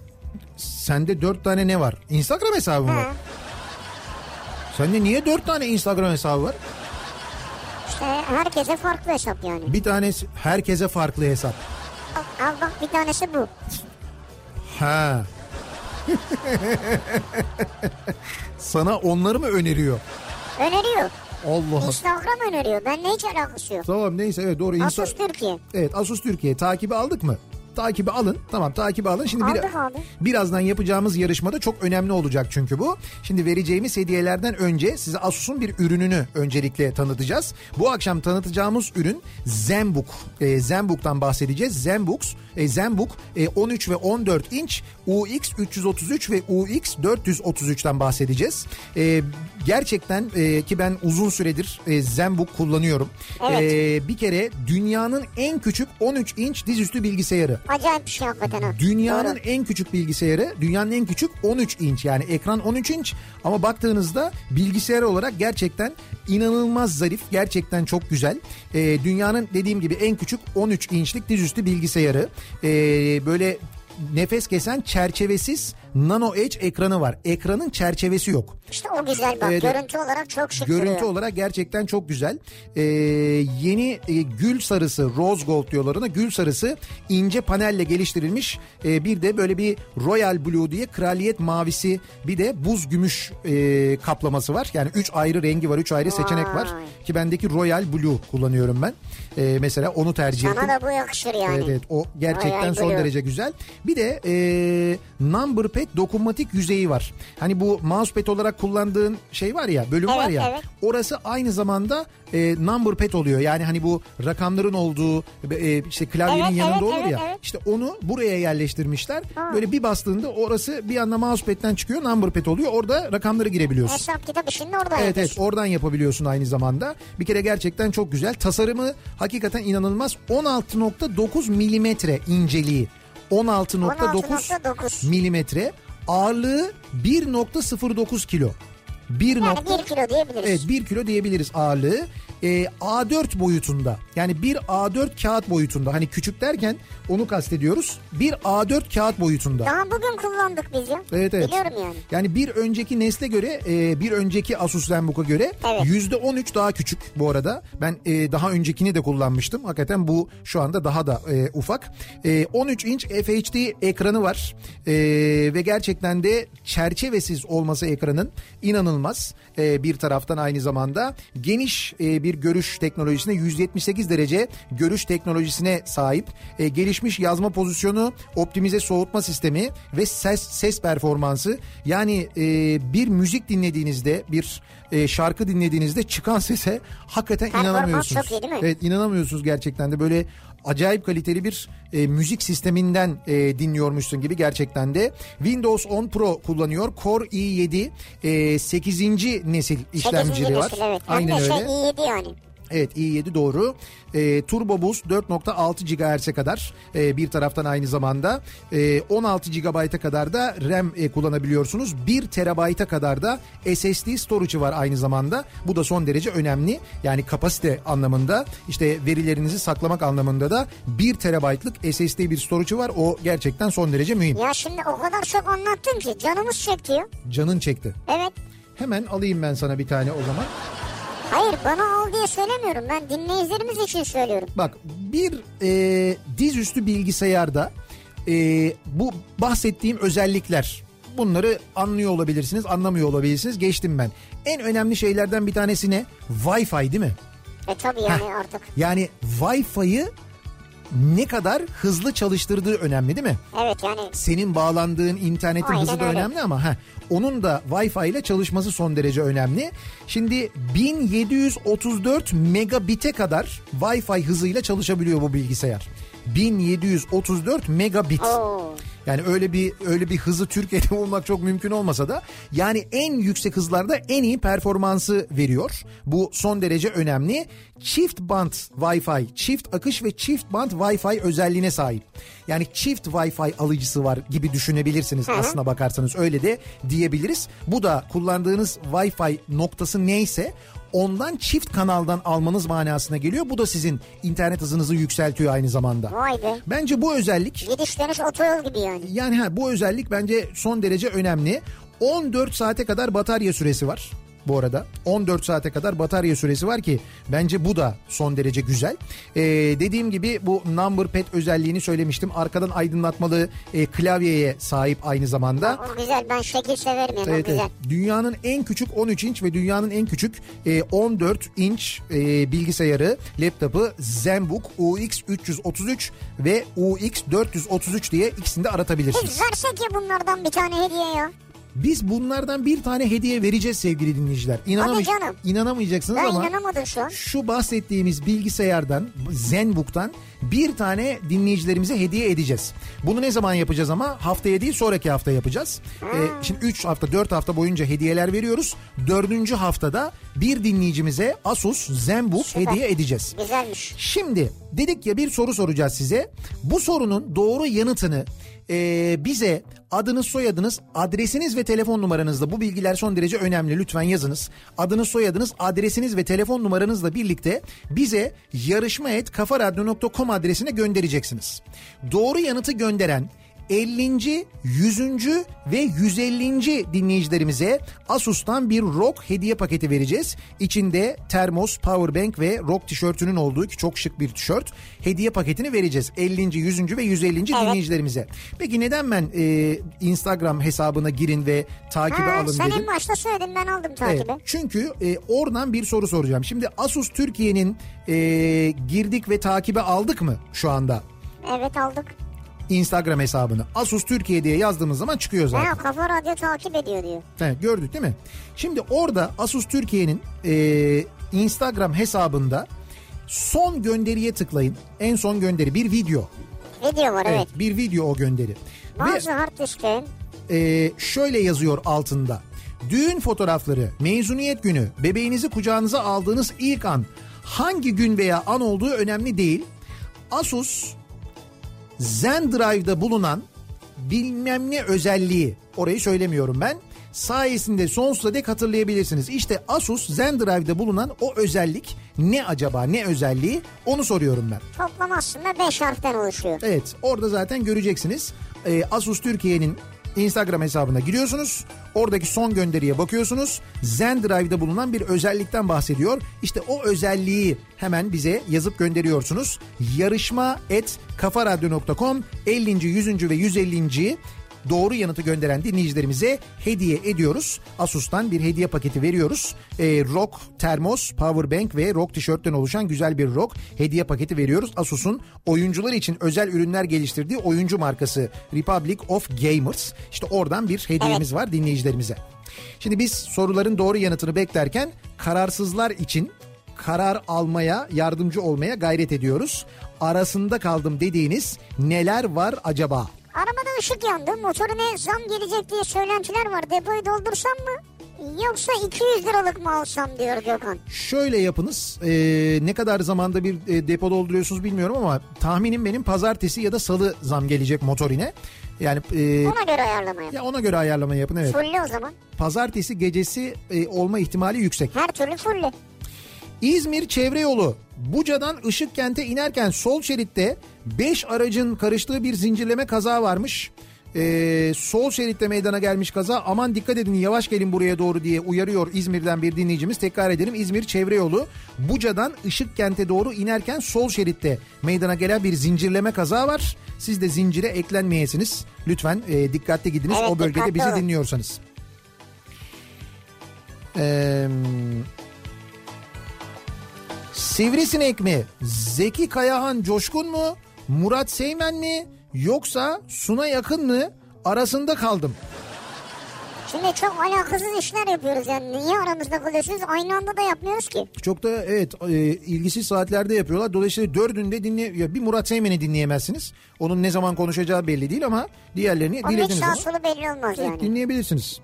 [SPEAKER 1] Sende dört tane ne var? Instagram hesabı mı? var?
[SPEAKER 2] Ha.
[SPEAKER 1] Sende niye dört tane Instagram hesabı var?
[SPEAKER 2] İşte herkese farklı hesap yani.
[SPEAKER 1] Bir tanesi herkese farklı hesap.
[SPEAKER 2] Al, al bak bir tanesi bu.
[SPEAKER 1] Ha. Sana onları mı öneriyor?
[SPEAKER 2] Öneriyor.
[SPEAKER 1] Allah.
[SPEAKER 2] Instagram öneriyor. Benimle hiç alakası yok.
[SPEAKER 1] Tamam neyse evet doğru. Insta-
[SPEAKER 2] Asus Türkiye.
[SPEAKER 1] Evet Asus Türkiye takibi aldık mı? Takibi alın. Tamam takibi alın. Şimdi
[SPEAKER 2] Aldık abi.
[SPEAKER 1] birazdan yapacağımız yarışmada çok önemli olacak çünkü bu. Şimdi vereceğimiz hediyelerden önce size Asus'un bir ürününü öncelikle tanıtacağız. Bu akşam tanıtacağımız ürün Zenbook. E, Zenbook'tan bahsedeceğiz. Zenbooks, e, Zenbook e, 13 ve 14 inç UX 333 ve UX 433'ten bahsedeceğiz. E, gerçekten e, ki ben uzun süredir e, Zenbook kullanıyorum.
[SPEAKER 2] Evet.
[SPEAKER 1] E, bir kere dünyanın en küçük 13 inç dizüstü bilgisayarı.
[SPEAKER 2] Acayip bir şey hakikaten ha.
[SPEAKER 1] Dünyanın
[SPEAKER 2] Doğru.
[SPEAKER 1] en küçük bilgisayarı, dünyanın en küçük 13 inç yani ekran 13 inç ama baktığınızda bilgisayar olarak gerçekten inanılmaz zarif, gerçekten çok güzel. Ee, dünyanın dediğim gibi en küçük 13 inçlik dizüstü bilgisayarı. Ee, böyle nefes kesen çerçevesiz nano edge ekranı var. Ekranın çerçevesi yok.
[SPEAKER 2] İşte o güzel bak.
[SPEAKER 1] Evet, evet.
[SPEAKER 2] Görüntü olarak çok şık
[SPEAKER 1] Görüntü
[SPEAKER 2] duruyor.
[SPEAKER 1] olarak gerçekten çok güzel. Ee, yeni e, gül sarısı, rose gold diyorlar ona. Gül sarısı ince panelle geliştirilmiş. Ee, bir de böyle bir royal blue diye kraliyet mavisi bir de buz gümüş e, kaplaması var. Yani üç ayrı rengi var, üç ayrı seçenek var.
[SPEAKER 2] Vay.
[SPEAKER 1] Ki bendeki royal blue kullanıyorum ben. Ee, mesela onu tercih ettim.
[SPEAKER 2] Sana da bu yakışır yani.
[SPEAKER 1] Evet evet o gerçekten
[SPEAKER 2] Royal
[SPEAKER 1] son
[SPEAKER 2] Blue.
[SPEAKER 1] derece güzel. Bir de e, number pad dokunmatik yüzeyi var. Hani bu mousepad olarak kullandığın şey var ya bölüm
[SPEAKER 2] Evet,
[SPEAKER 1] var ya.
[SPEAKER 2] evet.
[SPEAKER 1] Orası aynı zamanda e, number pad oluyor. Yani hani bu rakamların olduğu e, işte klavyenin
[SPEAKER 2] Evet,
[SPEAKER 1] yanında
[SPEAKER 2] evet,
[SPEAKER 1] olur
[SPEAKER 2] evet,
[SPEAKER 1] ya.
[SPEAKER 2] evet.
[SPEAKER 1] İşte onu buraya yerleştirmişler.
[SPEAKER 2] Ha.
[SPEAKER 1] Böyle bir bastığında orası bir anda mousepad'den çıkıyor number pad oluyor. Orada rakamları girebiliyorsun.
[SPEAKER 2] Hesap kitap işinde orada
[SPEAKER 1] Evet evet
[SPEAKER 2] yapıyorsun.
[SPEAKER 1] oradan yapabiliyorsun aynı zamanda. Bir kere gerçekten çok güzel. Tasarımı hakikaten inanılmaz. 16.9 milimetre inceliği. 16.9
[SPEAKER 2] 16.9
[SPEAKER 1] milimetre. Ağırlığı 1.09 kilo. 1.
[SPEAKER 2] Yani bir kilo diyebiliriz.
[SPEAKER 1] Evet 1 kilo diyebiliriz ağırlığı. Ee, A4 boyutunda yani bir A4 kağıt boyutunda hani küçük derken onu kastediyoruz. Bir A4 kağıt boyutunda.
[SPEAKER 2] Daha bugün kullandık biz ya.
[SPEAKER 1] Evet evet.
[SPEAKER 2] Biliyorum yani.
[SPEAKER 1] Yani bir önceki nesle göre e, bir önceki Asus Zenbook'a göre
[SPEAKER 2] Evet.
[SPEAKER 1] yüzde %13 daha küçük bu arada. Ben e, daha öncekini de kullanmıştım. Hakikaten bu şu anda daha da e, ufak. E, 13 inç FHD ekranı var. E, ve gerçekten de çerçevesiz olması ekranın inanılmaz. E, bir taraftan aynı zamanda geniş e, bir görüş teknolojisine 178 derece görüş teknolojisine sahip. E, gelişmiş yazma pozisyonu, optimize soğutma sistemi ve ses ses performansı. Yani e, bir müzik dinlediğinizde, bir e, şarkı dinlediğinizde çıkan sese hakikaten
[SPEAKER 2] Performans
[SPEAKER 1] inanamıyorsunuz.
[SPEAKER 2] çok iyi değil mi?
[SPEAKER 1] Evet inanamıyorsunuz gerçekten de böyle acayip kaliteli bir e, müzik sisteminden e, dinliyormuşsun gibi gerçekten de. Windows 10 Pro kullanıyor. Core i7 e, 8. nesil işlemcili var.
[SPEAKER 2] Sekizinci nesil, Evet. Hem
[SPEAKER 1] Aynen
[SPEAKER 2] de
[SPEAKER 1] öyle.
[SPEAKER 2] şey iyi yedi yani.
[SPEAKER 1] Evet i7 doğru. E, Turbo Boost 4.6 GHz'e kadar e, bir taraftan aynı zamanda e, 16 GB'a kadar da RAM e, kullanabiliyorsunuz. 1 TB'a kadar da SSD storage'ı var aynı zamanda. Bu da son derece önemli. Yani kapasite anlamında işte verilerinizi saklamak anlamında da 1 TB'lık SSD bir storage'ı var. O gerçekten son derece mühim.
[SPEAKER 2] Ya şimdi o kadar çok anlattın ki canımız çekti ya.
[SPEAKER 1] Canın çekti.
[SPEAKER 2] Evet.
[SPEAKER 1] Hemen alayım ben sana bir tane o zaman.
[SPEAKER 2] Hayır bana al diye söylemiyorum. Ben dinleyicilerimiz için söylüyorum.
[SPEAKER 1] Bak bir e, dizüstü bilgisayarda e, bu bahsettiğim özellikler bunları anlıyor olabilirsiniz anlamıyor olabilirsiniz geçtim ben. En önemli şeylerden bir tanesi ne? Wi-Fi değil mi?
[SPEAKER 2] E tabii yani artık.
[SPEAKER 1] Yani Wi-Fi'yi ne kadar hızlı çalıştırdığı önemli değil mi?
[SPEAKER 2] Evet yani
[SPEAKER 1] senin bağlandığın internetin
[SPEAKER 2] Aynen
[SPEAKER 1] hızı da
[SPEAKER 2] öyle.
[SPEAKER 1] önemli ama heh, onun da Wi-Fi ile çalışması son derece önemli. Şimdi 1734 megabit'e kadar Wi-Fi hızıyla çalışabiliyor bu bilgisayar. 1734 megabit.
[SPEAKER 2] Oo.
[SPEAKER 1] Yani öyle bir öyle bir hızı Türkiye'de bulmak çok mümkün olmasa da yani en yüksek hızlarda en iyi performansı veriyor. Bu son derece önemli. Çift band Wi-Fi, çift akış ve çift band Wi-Fi özelliğine sahip. Yani çift Wi-Fi alıcısı var gibi düşünebilirsiniz aslına bakarsanız öyle de diyebiliriz. Bu da kullandığınız Wi-Fi noktası neyse ondan çift kanaldan almanız manasına geliyor. Bu da sizin internet hızınızı yükseltiyor aynı zamanda.
[SPEAKER 2] vay be.
[SPEAKER 1] Bence bu özellik
[SPEAKER 2] Gidiş dönüş otoyol gibi yani.
[SPEAKER 1] yani ha, bu özellik bence son derece önemli. 14 saate kadar batarya süresi var bu arada. 14 saate kadar batarya süresi var ki bence bu da son derece güzel. Ee, dediğim gibi bu number pad özelliğini söylemiştim. Arkadan aydınlatmalı e, klavyeye sahip aynı zamanda.
[SPEAKER 2] O güzel ben şekil severim yani
[SPEAKER 1] Evet,
[SPEAKER 2] o güzel.
[SPEAKER 1] evet. Dünyanın en küçük 13 inç ve dünyanın en küçük e, 14 inç e, bilgisayarı, laptopu Zenbook UX333 ve UX433 diye ikisini de aratabilirsiniz.
[SPEAKER 2] Biz versek ya bunlardan bir tane hediye ya.
[SPEAKER 1] Biz bunlardan bir tane hediye vereceğiz sevgili dinleyiciler. İnanamay-
[SPEAKER 2] Hadi canım.
[SPEAKER 1] İnanamayacaksınız
[SPEAKER 2] Ben
[SPEAKER 1] ama
[SPEAKER 2] inanamadım şu an.
[SPEAKER 1] şu bahsettiğimiz bilgisayardan Zenbook'tan bir tane dinleyicilerimize hediye edeceğiz. Bunu ne zaman yapacağız ama? Haftaya değil sonraki hafta yapacağız.
[SPEAKER 2] Hmm.
[SPEAKER 1] Ee, şimdi 3 hafta 4 hafta boyunca hediyeler veriyoruz. 4. haftada bir dinleyicimize Asus Zenbook
[SPEAKER 2] Süper.
[SPEAKER 1] hediye edeceğiz.
[SPEAKER 2] Güzelmiş.
[SPEAKER 1] Şimdi dedik ya bir soru soracağız size. Bu sorunun doğru yanıtını e, bize adınız, soyadınız, adresiniz ve telefon numaranızla bu bilgiler son derece önemli lütfen yazınız. Adınız, soyadınız, adresiniz ve telefon numaranızla birlikte bize yarışma.kafaradyo.com adresine göndereceksiniz. Doğru yanıtı gönderen 50. 100. ve 150. dinleyicilerimize Asus'tan bir ROG hediye paketi vereceğiz. İçinde termos, powerbank ve ROG tişörtünün olduğu ki çok şık bir tişört. Hediye paketini vereceğiz 50. 100. ve 150. dinleyicilerimize. Peki neden ben e, Instagram hesabına girin ve takibe
[SPEAKER 2] Ha,
[SPEAKER 1] alın
[SPEAKER 2] sen
[SPEAKER 1] dedim?
[SPEAKER 2] en başta söyledin ben aldım
[SPEAKER 1] Evet,
[SPEAKER 2] takibi.
[SPEAKER 1] çünkü e, oradan bir soru soracağım. Şimdi Asus Türkiye'nin e, girdik ve takibe aldık mı şu anda?
[SPEAKER 2] Evet aldık.
[SPEAKER 1] Instagram hesabını. Asus Türkiye diye yazdığımız zaman çıkıyor zaten.
[SPEAKER 2] Ha, kafa radyo takip ediyor diyor.
[SPEAKER 1] He, gördük değil mi? Şimdi orada Asus Türkiye'nin e, Instagram hesabında son gönderiye tıklayın. En son gönderi bir video.
[SPEAKER 2] Video var evet. şey
[SPEAKER 1] Bir video o gönderi. Ve-
[SPEAKER 2] Bazı hard disklerin
[SPEAKER 1] e, şöyle yazıyor altında. Düğün fotoğrafları, mezuniyet günü, bebeğinizi kucağınıza aldığınız ilk an, hangi gün veya an olduğu önemli değil. Asus Zendrive'da bulunan bilmem ne özelliği, orayı söylemiyorum ben, sayesinde sonsuza dek hatırlayabilirsiniz. İşte Asus Zendrive'da bulunan o özellik ne acaba, ne özelliği onu soruyorum ben.
[SPEAKER 2] toplam aslında 5 harften oluşuyor.
[SPEAKER 1] Evet orada zaten göreceksiniz. Ee, Asus Türkiye'nin Instagram hesabına giriyorsunuz. Oradaki son gönderiye bakıyorsunuz. Zendrive'da bulunan bir özellikten bahsediyor. İşte o özelliği hemen bize yazıp gönderiyorsunuz. Yarışma et kafaradyo.com 50. 100. ve 150. Doğru yanıtı gönderen dinleyicilerimize hediye ediyoruz. Asus'tan bir hediye paketi veriyoruz. Ee, rock, termos, powerbank ve rock tişörtten oluşan güzel bir rock hediye paketi veriyoruz. Asus'un oyuncular için özel ürünler geliştirdiği oyuncu markası Republic of Gamers. İşte oradan bir hediyemiz var dinleyicilerimize. Şimdi biz soruların doğru yanıtını beklerken kararsızlar için karar almaya, yardımcı olmaya gayret ediyoruz. Arasında kaldım dediğiniz neler var acaba?
[SPEAKER 2] Arabada ışık yandı. Motoruna zam gelecek diye söylentiler var. Depoyu doldursam mı? Yoksa 200 liralık mı alsam diyor Gökhan.
[SPEAKER 1] Şöyle yapınız e, ne kadar zamanda bir e, depo dolduruyorsunuz bilmiyorum ama tahminim benim pazartesi ya da salı zam gelecek motorine. Yani e,
[SPEAKER 2] Ona göre ayarlamaya.
[SPEAKER 1] ya ona göre ayarlama yapın evet.
[SPEAKER 2] Fulle o zaman.
[SPEAKER 1] Pazartesi gecesi e, olma ihtimali yüksek.
[SPEAKER 2] Her türlü fulle.
[SPEAKER 1] İzmir Çevre Yolu Buca'dan Işıkkent'e inerken sol şeritte 5 aracın karıştığı bir zincirleme kaza varmış. Ee, sol şeritte meydana gelmiş kaza aman dikkat edin yavaş gelin buraya doğru diye uyarıyor İzmir'den bir dinleyicimiz. Tekrar edelim İzmir Çevre Yolu Buca'dan Işıkkent'e doğru inerken sol şeritte meydana gelen bir zincirleme kaza var. Siz de zincire eklenmeyesiniz lütfen e, dikkatli gidiniz
[SPEAKER 2] Evet,
[SPEAKER 1] o bölgede
[SPEAKER 2] dikkatli
[SPEAKER 1] bizi
[SPEAKER 2] olun.
[SPEAKER 1] dinliyorsanız. Eee... Sivrisinek mi? Zeki Kayahan Coşkun mu? Murat Seymen mi? Yoksa Suna Yakın mı? Arasında kaldım.
[SPEAKER 2] Şimdi çok alakasız işler yapıyoruz yani. Niye aramızda kalıyorsunuz? Aynı anda da yapmıyoruz ki.
[SPEAKER 1] Çok da evet e, ilgisiz saatlerde yapıyorlar. Dolayısıyla dördünde dinle ya bir Murat Seymen'i dinleyemezsiniz. Onun ne zaman konuşacağı belli değil ama diğerlerini
[SPEAKER 2] Onun hiç
[SPEAKER 1] dilediğiniz
[SPEAKER 2] sağ
[SPEAKER 1] zaman
[SPEAKER 2] solu belli olmaz
[SPEAKER 1] evet,
[SPEAKER 2] yani.
[SPEAKER 1] dinleyebilirsiniz.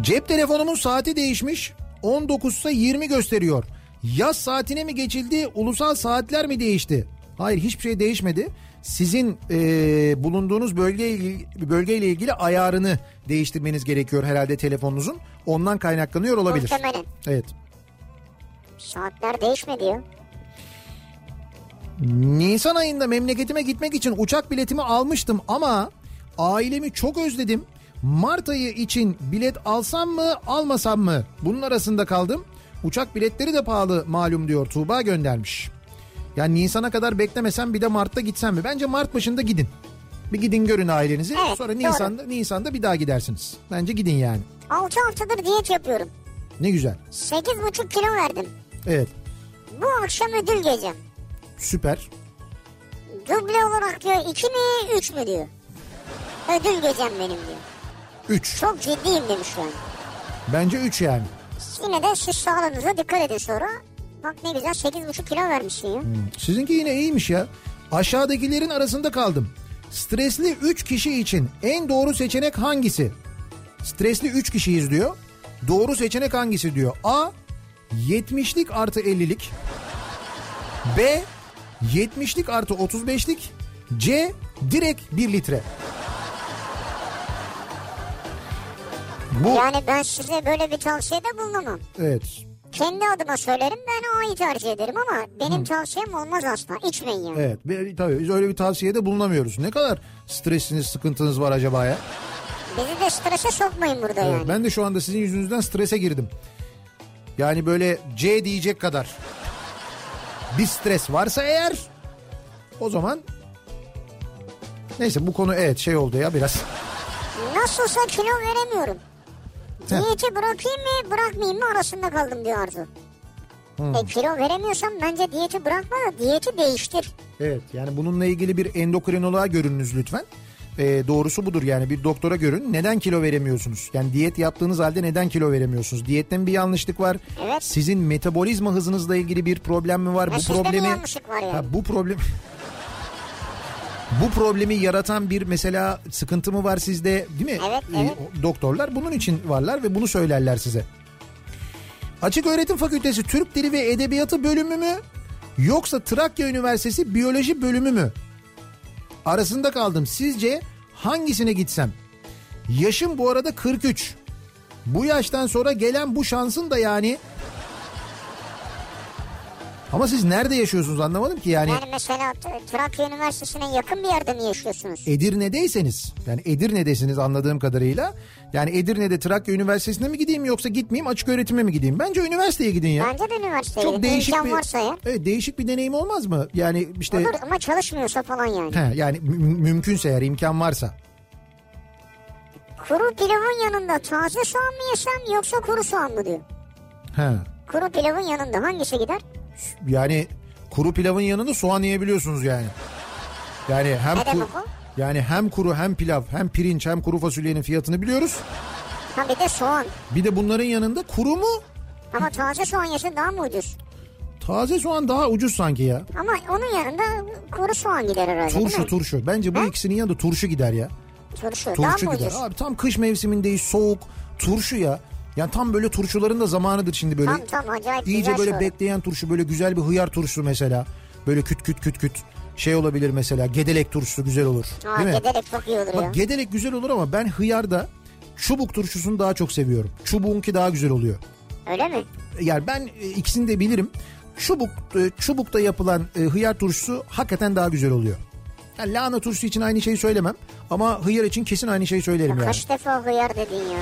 [SPEAKER 1] Cep telefonumun saati değişmiş. 19'sa 20 gösteriyor. Yaz saatine mi geçildi? Ulusal saatler mi değişti? Hayır hiçbir şey değişmedi. Sizin eee, bulunduğunuz bölge ilgili, bölgeyle ilgili ayarını değiştirmeniz gerekiyor herhalde telefonunuzun. Ondan kaynaklanıyor olabilir.
[SPEAKER 2] Muhtemelen.
[SPEAKER 1] Evet.
[SPEAKER 2] Saatler değişmedi ya.
[SPEAKER 1] Nisan ayında memleketime gitmek için uçak biletimi almıştım ama ailemi çok özledim. Mart ayı için bilet alsam mı almasam mı? Bunun arasında kaldım. Uçak biletleri de pahalı malum diyor Tuğba göndermiş. Yani Nisan'a kadar beklemesem bir de Mart'ta gitsem mi? Bence Mart başında gidin. Bir gidin görün ailenizi.
[SPEAKER 2] Evet,
[SPEAKER 1] Sonra
[SPEAKER 2] doğru.
[SPEAKER 1] Nisan'da, Nisan'da bir daha gidersiniz. Bence gidin yani.
[SPEAKER 2] 6 haftadır diyet yapıyorum.
[SPEAKER 1] Ne güzel.
[SPEAKER 2] 8,5 kilo verdim.
[SPEAKER 1] Evet
[SPEAKER 2] Bu akşam ödül gecem.
[SPEAKER 1] süper.
[SPEAKER 2] Duble olarak diyor 2 mi 3 mü diyor. Ödül gecem benim diyor.
[SPEAKER 1] 3.
[SPEAKER 2] Çok ciddiyim demiş yani.
[SPEAKER 1] Bence 3 yani.
[SPEAKER 2] Yine de siz sağlığınıza dikkat edin sonra. Bak ne güzel 8,5 kilo vermişsin ya.
[SPEAKER 1] Hmm. Sizinki yine iyiymiş ya. Aşağıdakilerin arasında kaldım. Stresli 3 kişi için en doğru seçenek hangisi? Stresli 3 kişiyiz diyor. Doğru seçenek hangisi diyor? A 70'lik artı 50'lik. B 70'lik artı 35'lik. C direkt 1 litre. Bu
[SPEAKER 2] Yani ben size böyle bir tavsiyede bulunamam.
[SPEAKER 1] evet.
[SPEAKER 2] Kendi adıma söylerim ben A'yı tercih ederim ama benim tavsiyem olmaz asla. İçmeyin yani.
[SPEAKER 1] Hmm. Evet. bir- Tabii biz öyle bir tavsiyede bulunamıyoruz. Ne kadar stresiniz, sıkıntınız var acaba ya?
[SPEAKER 2] Bizi de strese sokmayın burada
[SPEAKER 1] Evet,
[SPEAKER 2] yani.
[SPEAKER 1] ben de şu anda sizin yüzünüzden strese girdim. Yani böyle C diyecek kadar bir stres varsa eğer o zaman neyse bu konu evet şey oldu ya biraz.
[SPEAKER 2] Nasılsa kilo veremiyorum.
[SPEAKER 1] Heh.
[SPEAKER 2] Diyeti bırakayım mı bırakmayayım mı arasında kaldım diyor Arzu.
[SPEAKER 1] Hmm.
[SPEAKER 2] E kilo veremiyorsan bence diyeti bırakma da diyeti değiştir.
[SPEAKER 1] Evet yani bununla ilgili bir endokrinoloğa görününüz lütfen. Ee, doğrusu budur yani bir doktora görün. Neden kilo veremiyorsunuz? Yani diyet yaptığınız halde neden kilo veremiyorsunuz? Diyette mi bir yanlışlık var?
[SPEAKER 2] Evet.
[SPEAKER 1] Sizin metabolizma hızınızla ilgili bir problem mi var?
[SPEAKER 2] Ya
[SPEAKER 1] bu
[SPEAKER 2] sizde mi
[SPEAKER 1] problemi
[SPEAKER 2] yanlışlık var yani?
[SPEAKER 1] Ha, bu problem Bu problemi yaratan bir mesela sıkıntı mı var sizde değil mi?
[SPEAKER 2] Evet,
[SPEAKER 1] Ee,
[SPEAKER 2] evet.
[SPEAKER 1] o- doktorlar bunun için varlar ve bunu söylerler size. Açık Öğretim Fakültesi Türk Dili ve Edebiyatı bölümü mü? Yoksa Trakya Üniversitesi Biyoloji bölümü mü? Arasında kaldım. Sizce hangisine gitsem? Yaşım bu arada 43. Bu yaştan sonra gelen bu şansın da yani... Ama siz nerede yaşıyorsunuz anlamadım ki yani.
[SPEAKER 2] Yani mesela T- Trakya Üniversitesi'ne yakın bir yerde mi yaşıyorsunuz?
[SPEAKER 1] Edirne'deyseniz yani Edirne'desiniz anladığım kadarıyla. Yani Edirne'de Trakya Üniversitesi'ne mi gideyim yoksa gitmeyeyim açık öğretime mi gideyim? Bence üniversiteye gidin ya.
[SPEAKER 2] Bence de üniversiteye
[SPEAKER 1] Çok
[SPEAKER 2] gidin.
[SPEAKER 1] değişik
[SPEAKER 2] İmkan
[SPEAKER 1] bir,
[SPEAKER 2] varsa ya.
[SPEAKER 1] evet, değişik bir deneyim olmaz mı? Yani işte
[SPEAKER 2] Olur ama çalışmıyorsa falan yani.
[SPEAKER 1] he, yani mü- mümkünse eğer imkan varsa.
[SPEAKER 2] Kuru pilavın yanında taze soğan mı yesem yoksa kuru soğan mı diyor.
[SPEAKER 1] He.
[SPEAKER 2] Kuru pilavın yanında hangisi gider?
[SPEAKER 1] Yani kuru pilavın yanında soğan yiyebiliyorsunuz yani. Yani hem
[SPEAKER 2] Ne demek
[SPEAKER 1] kuru, yani hem kuru hem pilav hem pirinç hem kuru fasulyenin fiyatını biliyoruz.
[SPEAKER 2] Ha bir de soğan.
[SPEAKER 1] Bir de bunların yanında kuru mu?
[SPEAKER 2] Ama taze soğan yesen daha mı ucuz?
[SPEAKER 1] Taze soğan daha ucuz sanki ya.
[SPEAKER 2] Ama onun yanında kuru soğan gider herhalde değil
[SPEAKER 1] Turşu
[SPEAKER 2] mi?
[SPEAKER 1] turşu. Bence bu ikisinin yanında turşu gider ya.
[SPEAKER 2] Turşu.
[SPEAKER 1] Turşu
[SPEAKER 2] daha mı
[SPEAKER 1] gider.
[SPEAKER 2] ucuz?
[SPEAKER 1] Abi tam kış mevsimindeyiz soğuk turşu ya. Yani tam böyle turşuların da zamanıdır şimdi böyle.
[SPEAKER 2] Tam, tam, acayip
[SPEAKER 1] İyice
[SPEAKER 2] güzel
[SPEAKER 1] böyle
[SPEAKER 2] soru.
[SPEAKER 1] bekleyen turşu böyle güzel bir hıyar turşusu mesela. Böyle küt küt küt küt şey olabilir mesela gedelek turşusu güzel olur.
[SPEAKER 2] Aa,
[SPEAKER 1] değil mi?
[SPEAKER 2] giderek çok iyi olur ya.
[SPEAKER 1] Bak gedelek güzel olur ama ben hıyarda çubuk turşusunu daha çok seviyorum. Çubuğunki daha güzel oluyor.
[SPEAKER 2] Öyle mi?
[SPEAKER 1] Yani ben e, ikisini de bilirim. Çubuk e, çubukta yapılan e, hıyar turşusu hakikaten daha güzel oluyor. Yani lahana turşusu için aynı şeyi söylemem ama hıyar için kesin aynı şeyi söylerim yani.
[SPEAKER 2] Kaç defa hıyar dedin ya.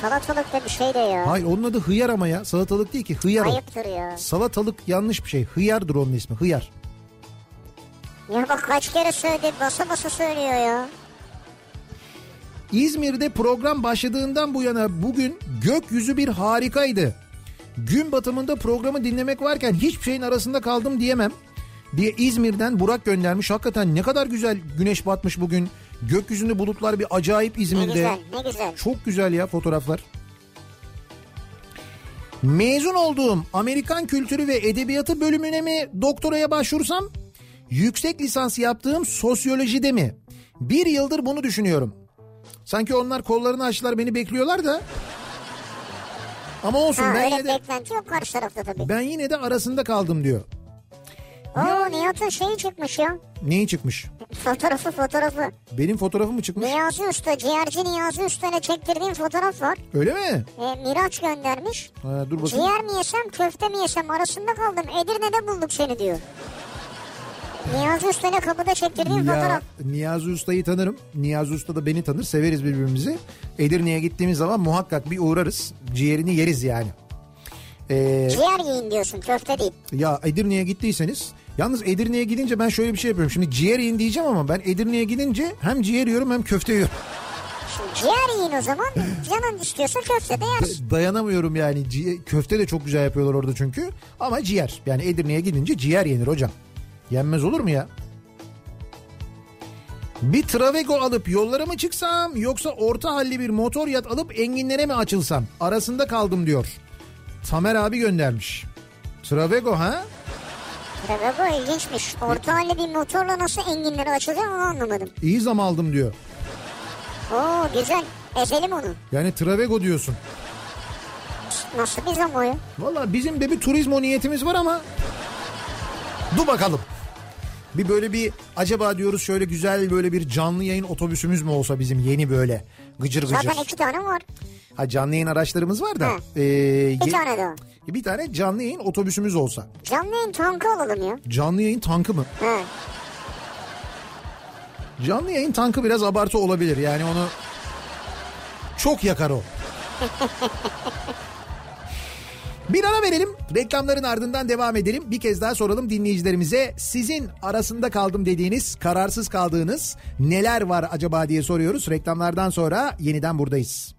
[SPEAKER 2] Salatalık da bir şey de ya.
[SPEAKER 1] Hayır onun adı hıyar ama ya salatalık değil ki hıyar. o.
[SPEAKER 2] Ayıptır ya.
[SPEAKER 1] Salatalık yanlış bir şey. Hıyardır onun ismi. Hıyar.
[SPEAKER 2] Ya bak kaç kere söyledi basa basa söylüyor ya.
[SPEAKER 1] İzmir'de program başladığından bu yana bugün gökyüzü bir harikaydı. Gün batımında programı dinlemek varken hiçbir şeyin arasında kaldım diyemem diye İzmir'den Burak göndermiş. Hakikaten ne kadar güzel güneş batmış bugün. Gökyüzünde bulutlar bir acayip
[SPEAKER 2] Ne
[SPEAKER 1] İzmir'de.
[SPEAKER 2] güzel ne güzel.
[SPEAKER 1] Çok güzel ya fotoğraflar. Mezun olduğum Amerikan Kültürü ve Edebiyatı bölümüne mi doktoraya başvursam? Yüksek lisans yaptığım sosyolojide mi? Bir yıldır bunu düşünüyorum. Sanki onlar kollarını açtılar beni bekliyorlar da. Ama olsun
[SPEAKER 2] Ha,
[SPEAKER 1] ben
[SPEAKER 2] öyle
[SPEAKER 1] yine de,
[SPEAKER 2] beklenti yok karşı tarafta tabii.
[SPEAKER 1] ben yine de arasında kaldım diyor.
[SPEAKER 2] Oo Nihat'ın şeyi çıkmış ya.
[SPEAKER 1] Neyi çıkmış?
[SPEAKER 2] Fotoğrafı fotoğrafı.
[SPEAKER 1] Benim fotoğrafım mı çıkmış?
[SPEAKER 2] Niyazi Usta, ciğerci Niyazi Usta'yla çektirdiğim fotoğraf var.
[SPEAKER 1] Öyle mi?
[SPEAKER 2] E, Miraç göndermiş.
[SPEAKER 1] Ha, dur bakayım.
[SPEAKER 2] Ciğer mi yesem köfte mi yesem arasında kaldım. Edirne'de bulduk seni diyor. Niyazi Usta'yla kapıda çektirdiğim
[SPEAKER 1] Ya,
[SPEAKER 2] fotoğraf.
[SPEAKER 1] Niyazi Usta'yı tanırım. Niyazi Usta da beni tanır. Severiz birbirimizi. Edirne'ye gittiğimiz zaman muhakkak bir uğrarız. Ciğerini yeriz yani. Ee,
[SPEAKER 2] Ciğer yiyin diyorsun köfte değil.
[SPEAKER 1] ya Edirne'ye gittiyseniz yalnız Edirne'ye gidince ben şöyle bir şey yapıyorum. Şimdi ciğer yiyin diyeceğim ama ben Edirne'ye gidince hem ciğer yiyorum hem köfte yiyorum.
[SPEAKER 2] Şimdi ciğer yiyin o zaman. Canın istiyorsa köfte de yersin.
[SPEAKER 1] Dayanamıyorum yani. Ciğe- köfte de çok güzel yapıyorlar orada çünkü. Ama ciğer. Yani Edirne'ye gidince ciğer yenir hocam. Yenmez olur mu ya? Bir Travego alıp yollara mı çıksam yoksa orta halli bir motor yat alıp enginlere mi açılsam? Arasında kaldım diyor. Tamer abi göndermiş. Travego ha?
[SPEAKER 2] Travego ilginçmiş. Orta halli bir motorla nasıl enginleri açılıyor onu anlamadım.
[SPEAKER 1] İyi zam aldım diyor.
[SPEAKER 2] Oo güzel. Ezelim onu.
[SPEAKER 1] Yani Travego diyorsun.
[SPEAKER 2] Nasıl bir zam o ya?
[SPEAKER 1] Valla bizim de bir turizmo niyetimiz var ama dur bakalım. Bir böyle bir acaba diyoruz şöyle güzel böyle bir canlı yayın otobüsümüz mü olsa bizim yeni böyle gıcır gıcır.
[SPEAKER 2] Zaten iki tane var.
[SPEAKER 1] Ha canlı yayın araçlarımız var da.
[SPEAKER 2] Hı.
[SPEAKER 1] ee, ye-
[SPEAKER 2] Bir tane daha.
[SPEAKER 1] bir tane canlı yayın otobüsümüz olsa.
[SPEAKER 2] Canlı yayın tankı alalım ya.
[SPEAKER 1] Canlı yayın tankı mı?
[SPEAKER 2] He.
[SPEAKER 1] Canlı yayın tankı biraz abartı olabilir. Yani onu çok yakar o. Bir ara verelim. Reklamların ardından devam edelim. Bir kez daha soralım dinleyicilerimize. Sizin arasında kaldım dediğiniz, kararsız kaldığınız neler var acaba diye soruyoruz. Reklamlardan sonra yeniden buradayız.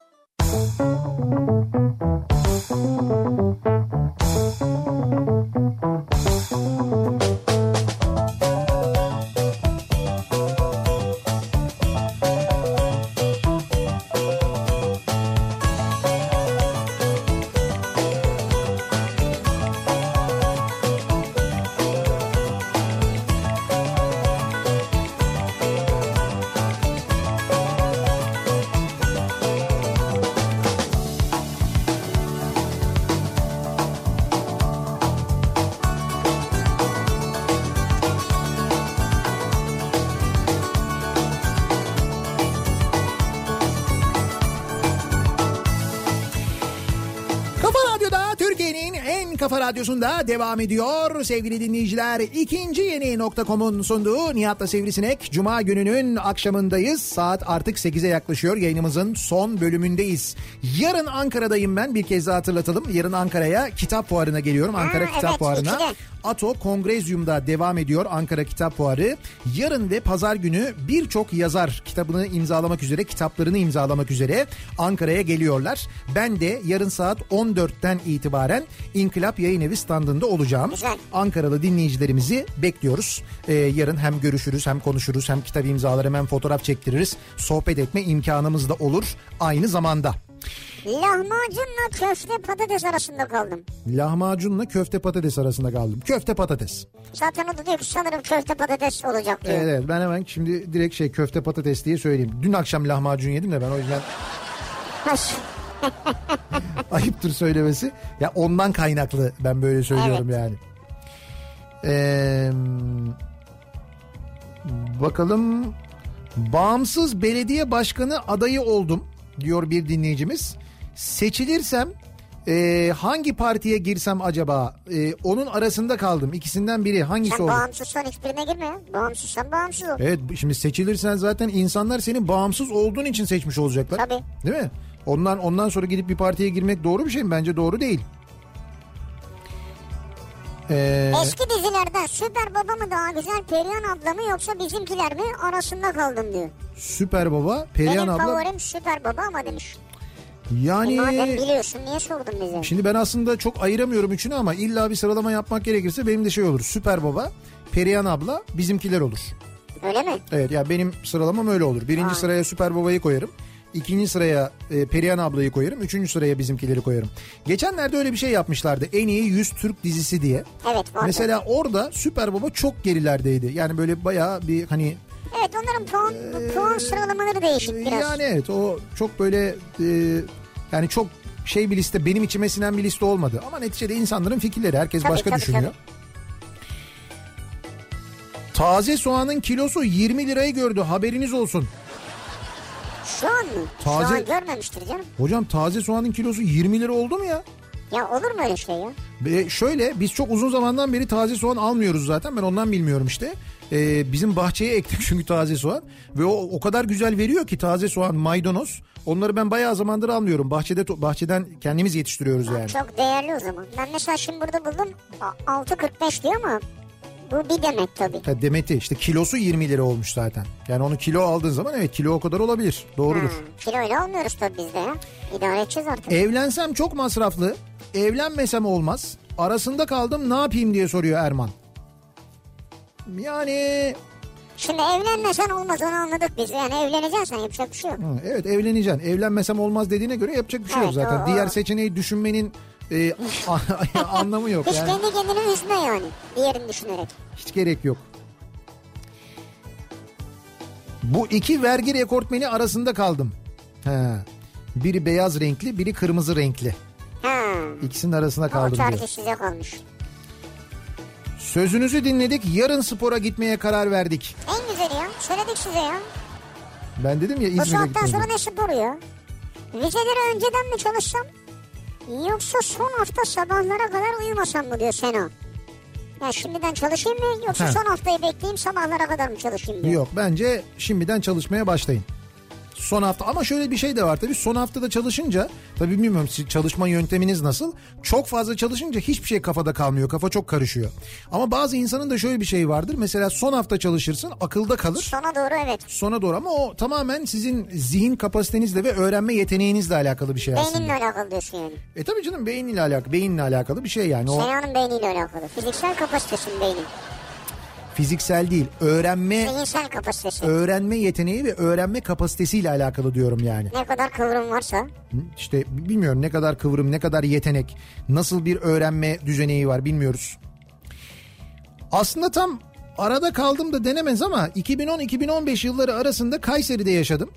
[SPEAKER 1] Kafa Radyo'da Türkiye'nin en kafa radyosunda devam ediyor. Sevgili dinleyiciler ikinci yeni nokta.com'un sunduğu Nihat'la Sivrisinek. Cuma gününün akşamındayız. Saat artık 8'e yaklaşıyor. Yayınımızın son bölümündeyiz. Yarın Ankara'dayım ben bir kez daha hatırlatalım. Yarın Ankara'ya kitap fuarına geliyorum. Ankara
[SPEAKER 2] Aa,
[SPEAKER 1] Kitap
[SPEAKER 2] evet,
[SPEAKER 1] Fuarı'na.
[SPEAKER 2] ikide.
[SPEAKER 1] Ato Kongrezyum'da devam ediyor Ankara Kitap Fuarı. Yarın ve pazar günü birçok yazar kitabını imzalamak üzere, kitaplarını imzalamak üzere Ankara'ya geliyorlar. Ben de yarın saat 14'ten itibaren İnkılap Yayın Evi standında olacağım.
[SPEAKER 2] Güzel.
[SPEAKER 1] Ankaralı dinleyicilerimizi bekliyoruz. Ee, yarın hem görüşürüz hem konuşuruz hem kitap imzalar hem fotoğraf çektiririz. Sohbet etme imkanımız da olur aynı zamanda.
[SPEAKER 2] Lahmacunla köfte patates arasında kaldım.
[SPEAKER 1] Lahmacunla köfte patates arasında kaldım. Köfte patates.
[SPEAKER 2] Zaten o da diyor ki sanırım köfte patates olacak diyor.
[SPEAKER 1] Evet, evet ben hemen şimdi direkt şey köfte patates diye söyleyeyim. Dün akşam lahmacun yedim de ben o yüzden
[SPEAKER 2] Haş.
[SPEAKER 1] ayıptır söylemesi. Ya ondan kaynaklı ben böyle söylüyorum
[SPEAKER 2] Evet.
[SPEAKER 1] yani. Ee, bakalım bağımsız belediye başkanı adayı oldum diyor bir dinleyicimiz. Seçilirsem e, hangi partiye girsem acaba? E, onun arasında kaldım. İkisinden biri hangisi
[SPEAKER 2] Sen
[SPEAKER 1] olur?
[SPEAKER 2] bağımsızsan hiçbirine girme ya. Bağımsızsan bağımsız ol.
[SPEAKER 1] Evet şimdi seçilirsen zaten insanlar senin bağımsız olduğun için seçmiş olacaklar.
[SPEAKER 2] Tabii.
[SPEAKER 1] Değil mi? Ondan ondan sonra gidip bir partiye girmek doğru bir şey mi? Bence doğru değil. Ee,
[SPEAKER 2] Eski dizilerden Süper Baba mı daha güzel Perihan abla mı yoksa bizimkiler mi arasında kaldım diyor.
[SPEAKER 1] Süper Baba, Perihan
[SPEAKER 2] Benim
[SPEAKER 1] abla. Hani-
[SPEAKER 2] favorim Süper Baba ama demiş. E, madem
[SPEAKER 1] Yani
[SPEAKER 2] biliyorsun niye sordun bize?
[SPEAKER 1] şimdi ben aslında çok ayıramıyorum üçünü ama illa bir sıralama yapmak gerekirse benim de şey olur. Süper Baba, Perihan abla, bizimkiler olur.
[SPEAKER 2] Öyle mi?
[SPEAKER 1] Evet ya benim sıralamam öyle olur. Birinci
[SPEAKER 2] Aa.
[SPEAKER 1] sıraya Süper Baba'yı koyarım. İkinci sıraya e, Perihan ablayı koyarım. Üçüncü sıraya bizimkileri koyarım. Geçenlerde öyle bir şey yapmışlardı. En iyi 100 Türk dizisi diye.
[SPEAKER 2] Evet vardı.
[SPEAKER 1] Mesela orada Süper Baba çok gerilerdeydi. Yani böyle bayağı bir hani E,
[SPEAKER 2] Evet onların puan, puan sıralamaları değişik biraz.
[SPEAKER 1] Ee, yani evet o çok böyle e, yani çok şey bir liste benim içime sinen bir liste olmadı. Ama neticede insanların fikirleri herkes
[SPEAKER 2] Tabii,
[SPEAKER 1] başka
[SPEAKER 2] tabii,
[SPEAKER 1] düşünüyor. Taze soğanın kilosu 20 lirayı gördü haberiniz olsun.
[SPEAKER 2] Şu an mı? Şu
[SPEAKER 1] Taze-
[SPEAKER 2] an görmemiştir canım.
[SPEAKER 1] Hocam taze soğanın kilosu 20 lira oldu mu ya?
[SPEAKER 2] Ya olur mu öyle şey ya?
[SPEAKER 1] Ve şöyle biz çok uzun zamandan beri taze soğan almıyoruz zaten ben ondan bilmiyorum işte. Ee, bizim bahçeye ektik çünkü taze soğan ve o o kadar güzel veriyor ki taze soğan maydanoz. Onları ben bayağı zamandır almıyorum. Bahçede to- bahçeden kendimiz yetiştiriyoruz yani.
[SPEAKER 2] Çok değerli o zaman. Ben mesela şimdi burada buldum a- 6.45 diyor ama bu bir demet tabii.
[SPEAKER 1] Ha, Demeti işte kilosu 20 lira olmuş zaten. Yani onu kilo aldığın zaman evet kilo o kadar olabilir. Doğrudur.
[SPEAKER 2] Ha, kiloyla almıyoruz tabii biz de ya. İdare edeceğiz artık.
[SPEAKER 1] E- Evlensem çok masraflı. Evlenmesem olmaz. Arasında kaldım ne yapayım diye soruyor Erman. Yani
[SPEAKER 2] Şimdi evlenmesen olmaz onu anladık biz. Yani evleneceksen yapacak bir şey yok.
[SPEAKER 1] Hı, Evet evleneceksin. Evlenmesem olmaz dediğine göre yapacak bir şey yok
[SPEAKER 2] Evet,
[SPEAKER 1] zaten.
[SPEAKER 2] o- o-
[SPEAKER 1] Diğer seçeneği düşünmenin e, a- anlamı yok
[SPEAKER 2] Hiç
[SPEAKER 1] yani.
[SPEAKER 2] kendi kendini üzme yani. Diğerini düşünerek.
[SPEAKER 1] Hiç gerek yok. Bu iki vergi rekortmeni arasında kaldım. He. Biri beyaz renkli, biri kırmızı renkli.
[SPEAKER 2] Ha.
[SPEAKER 1] İkisinin arasında
[SPEAKER 2] O
[SPEAKER 1] kaldım
[SPEAKER 2] tercih
[SPEAKER 1] diyor.
[SPEAKER 2] size kalmış.
[SPEAKER 1] Sözünüzü dinledik. Yarın spora gitmeye karar verdik.
[SPEAKER 2] En güzeli ya. Söyledik size ya.
[SPEAKER 1] Ben dedim ya
[SPEAKER 2] Bu
[SPEAKER 1] İzmir'e
[SPEAKER 2] saatten sonra
[SPEAKER 1] gitmeyeceğim.
[SPEAKER 2] ne spor ya? Vizeleri önceden mi çalışsam? Yoksa son hafta sabahlara kadar uyumasam mı diyor Sena. Ya şimdiden çalışayım mı yoksa
[SPEAKER 1] Ha.
[SPEAKER 2] son haftayı bekleyeyim sabahlara kadar mı çalışayım diyor.
[SPEAKER 1] Yok bence şimdiden çalışmaya başlayın. Son hafta ama şöyle bir şey de var tabii son haftada çalışınca tabii bilmiyorum siz çalışma yönteminiz nasıl çok fazla çalışınca hiçbir şey kafada kalmıyor kafa çok karışıyor. Ama bazı insanın da şöyle bir şey vardır mesela son hafta çalışırsın akılda kalır
[SPEAKER 2] Sona doğru evet.
[SPEAKER 1] sona doğru ama o tamamen sizin zihin kapasitenizle ve öğrenme yeteneğinizle alakalı bir şey aslında.
[SPEAKER 2] Beyninle alakalı diyorsun yani.
[SPEAKER 1] E tabii canım beyninle alakalı beyinle alakalı bir şey yani o
[SPEAKER 2] Sena'nın beyniyle alakalı. Fiziksel kapasitesin beyni.
[SPEAKER 1] fiziksel değil öğrenme
[SPEAKER 2] Zihinsel kapasitesi.
[SPEAKER 1] öğrenme yeteneği ve öğrenme kapasitesiyle alakalı diyorum yani.
[SPEAKER 2] Ne kadar kıvrım varsa.
[SPEAKER 1] İşte bilmiyorum ne kadar kıvrım, ne kadar yetenek, nasıl bir öğrenme düzeneği var bilmiyoruz. Aslında tam arada kaldım da denemez ama 2010-2015 yılları arasında Kayseri'de yaşadım.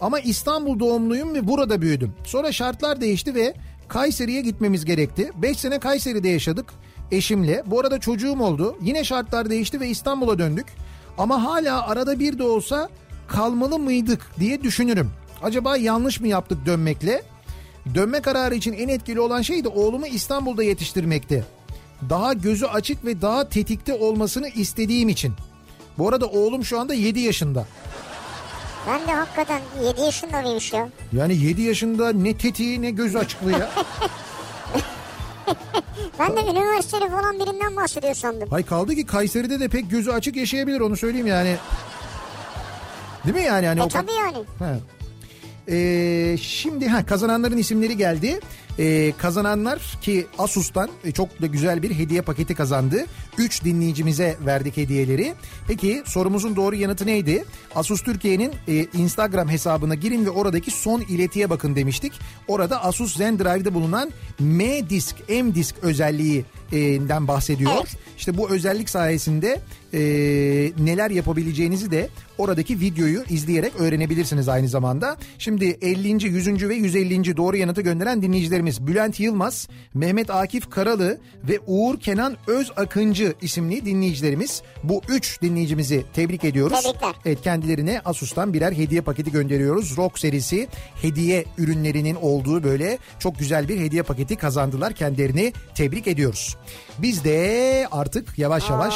[SPEAKER 1] Ama İstanbul doğumluyum ve burada büyüdüm. Sonra şartlar değişti ve Kayseri'ye gitmemiz gerekti. 5 sene Kayseri'de yaşadık eşimle. Bu arada çocuğum oldu. Yine şartlar değişti ve İstanbul'a döndük. Ama hala arada bir de olsa kalmalı mıydık diye düşünürüm. Acaba yanlış mı yaptık dönmekle? Dönme kararı için en etkili olan şey de oğlumu İstanbul'da yetiştirmekti. Daha gözü açık ve daha tetikte olmasını istediğim için. Bu arada oğlum şu anda 7 yaşında.
[SPEAKER 2] Ben de hakikaten 7 yaşında mıymış ya?
[SPEAKER 1] Yani 7 yaşında ne tetiği ne gözü açıklığı ya.
[SPEAKER 2] Ben de üniversiteli falan birinden bahsediyor sandım.
[SPEAKER 1] Hay kaldı ki Kayseri'de de pek gözü açık yaşayabilir onu söyleyeyim yani. Değil mi yani? Hani
[SPEAKER 2] E
[SPEAKER 1] o kadar-
[SPEAKER 2] tabii yani.
[SPEAKER 1] He. Ee, şimdi ha kazananların isimleri geldi. Ee, kazananlar ki Asus'tan e, çok da güzel bir hediye paketi kazandı. 3 dinleyicimize verdik hediyeleri. Peki sorumuzun doğru yanıtı neydi? Asus Türkiye'nin e, Instagram hesabına girin ve oradaki son iletiye bakın demiştik. Orada Asus Zen Drive'de bulunan M-Disk, M-Disk özelliğinden bahsediyor.
[SPEAKER 2] Evet.
[SPEAKER 1] İşte bu özellik sayesinde e, neler yapabileceğinizi de oradaki videoyu izleyerek öğrenebilirsiniz aynı zamanda. Şimdi 50. 100. ve 150. doğru yanıtı gönderen dinleyicilerimiz Bülent Yılmaz, Mehmet Akif Karalı ve Uğur Kenan Öz Akıncı isimli dinleyicilerimiz. Bu 3 dinleyicimizi tebrik ediyoruz.
[SPEAKER 2] Tebrikler.
[SPEAKER 1] Evet kendilerine Asus'tan birer hediye paketi gönderiyoruz. Rock serisi hediye ürünlerinin olduğu böyle çok güzel bir hediye paketi kazandılar. Kendilerini tebrik ediyoruz. Biz de artık yavaş yavaş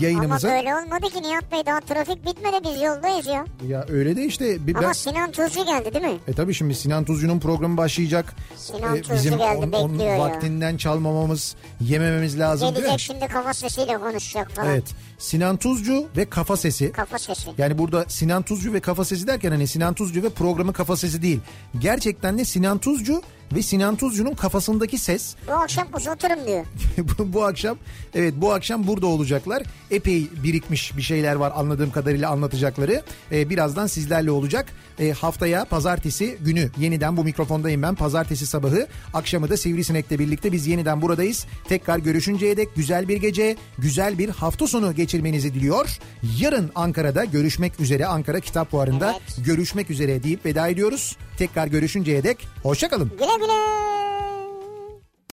[SPEAKER 1] yayınımıza...
[SPEAKER 2] Ama böyle olmadı ki Nihat Bey daha trafik bitmedi biz yoldayız ya.
[SPEAKER 1] Ya öyle de işte bir ben...
[SPEAKER 2] Ama Sinan Tuzcu geldi değil mi?
[SPEAKER 1] E tabii şimdi Sinan Tuzcu'nun programı başlayacak. E,
[SPEAKER 2] Sinan Tuzcu
[SPEAKER 1] bizim
[SPEAKER 2] geldi,
[SPEAKER 1] onun, onun
[SPEAKER 2] bekliyor ya.
[SPEAKER 1] vaktinden çalmamamız, yemememiz lazım değil mi?
[SPEAKER 2] Gelecek şimdi kafa sesiyle konuşacak falan.
[SPEAKER 1] Evet. Sinan Tuzcu ve Kafa Sesi.
[SPEAKER 2] Kafa sesi.
[SPEAKER 1] Yani burada Sinan Tuzcu ve Kafa Sesi derken hani Sinan Tuzcu ve programın kafa sesi değil. Gerçekten de Sinan Tuzcu ve Sinan Tuzcu'nun kafasındaki ses
[SPEAKER 2] Bu akşam uzatırım diyor.
[SPEAKER 1] bu, bu akşam evet bu akşam burada olacaklar. Epey birikmiş bir şeyler var anladığım kadarıyla anlatacakları. Ee, birazdan sizlerle olacak. Ee, haftaya pazartesi günü yeniden bu mikrofondayım ben. Pazartesi sabahı akşamı da Sivrisinek'le birlikte biz yeniden buradayız. Tekrar görüşünceye dek güzel bir gece, güzel bir hafta sonu geçirmenizi diliyor. Yarın Ankara'da görüşmek üzere Ankara Kitap Fuarı'nda
[SPEAKER 2] Evet.
[SPEAKER 1] görüşmek üzere deyip veda ediyoruz. Tekrar görüşünceye dek hoşçakalın.
[SPEAKER 2] Güle güle.